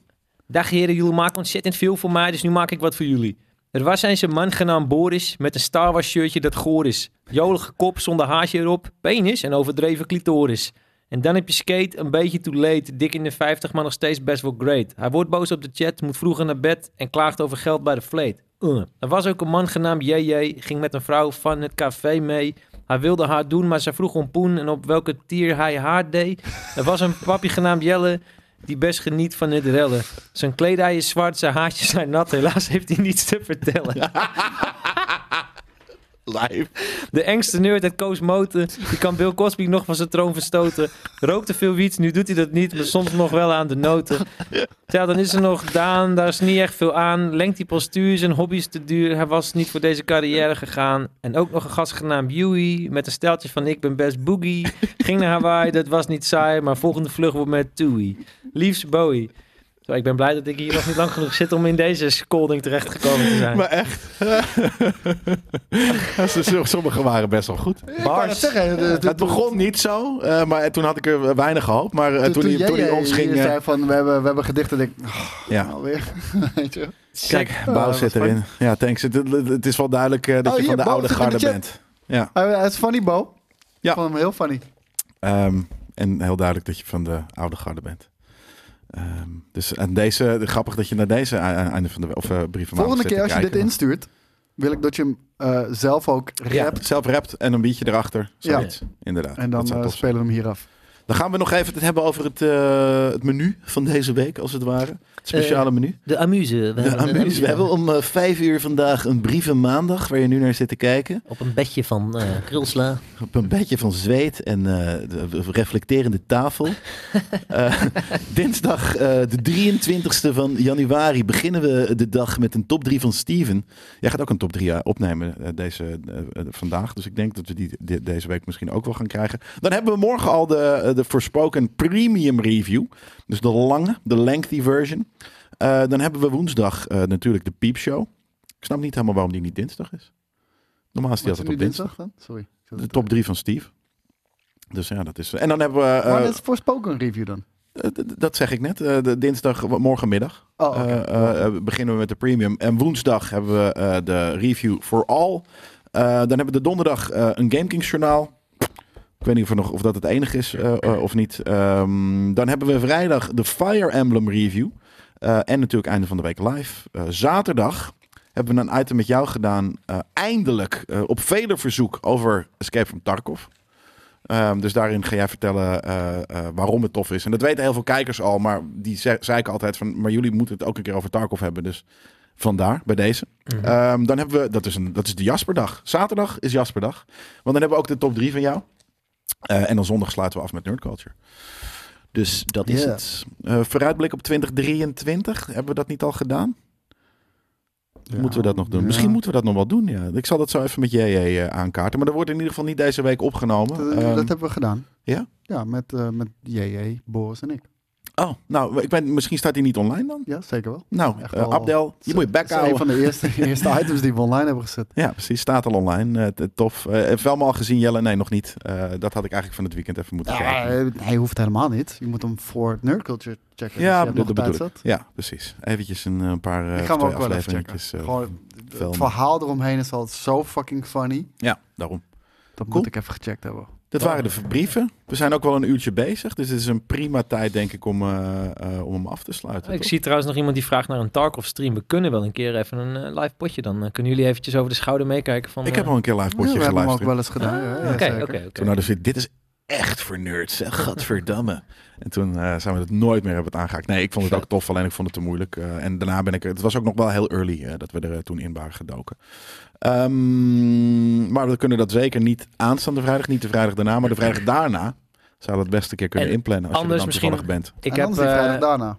Speaker 2: Dag heren, jullie maken ontzettend veel voor mij, dus nu maak ik wat voor jullie. Er was eens een man genaamd Boris met een Star Wars shirtje dat goor is. Jolige kop zonder haasje erop, penis en overdreven clitoris. En dan heb je skate, een beetje too late, dik in de 50, maar nog steeds best wel great. Hij wordt boos op de chat, moet vroeger naar bed en klaagt over geld bij de fleet. Uh. Er was ook een man genaamd JJ, ging met een vrouw van het café mee. Hij wilde haar doen, maar zij vroeg om poen en op welke tier hij haar deed. Er was een papje genaamd Jelle, die best geniet van het rellen. Zijn kledij is zwart, zijn haartjes zijn nat. Helaas heeft hij niets te vertellen.
Speaker 1: Live.
Speaker 2: De engste nerd uit Koos Moten. Die kan Bill Cosby nog van zijn troon verstoten. Rookte veel wiet, nu doet hij dat niet. Maar soms nog wel aan de noten. Ja, dan is er nog Daan. Daar is niet echt veel aan. Lengt die postuur, zijn hobby is te duur. Hij was niet voor deze carrière gegaan. En ook nog een gast genaamd Yui. Met een steltje van ik ben best boogie. Ging naar Hawaii, dat was niet saai. Maar volgende vlucht wordt met Tui. Liefst Bowie. Zo, ik ben blij dat ik hier nog niet lang genoeg zit om in deze scolding terechtgekomen te zijn.
Speaker 1: Maar echt. Ja, ze- Sommige waren best wel goed.
Speaker 3: Ik wou net zeggen, eh, toen-
Speaker 1: Het begon niet zo, eh, maar eh, toen had ik er weinig gehoopt. Maar eh,
Speaker 3: toen-
Speaker 1: toen,
Speaker 3: jij
Speaker 1: hij, toen hij
Speaker 3: eh,
Speaker 1: ons ging...
Speaker 3: hier
Speaker 1: eh,
Speaker 3: zei van, we hebben, we hebben gedichten. Denk, ik,
Speaker 1: ja.
Speaker 3: alweer. Weet je.
Speaker 1: Kijk,
Speaker 3: Oh,
Speaker 1: Bouw
Speaker 3: dat
Speaker 1: zit
Speaker 3: was
Speaker 1: erin. Ja, thanks. Het, het- het is wel duidelijk eh, dat
Speaker 3: Oh,
Speaker 1: je
Speaker 3: hier,
Speaker 1: van de
Speaker 3: Bouw
Speaker 1: oude
Speaker 3: zit in de
Speaker 1: garde
Speaker 3: chat.
Speaker 1: bent. Ja.
Speaker 3: Hij hij eh, is funny, Bo.
Speaker 1: Ja.
Speaker 3: Ik vond hem heel funny.
Speaker 1: Ehm, en heel duidelijk dat je van de oude garde bent. Ehm, dus aan deze, grappig dat je naar deze aan- aan- einde van de of, eh brieven
Speaker 3: Volgende keer als je dit instuurt, wil ik dat je hem eh, zelf ook rapt.
Speaker 1: Ja, zelf rapt en een biertje erachter. Zoiets. Inderdaad.
Speaker 3: En
Speaker 1: dat
Speaker 3: dan
Speaker 1: zou
Speaker 3: eh,
Speaker 1: tof zijn.
Speaker 3: spelen we hem hier af.
Speaker 1: dan gaan we nog even het hebben over het, eh, het menu van deze week, als het ware. Het
Speaker 3: Eh,
Speaker 1: speciale menu.
Speaker 2: De amuse.
Speaker 1: De amuse. We hebben om eh, vijf uur vandaag een brieven maandag, waar je nu naar zit te kijken.
Speaker 2: Op een bedje van eh krulsla.
Speaker 1: Op een bedje van zweet en eh, de reflecterende tafel. Eh, dinsdag, eh, de 23ste van januari, beginnen we de dag met een top 3 van Steven. Jij gaat ook een top 3 opnemen eh, deze, eh, eh, vandaag. Dus ik denk dat we die de- deze week misschien ook wel gaan krijgen. Dan hebben we morgen al de, eh, de Forspoken Premium Review. Dus de lange, de lengthy version. Eh, dan hebben we woensdag eh, natuurlijk de Piepshow. Ik snap niet helemaal waarom die niet dinsdag is. Normaal is die
Speaker 3: Wat
Speaker 1: altijd
Speaker 3: is nu
Speaker 1: op dinsdag.
Speaker 3: dinsdag dan? Sorry. Ik zat
Speaker 1: De
Speaker 3: het-
Speaker 1: top 3 van Steve. Dus ja, dat is. En dan hebben we. eh,
Speaker 3: Maar dat is voor spoken review dan.
Speaker 1: eh, d- d- dat zeg ik net. eh, de dinsdag, w- morgenmiddag.
Speaker 3: Oh, oké.
Speaker 1: eh, eh, eh, beginnen we met de premium. En woensdag hebben we eh, de review voor al. Eh, dan hebben we de donderdag eh, een GameKings journaal. Ik weet niet of, er nog, of dat het enige is eh, eh, of niet. Ehm, dan hebben we vrijdag de Fire Emblem review. Eh, en natuurlijk einde van de week live. Eh, zaterdag hebben we een item met jou gedaan. eh, eindelijk, eh, op vele verzoek, over Escape from Tarkov. Ehm, dus daarin ga jij vertellen eh, eh, waarom het tof is. En dat weten heel veel kijkers al, maar die ze- zeiken altijd van... maar jullie moeten het ook een keer over Tarkov hebben, dus vandaar bij deze. Ehm, dan hebben we, dat is, een, dat is de Jasperdag. Zaterdag is Jasperdag, want dan hebben we ook de top 3 van jou. Eh, en dan zondag sluiten we af met Nerd Culture. Dus dat is
Speaker 3: Ja.
Speaker 1: het. Eh, vooruitblik op 2023, hebben we dat niet al gedaan? Moeten we dat nog doen?
Speaker 3: Ja.
Speaker 1: Misschien moeten we dat nog wel doen, ja. Ik zal dat zo even met JJ eh, aankaarten. Maar dat wordt in ieder geval niet deze week opgenomen.
Speaker 3: Dat,
Speaker 1: Ehm,
Speaker 3: dat hebben we gedaan.
Speaker 1: ja?
Speaker 3: Ja, met, eh, met JJ, Boris en ik.
Speaker 1: Oh, nou, ik ben, misschien staat hij niet online dan?
Speaker 3: Ja, zeker wel.
Speaker 1: Nou,
Speaker 3: Echt
Speaker 1: eh,
Speaker 3: wel.
Speaker 1: Abdel, je moet je
Speaker 3: Dat
Speaker 1: bek
Speaker 3: is een
Speaker 1: houden.
Speaker 3: van de eerste, eerste items die we online hebben gezet.
Speaker 1: Ja, precies. Staat al online. Eh, t- tof. Eh heeft Velma al gezien, Jelle? Nee, nog niet. Eh, dat had ik eigenlijk van het weekend even moeten
Speaker 3: Ja,
Speaker 1: kijken.
Speaker 3: eh, hij hoeft helemaal niet. Je moet hem voor Nerd Culture checken.
Speaker 1: Ja,
Speaker 3: dus je hebt
Speaker 1: dat
Speaker 3: nog
Speaker 1: bedoel
Speaker 3: tijd zat.
Speaker 1: Ja, precies. Eventjes een, eh, paar eh,
Speaker 3: Ik ga hem
Speaker 1: twee
Speaker 3: ook wel even checken.
Speaker 1: afleveringetjes, eh,
Speaker 3: Gewoon,
Speaker 1: film.
Speaker 3: het verhaal eromheen is altijd zo fucking funny.
Speaker 1: ja, daarom.
Speaker 3: Dat
Speaker 1: Cool.
Speaker 3: moet ik even gecheckt hebben.
Speaker 1: Dat waren de brieven. We zijn ook wel een uurtje bezig. Dus het is een prima tijd, denk ik, om, eh, eh, om hem af te sluiten.
Speaker 2: Ik
Speaker 1: toch?
Speaker 2: zie trouwens nog iemand die vraagt naar een Tarkov stream. We kunnen wel een keer even een eh, live potje dan. eh, kunnen jullie eventjes over de schouder meekijken van...
Speaker 1: ik heb
Speaker 2: eh,
Speaker 1: al een keer live
Speaker 3: Ja, we
Speaker 1: potje
Speaker 3: hebben hem ook
Speaker 1: geluisterd.
Speaker 3: wel eens gedaan. ja, ja,
Speaker 2: Ah, Oké,
Speaker 3: zeker.
Speaker 2: oké, oké.
Speaker 1: Toen hadden ze dit is echt voor nerds, zeg. Gadverdamme. En toen eh, zijn we het nooit meer hebben het aangehaakt. Nee, ik vond het ook tof, alleen ik vond het te moeilijk. Eh, en daarna ben ik... Het was ook nog wel heel early eh, dat we er eh, toen in waren gedoken. Ehm, maar we kunnen dat zeker niet aanstaande vrijdag. Niet de vrijdag daarna, maar de vrijdag daarna... Zou dat best een keer kunnen
Speaker 2: En
Speaker 1: inplannen als je er
Speaker 2: anders
Speaker 1: dan
Speaker 2: misschien-
Speaker 1: toevallig bent.
Speaker 2: Ik
Speaker 3: en
Speaker 2: heb,
Speaker 3: anders die vrijdag
Speaker 2: eh,
Speaker 3: daarna.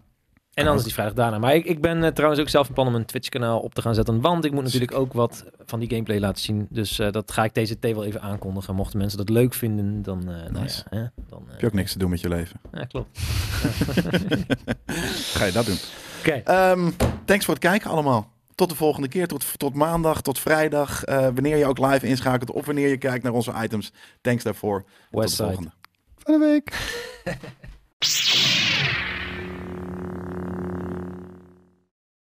Speaker 2: En anders die vrijdag daarna. Maar ik, ik ben eh, trouwens ook zelf van plan om een Twitch-kanaal op te gaan zetten. Want ik moet natuurlijk ook wat van die gameplay laten zien. Dus eh, dat ga ik TCT wel even aankondigen. Mochten mensen dat leuk vinden, dan... eh, nou
Speaker 1: Nice.
Speaker 2: ja, hè, dan eh,
Speaker 1: Heb je ook niks te doen met je leven?
Speaker 2: ja, klopt.
Speaker 1: Ga je dat doen?
Speaker 2: Oké.
Speaker 1: Ehm, thanks voor het kijken allemaal. Tot de volgende keer, tot, tot maandag, tot vrijdag. Eh, wanneer je ook live inschakelt of wanneer je kijkt naar onze items. Thanks daarvoor. Tot de
Speaker 2: Westside.
Speaker 1: volgende.
Speaker 3: Fijne week.